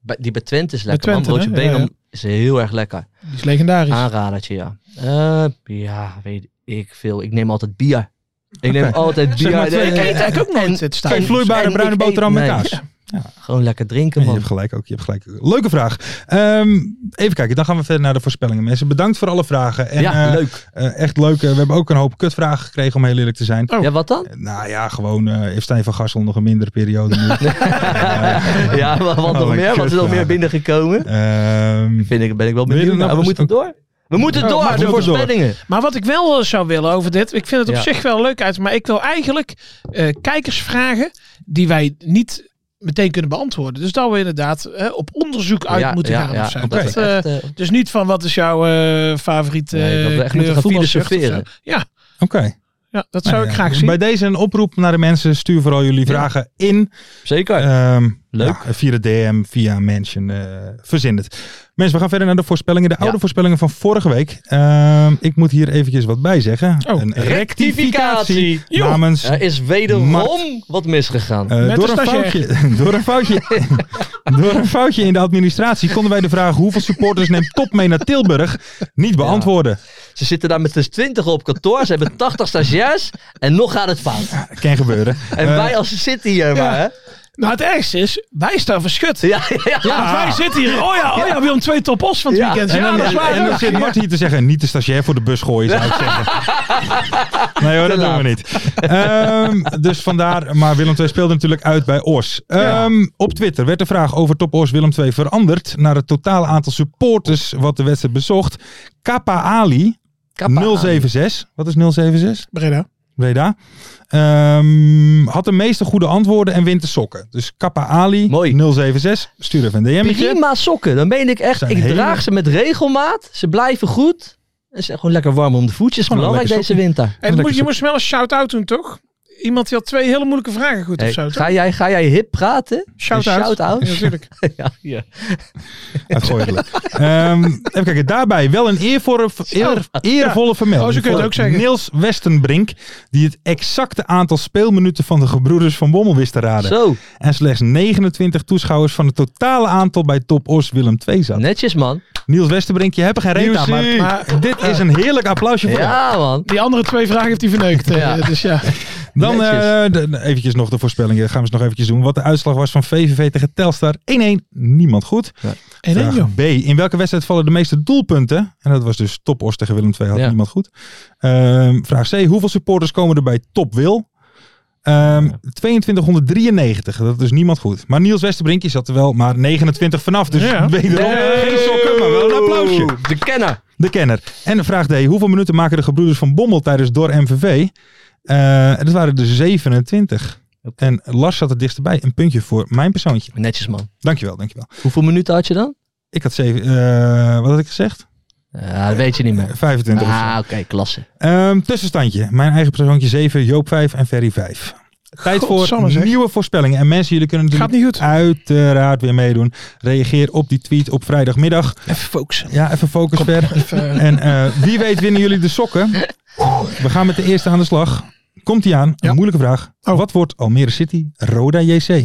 [SPEAKER 5] Bij- Die bij Twente is lekker.
[SPEAKER 6] Twente,
[SPEAKER 5] man. Broodje
[SPEAKER 6] hè? Ja,
[SPEAKER 5] Benham is heel erg lekker.
[SPEAKER 6] Die is
[SPEAKER 5] Ah,
[SPEAKER 6] legendarisch.
[SPEAKER 5] Aanradertje, ja. Eh, ja, weet ik veel. Ik neem altijd bier. Ik neem altijd bier.
[SPEAKER 4] Zeg maar twee-
[SPEAKER 5] ik
[SPEAKER 4] eh,
[SPEAKER 5] eet eigenlijk ook nooit
[SPEAKER 6] het
[SPEAKER 4] Geen
[SPEAKER 6] staan.
[SPEAKER 4] vloeibare
[SPEAKER 5] en
[SPEAKER 4] bruine
[SPEAKER 5] ik eet-
[SPEAKER 4] boterham met
[SPEAKER 5] nee.
[SPEAKER 4] kaas.
[SPEAKER 5] [LAUGHS] Gewoon lekker drinken,
[SPEAKER 4] Ja, je
[SPEAKER 5] man.
[SPEAKER 4] hebt gelijk ook. Je hebt gelijk. Leuke vraag. Ehm, even kijken. Dan gaan we verder naar de voorspellingen. Mensen, bedankt voor alle vragen. En,
[SPEAKER 5] ja,
[SPEAKER 4] eh,
[SPEAKER 5] leuk.
[SPEAKER 4] eh, echt leuk. Eh, we hebben ook een hoop kutvragen gekregen, om heel eerlijk te zijn.
[SPEAKER 6] Oh.
[SPEAKER 5] Ja, wat dan?
[SPEAKER 4] Eh, Nou ja, gewoon eh heeft Stijn van Gassel nog een mindere periode
[SPEAKER 5] [LAUGHS]
[SPEAKER 4] nu.
[SPEAKER 5] ja, maar wat
[SPEAKER 4] Oh,
[SPEAKER 5] nog
[SPEAKER 4] mijn
[SPEAKER 5] meer? Wat is er nog
[SPEAKER 4] kutvragen.
[SPEAKER 5] meer binnengekomen?
[SPEAKER 4] Ehm,
[SPEAKER 5] Vind ik, ben ik wel
[SPEAKER 4] Wil je
[SPEAKER 5] benieuwd.
[SPEAKER 4] er nog
[SPEAKER 5] Nou, we
[SPEAKER 4] eens-
[SPEAKER 5] moeten door. We moeten
[SPEAKER 4] Oh,
[SPEAKER 5] door,
[SPEAKER 4] maar
[SPEAKER 5] de
[SPEAKER 4] we moeten door.
[SPEAKER 5] voorspellingen.
[SPEAKER 6] Maar wat ik wel eh, zou willen over dit, ik vind het op
[SPEAKER 5] Ja.
[SPEAKER 6] zich wel leuk uit, maar ik wil eigenlijk eh, kijkers vragen die wij niet meteen kunnen beantwoorden. Dus dat we inderdaad eh, op onderzoek uit
[SPEAKER 5] Ja,
[SPEAKER 6] moeten
[SPEAKER 5] ja,
[SPEAKER 6] gaan.
[SPEAKER 5] ja.
[SPEAKER 6] of zo.
[SPEAKER 5] Dat
[SPEAKER 6] Dat,
[SPEAKER 5] we
[SPEAKER 6] eh,
[SPEAKER 5] echt, eh,
[SPEAKER 6] dus niet van wat is jouw eh favoriete
[SPEAKER 5] Nee, dat we echt
[SPEAKER 6] eh,
[SPEAKER 5] moeten
[SPEAKER 6] kleur
[SPEAKER 5] gaan
[SPEAKER 6] voetbalshirt of zo.
[SPEAKER 5] filosoferen.
[SPEAKER 6] Ja,
[SPEAKER 4] Oké.
[SPEAKER 6] ja, dat zou
[SPEAKER 4] Nou
[SPEAKER 6] ik
[SPEAKER 4] ja,
[SPEAKER 6] graag
[SPEAKER 4] dus
[SPEAKER 6] zien.
[SPEAKER 4] Bij deze een oproep naar de mensen. Stuur vooral jullie vragen in.
[SPEAKER 5] Zeker.
[SPEAKER 4] Ehm,
[SPEAKER 5] Leuk.
[SPEAKER 4] ja, via de DM, via Mansion. eh verzin het. Mensen, we gaan verder naar de voorspellingen. De oude
[SPEAKER 5] Ja.
[SPEAKER 4] voorspellingen van vorige week. Ehm, ik moet hier eventjes wat bij zeggen.
[SPEAKER 6] Oh,
[SPEAKER 4] een
[SPEAKER 5] rectificatie.
[SPEAKER 4] rectificatie namens...
[SPEAKER 5] er is wederom
[SPEAKER 4] Mart.
[SPEAKER 5] wat misgegaan.
[SPEAKER 4] eh,
[SPEAKER 6] Met
[SPEAKER 4] door,
[SPEAKER 6] de
[SPEAKER 4] een
[SPEAKER 6] stagiair.
[SPEAKER 4] foutje, [LAUGHS] door, een foutje, door een foutje in de administratie konden wij de vraag hoeveel supporters neemt top mee naar Tilburg niet beantwoorden.
[SPEAKER 5] Ze zitten daar met dus 20 op kantoor. Ze hebben 80 stagiairs. En nog gaat het fout.
[SPEAKER 4] Kan gebeuren.
[SPEAKER 5] En
[SPEAKER 4] Eh,
[SPEAKER 5] wij als City hier maar, hè?
[SPEAKER 6] Nou, het ergste is, wij staan verschut. Ja.
[SPEAKER 5] Ja, ja, ja.
[SPEAKER 6] want wij zitten hier. Oh ja, oh ja, Willem twee top os van het
[SPEAKER 5] Ja,
[SPEAKER 6] weekend.
[SPEAKER 4] En
[SPEAKER 6] Ja,
[SPEAKER 4] dan,
[SPEAKER 6] dat is waar.
[SPEAKER 4] en dan
[SPEAKER 6] ook.
[SPEAKER 4] zit Mart hier te zeggen, niet de stagiair voor de bus gooien, zou
[SPEAKER 6] [LAUGHS]
[SPEAKER 4] ik zeggen. Nee hoor, dat doen
[SPEAKER 5] laat.
[SPEAKER 4] we niet. Ehm, dus vandaar, maar Willem II speelde natuurlijk uit bij Os. Ehm, Op Twitter werd de vraag over top Os Willem II veranderd naar het totale aantal supporters wat de wedstrijd bezocht. Kappa Ali,
[SPEAKER 5] Kappa.
[SPEAKER 4] 076. Wat is 076?
[SPEAKER 6] Breda.
[SPEAKER 4] Breda. Ehm, had de meeste goede antwoorden en wint de sokken. Dus Kappa Ali
[SPEAKER 5] Mooi.
[SPEAKER 4] 076. Stuur even een DM'tje.
[SPEAKER 5] Prima sokken, dan meen ik echt.
[SPEAKER 4] Zijn
[SPEAKER 5] Ik
[SPEAKER 4] hele-
[SPEAKER 5] draag ze met regelmaat. Ze blijven goed. Ze zijn gewoon lekker warm om de voetjes.
[SPEAKER 4] Gewoon een
[SPEAKER 5] Belangrijk
[SPEAKER 4] lekker
[SPEAKER 5] deze winter.
[SPEAKER 6] En
[SPEAKER 4] Lekker
[SPEAKER 6] moest, je moest wel een shout-out doen, toch? Iemand die had twee hele moeilijke vragen goed
[SPEAKER 5] Hey,
[SPEAKER 6] of zo. toch?
[SPEAKER 5] ga, jij, ga jij hip praten?
[SPEAKER 6] Shout-out.
[SPEAKER 5] Een shout-out?
[SPEAKER 6] Ja, natuurlijk.
[SPEAKER 5] [LAUGHS] ja, ja.
[SPEAKER 4] Uitgooielijk. Ehm, even kijken, daarbij wel een eervolle, eer, eervolle vermelding.
[SPEAKER 6] Oh, zo kun je het
[SPEAKER 4] voor
[SPEAKER 6] ook zeggen.
[SPEAKER 4] Niels Westenbrink, die het exacte aantal speelminuten van de gebroeders van Bommel wist te raden.
[SPEAKER 5] Zo,
[SPEAKER 4] En slechts 29 toeschouwers van het totale aantal bij Top Os Willem 2 zat.
[SPEAKER 5] netjes man.
[SPEAKER 4] Niels Westenbrink, je hebt er geen reet aan, maar,
[SPEAKER 6] Nieuwsie.
[SPEAKER 4] maar dit is een heerlijk applausje voor jou.
[SPEAKER 5] Ja man.
[SPEAKER 6] Die andere twee vragen heeft hij verneukt. eh,
[SPEAKER 5] Ja.
[SPEAKER 6] dus ja.
[SPEAKER 4] Dan
[SPEAKER 5] netjes.
[SPEAKER 4] eh, de- de- eventjes nog de voorspellingen, gaan we eens nog eventjes doen. Wat de uitslag was van VVV tegen Telstar, 1-1, niemand goed.
[SPEAKER 6] En één, joh.
[SPEAKER 4] Vraag B. In welke wedstrijd vallen de meeste doelpunten? En dat was dus Top Os tegen Willem II. Had
[SPEAKER 5] Ja.
[SPEAKER 4] niemand goed. Ehm, vraag C. Hoeveel supporters komen er bij Top Wil? Ehm, 2293. Dat is niemand goed. Maar Niels Westerbrinkje zat er wel maar 29 vanaf. Dus [LAUGHS]
[SPEAKER 6] Ja.
[SPEAKER 4] wederom geen sokken, maar wel een applausje.
[SPEAKER 5] De kenner.
[SPEAKER 4] De kenner. En vraag D. Hoeveel minuten maken de gebroeders van Bommel tijdens door MVV? Eh, dat waren er 27. En Lars zat er dichterbij. Een puntje voor mijn persoontje.
[SPEAKER 5] Netjes man.
[SPEAKER 4] Dankjewel, dankjewel.
[SPEAKER 5] Hoeveel minuten had je dan?
[SPEAKER 4] Ik had zeven... eh, wat had ik gezegd?
[SPEAKER 5] Ja, Eh, dat weet je niet
[SPEAKER 4] [LAUGHS]
[SPEAKER 5] meer.
[SPEAKER 4] 25 of zo.
[SPEAKER 5] Ah,
[SPEAKER 6] Nou.
[SPEAKER 5] oké, klasse.
[SPEAKER 4] Ehm, tussenstandje. Mijn eigen persoontje 7, Joop 5 en Ferry 5. Tijd voor
[SPEAKER 6] Godsamme, zeg.
[SPEAKER 4] nieuwe voorspellingen. En mensen, jullie kunnen
[SPEAKER 6] Gaat
[SPEAKER 4] natuurlijk
[SPEAKER 6] niet goed.
[SPEAKER 4] uiteraard weer meedoen. Reageer op die tweet op vrijdagmiddag.
[SPEAKER 6] Even focussen.
[SPEAKER 4] Ja, even focus ver. En eh, wie weet winnen jullie de sokken. We gaan met de eerste aan de slag. Komt ie aan. Een
[SPEAKER 6] Ja. Oh.
[SPEAKER 4] moeilijke vraag. Wat wordt Almere City Roda JC?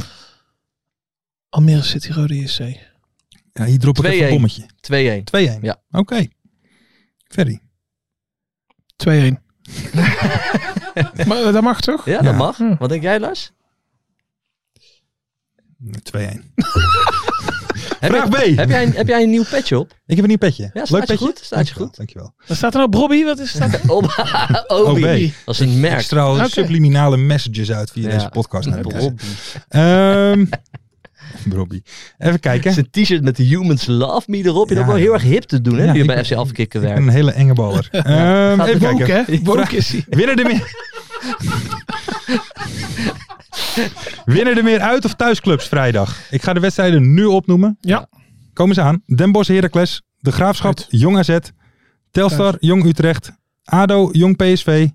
[SPEAKER 6] Almere City Rode JC.
[SPEAKER 4] Ja, hier drop ik even een
[SPEAKER 5] 2-1.
[SPEAKER 4] bommetje.
[SPEAKER 5] 2-1.
[SPEAKER 4] 2-1.
[SPEAKER 5] Ja.
[SPEAKER 4] Oké. Ferry.
[SPEAKER 6] 2-1. [LAUGHS] maar eh, dat mag toch?
[SPEAKER 5] Ja,
[SPEAKER 4] Ja.
[SPEAKER 5] dat mag. Wat denk jij, Lars?
[SPEAKER 4] 2-1.
[SPEAKER 5] Heb
[SPEAKER 4] Vraag
[SPEAKER 5] jij-
[SPEAKER 4] B.
[SPEAKER 5] Heb jij, een, heb jij een nieuw patch op?
[SPEAKER 4] Ik heb een nieuw petje.
[SPEAKER 5] Ja, staat
[SPEAKER 4] Leuk
[SPEAKER 5] je
[SPEAKER 4] petje.
[SPEAKER 5] goed, staat je
[SPEAKER 4] Dankjewel,
[SPEAKER 5] goed.
[SPEAKER 4] Dankjewel.
[SPEAKER 6] Wat staat er nou? Brobby? Wat is dat?
[SPEAKER 5] [LAUGHS] Oba,
[SPEAKER 4] OB.
[SPEAKER 5] Obi. Dat is een
[SPEAKER 4] Ik
[SPEAKER 5] merk.
[SPEAKER 4] straal
[SPEAKER 6] Oké.
[SPEAKER 4] subliminale messages uit via
[SPEAKER 5] Ja.
[SPEAKER 4] deze podcast. Naar
[SPEAKER 5] Obi.
[SPEAKER 4] mensen. Ehm [LAUGHS] Robbie. Even kijken.
[SPEAKER 5] Zijn t-shirt met de Humans Love Me erop. Je
[SPEAKER 4] Ja,
[SPEAKER 5] hebt ook wel
[SPEAKER 4] ja.
[SPEAKER 5] heel erg hip te doen, hè?
[SPEAKER 4] Ja,
[SPEAKER 5] die
[SPEAKER 4] ik
[SPEAKER 5] bij
[SPEAKER 4] ben-
[SPEAKER 5] FC Afkikken
[SPEAKER 4] Ik ben
[SPEAKER 5] werkt.
[SPEAKER 4] een hele enge
[SPEAKER 5] [LAUGHS]
[SPEAKER 4] baller. Ehm,
[SPEAKER 5] Gaat
[SPEAKER 4] even
[SPEAKER 5] het
[SPEAKER 4] kijken.
[SPEAKER 6] Ook, hè? Woke is hij.
[SPEAKER 4] Winnen er meer... Winnen er meer uit of thuisclubs vrijdag? Ik ga de wedstrijden nu opnoemen.
[SPEAKER 6] Ja.
[SPEAKER 4] Komen ze aan. Den Bosch Heracles. De Graafschap. Jong AZ. Telstar. Jong Utrecht. ADO. Jong PSV.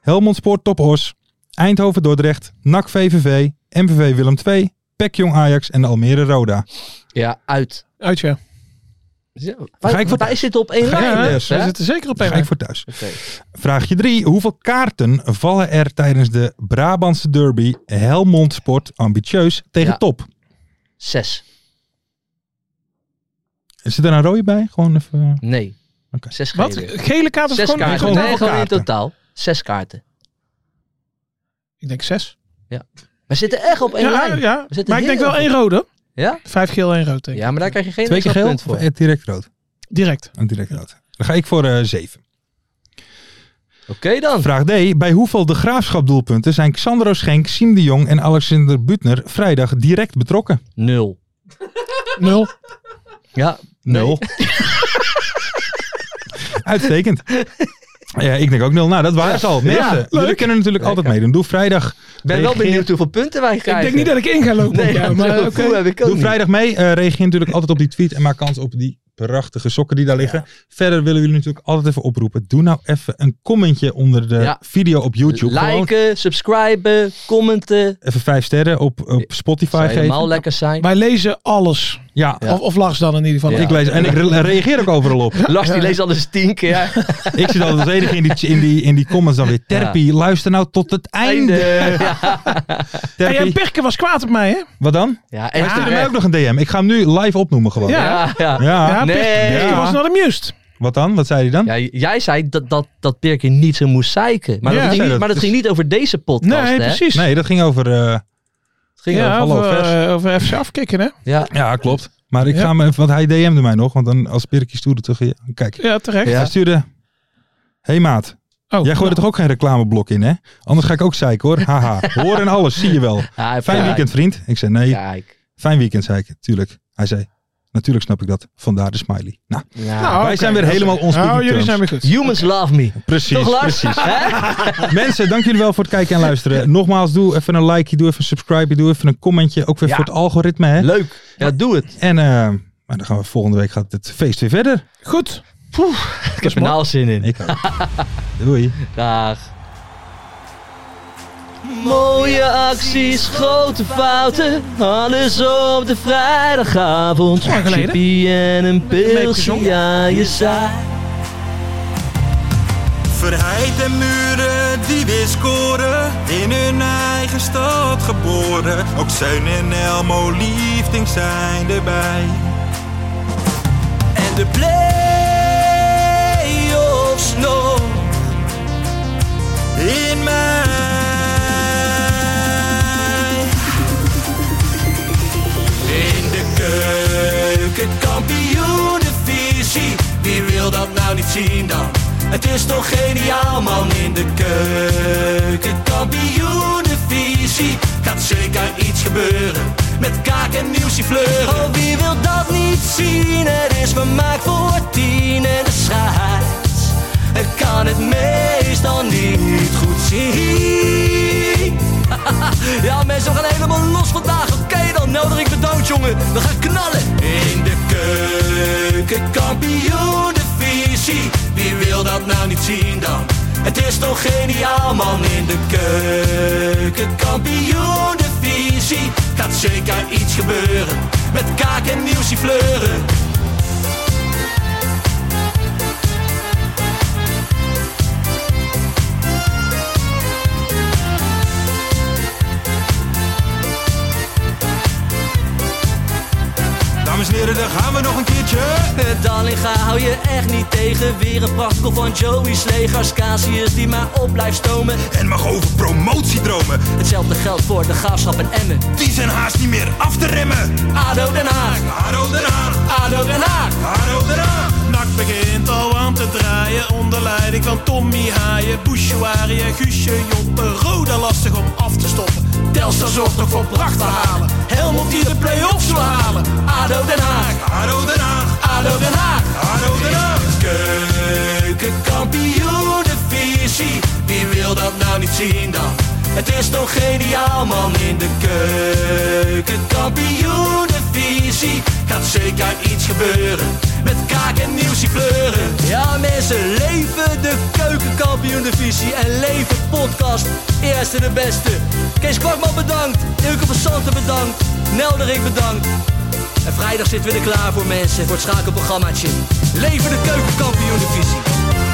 [SPEAKER 4] Helmond Sport. Top Os. Eindhoven Dordrecht. NAC VVV. MVV Willem II. PEC Jong Ajax. En Almere Roda.
[SPEAKER 5] Ja, uit.
[SPEAKER 6] Uit, ja.
[SPEAKER 5] Ja,
[SPEAKER 4] Ga ik
[SPEAKER 5] wij,
[SPEAKER 4] voor-
[SPEAKER 5] wij zitten op één
[SPEAKER 4] Ga ik-
[SPEAKER 5] lijn.
[SPEAKER 6] Ja,
[SPEAKER 4] hè?
[SPEAKER 6] we
[SPEAKER 5] dus, hè?
[SPEAKER 6] zitten zeker op
[SPEAKER 4] Daar
[SPEAKER 6] één.
[SPEAKER 4] ga ik
[SPEAKER 6] lijn.
[SPEAKER 4] voor thuis.
[SPEAKER 5] Oké.
[SPEAKER 4] Vraagje 3. Hoeveel kaarten vallen er tijdens de Brabantse derby Helmond Sport ambitieus tegen
[SPEAKER 5] Ja.
[SPEAKER 4] top?
[SPEAKER 5] Zes.
[SPEAKER 4] Zit er een rode bij? Gewoon even. eh,
[SPEAKER 5] Nee.
[SPEAKER 4] Oké.
[SPEAKER 5] Zes
[SPEAKER 6] Wat?
[SPEAKER 5] gele.
[SPEAKER 6] Gele kaart of
[SPEAKER 5] Zes
[SPEAKER 6] gewoon,
[SPEAKER 5] kaarten.
[SPEAKER 6] gewoon-
[SPEAKER 4] gewoon
[SPEAKER 5] nee,
[SPEAKER 4] heel
[SPEAKER 5] gewoon in
[SPEAKER 4] kaarten.
[SPEAKER 5] totaal. Zes kaarten.
[SPEAKER 6] Ik denk zes.
[SPEAKER 5] We zitten echt op één
[SPEAKER 6] Ja,
[SPEAKER 5] lijn.
[SPEAKER 6] ja.
[SPEAKER 5] We zitten
[SPEAKER 6] maar ik denk
[SPEAKER 5] heel
[SPEAKER 6] wel
[SPEAKER 5] erg
[SPEAKER 6] één rode.
[SPEAKER 5] Ja?
[SPEAKER 6] Vijf geel, één rood. Denk ik.
[SPEAKER 5] Ja, maar daar krijg je geen
[SPEAKER 4] Twee keer
[SPEAKER 5] extra
[SPEAKER 4] geel?
[SPEAKER 5] punt
[SPEAKER 4] Of
[SPEAKER 5] voor.
[SPEAKER 4] eh, direct rood? [LAUGHS]
[SPEAKER 6] Direct.
[SPEAKER 4] Eh, Direct rood. Dan ga ik voor 7.
[SPEAKER 5] Oké dan.
[SPEAKER 4] Vraag D. Bij hoeveel de graafschap doelpunten zijn Xandro Schenk, Siem de Jong en Alexander Butner vrijdag direct betrokken?
[SPEAKER 5] Nul.
[SPEAKER 6] Nul.
[SPEAKER 5] Ja. [LAUGHS]
[SPEAKER 4] Nul. Uitstekend. Ja, ik denk ook nul. Nou, dat waren ze al. Mensen, jullie kunnen natuurlijk altijd meedoen. Doe vrijdag.
[SPEAKER 5] Ik ben wel
[SPEAKER 4] Reageer-
[SPEAKER 5] benieuwd hoeveel punten wij
[SPEAKER 6] Ik
[SPEAKER 5] krijgen.
[SPEAKER 6] denk niet dat ik in ga lopen.
[SPEAKER 5] Nee,
[SPEAKER 6] op jou,
[SPEAKER 5] ja,
[SPEAKER 6] maar
[SPEAKER 5] zo'n
[SPEAKER 6] oké.
[SPEAKER 5] gevoel heb ik ook
[SPEAKER 4] Doe
[SPEAKER 5] niet.
[SPEAKER 4] vrijdag mee. Eh, reageer natuurlijk altijd op die tweet en maak kans op die prachtige sokken die daar liggen. Verder willen we jullie natuurlijk altijd even oproepen. Doe nou even een commentje onder de
[SPEAKER 5] Ja.
[SPEAKER 4] video op YouTube. Gewoon
[SPEAKER 5] Liken, subscriben, commenten.
[SPEAKER 4] even vijf sterren op, op Spotify
[SPEAKER 5] Zou helemaal
[SPEAKER 4] geven.
[SPEAKER 5] lekker zijn.
[SPEAKER 6] Wij lezen alles.
[SPEAKER 4] Ja,
[SPEAKER 6] Of, of Lars dan in ieder geval.
[SPEAKER 4] ik lees en ik
[SPEAKER 5] [LAUGHS]
[SPEAKER 4] re- reageer ook overal op.
[SPEAKER 5] Lars die leest alles tien keer.
[SPEAKER 4] Ik zit altijd als enige in die, in die, in die comments dan weer. Terpie, luister nou tot het einde. [LAUGHS]
[SPEAKER 5] Ja.
[SPEAKER 6] Hey, en
[SPEAKER 4] Terpie,
[SPEAKER 6] Pirke was kwaad op mij hè?
[SPEAKER 4] wat dan?
[SPEAKER 5] Ja,
[SPEAKER 4] Hij stuurde
[SPEAKER 5] echt
[SPEAKER 4] mij ook
[SPEAKER 5] terecht.
[SPEAKER 4] nog een DM. Ik ga hem nu live opnoemen gewoon.
[SPEAKER 6] Ja.
[SPEAKER 5] Ja, ja.
[SPEAKER 4] Ja.
[SPEAKER 6] Ja,
[SPEAKER 5] nee.
[SPEAKER 6] Pirke, Pirke
[SPEAKER 4] Ah, Ja.
[SPEAKER 6] was not amused.
[SPEAKER 4] Wat dan? Wat zei hij dan?
[SPEAKER 5] Ja, j- jij zei dat, dat, dat Pirke niet zo moest zeiken. Maar, dat,
[SPEAKER 6] Ja,
[SPEAKER 4] ik
[SPEAKER 5] ging
[SPEAKER 4] zei
[SPEAKER 5] niet, maar
[SPEAKER 4] dat.
[SPEAKER 5] dat ging niet over deze podcast.
[SPEAKER 6] Nee,
[SPEAKER 5] hè?
[SPEAKER 6] precies.
[SPEAKER 4] Nee, dat ging over... eh,
[SPEAKER 5] Het ging
[SPEAKER 6] ja,
[SPEAKER 4] hallo,
[SPEAKER 6] over,
[SPEAKER 4] vers.
[SPEAKER 6] eh, over FC afkicken hè?
[SPEAKER 5] Ja.
[SPEAKER 4] Ja, klopt. Maar ik
[SPEAKER 6] Ja.
[SPEAKER 4] ga me even, want hij DM'de mij nog, want dan als Pirkie stoerde terug. ja, Kijk,
[SPEAKER 6] Ja, terecht.
[SPEAKER 4] hij stuurde. Hé hey maat,
[SPEAKER 6] Oh,
[SPEAKER 4] jij gooit er toch ook geen reclameblok in, hè? Anders ga ik ook zeiken hoor. Haha, hoor en alles, zie je wel.
[SPEAKER 5] Ja, hij heeft
[SPEAKER 4] Fijn
[SPEAKER 5] gelijk.
[SPEAKER 4] weekend, vriend. Ik zei nee.
[SPEAKER 5] Kijk.
[SPEAKER 4] Fijn weekend, zei ik, tuurlijk. Hij zei, Natuurlijk snap ik dat. Vandaar de smiley. Nou,
[SPEAKER 5] Nou,
[SPEAKER 4] wij zijn weer helemaal ons
[SPEAKER 6] Nou, jullie zijn weer goed.
[SPEAKER 5] Humans love me.
[SPEAKER 4] Precies,
[SPEAKER 5] Toch Lars?
[SPEAKER 4] precies.
[SPEAKER 5] Hè?
[SPEAKER 4] Mensen, dank jullie wel voor het kijken en luisteren. Nogmaals, doe even een like, doe even een subscribe, doe even een commentje. Ook weer
[SPEAKER 5] Ja.
[SPEAKER 4] voor het algoritme. Hè?
[SPEAKER 5] [LAUGHS] Leuk. Ja, doe het.
[SPEAKER 4] En eh, maar dan gaan we volgende week gaat het feest weer verder.
[SPEAKER 6] Goed.
[SPEAKER 5] Ik heb er nou zin in.
[SPEAKER 4] Ik ook. Doei.
[SPEAKER 5] Dag. Mooie acties, grote fouten, alles op de vrijdagavond.
[SPEAKER 6] Lang geleden.
[SPEAKER 5] Chippy en een pilsje
[SPEAKER 6] meegezongen.
[SPEAKER 5] ja je zaai.
[SPEAKER 3] Verheid en muren die weer scoren, in hun eigen stad geboren. Ook Zijn en Elmo liefding zijn erbij.
[SPEAKER 2] en de play-offs nog in mij. In de keuken, kampioenenvisie. Wie wil dat nou niet zien dan? Het is toch geniaal man in de keuken, kampioenenvisie. Gaat zeker iets gebeuren met kaak en nieuwsje fleuren. Oh, wie wil dat niet zien? Het is vermaakt voor tien en de scheids. Ik kan het meestal niet goed zien. Ja, mensen, we gaan helemaal los vandaag. Oké, dan nodig ik bedankt, jongen. We gaan knallen. In de keuken, kampioenenvisie. Wie wil dat nou niet zien dan? Het is toch geniaal, man. In de keuken, kampioenenvisie. Gaat zeker iets gebeuren. Met kaak en nieuwsie fleuren.
[SPEAKER 3] Dames en heren, daar gaan we nog een
[SPEAKER 2] [LAUGHS]
[SPEAKER 3] keertje.
[SPEAKER 2] Dallinga hou je echt niet tegen. Weer een prachtkel van Joey's legers. Casius die maar op blijft stomen.
[SPEAKER 3] En mag over promotiedromen,
[SPEAKER 2] Hetzelfde geldt voor de graafschap en Emmen.
[SPEAKER 3] die zijn haast niet meer af te remmen.
[SPEAKER 2] ADO Den Haag,
[SPEAKER 3] Haro eraan,
[SPEAKER 2] ADO Den Haag.
[SPEAKER 3] haro eraan.
[SPEAKER 10] Nak begint al aan te draaien onder leiding van Tommy Haaien, Bouchouari en Guusje Joppen. Roda lastig om af te stoppen. Telstar zorgt nog voor pracht te halen. Helmond die de play-offs wil halen.
[SPEAKER 2] ADO Den Haag,
[SPEAKER 3] Haro eraan,
[SPEAKER 2] ADO Den Haag.
[SPEAKER 3] haro eraan.
[SPEAKER 2] Keukenkampioenenvisie, wie wil dat nou niet zien dan? Het is toch geniaal man in de keukenkampioenenvisie. Gaat zeker iets gebeuren, met kaak en nieuwsie kleuren. Ja mensen, leven de keukenkampioenenvisie en leven podcast. Eerste de beste. Kees Kwakman bedankt, Ilke van Santen bedankt, Nelderik bedankt. En vrijdag zitten we er klaar voor mensen, voor het schakelprogrammaatje. Leven de keukenkampioen divisie.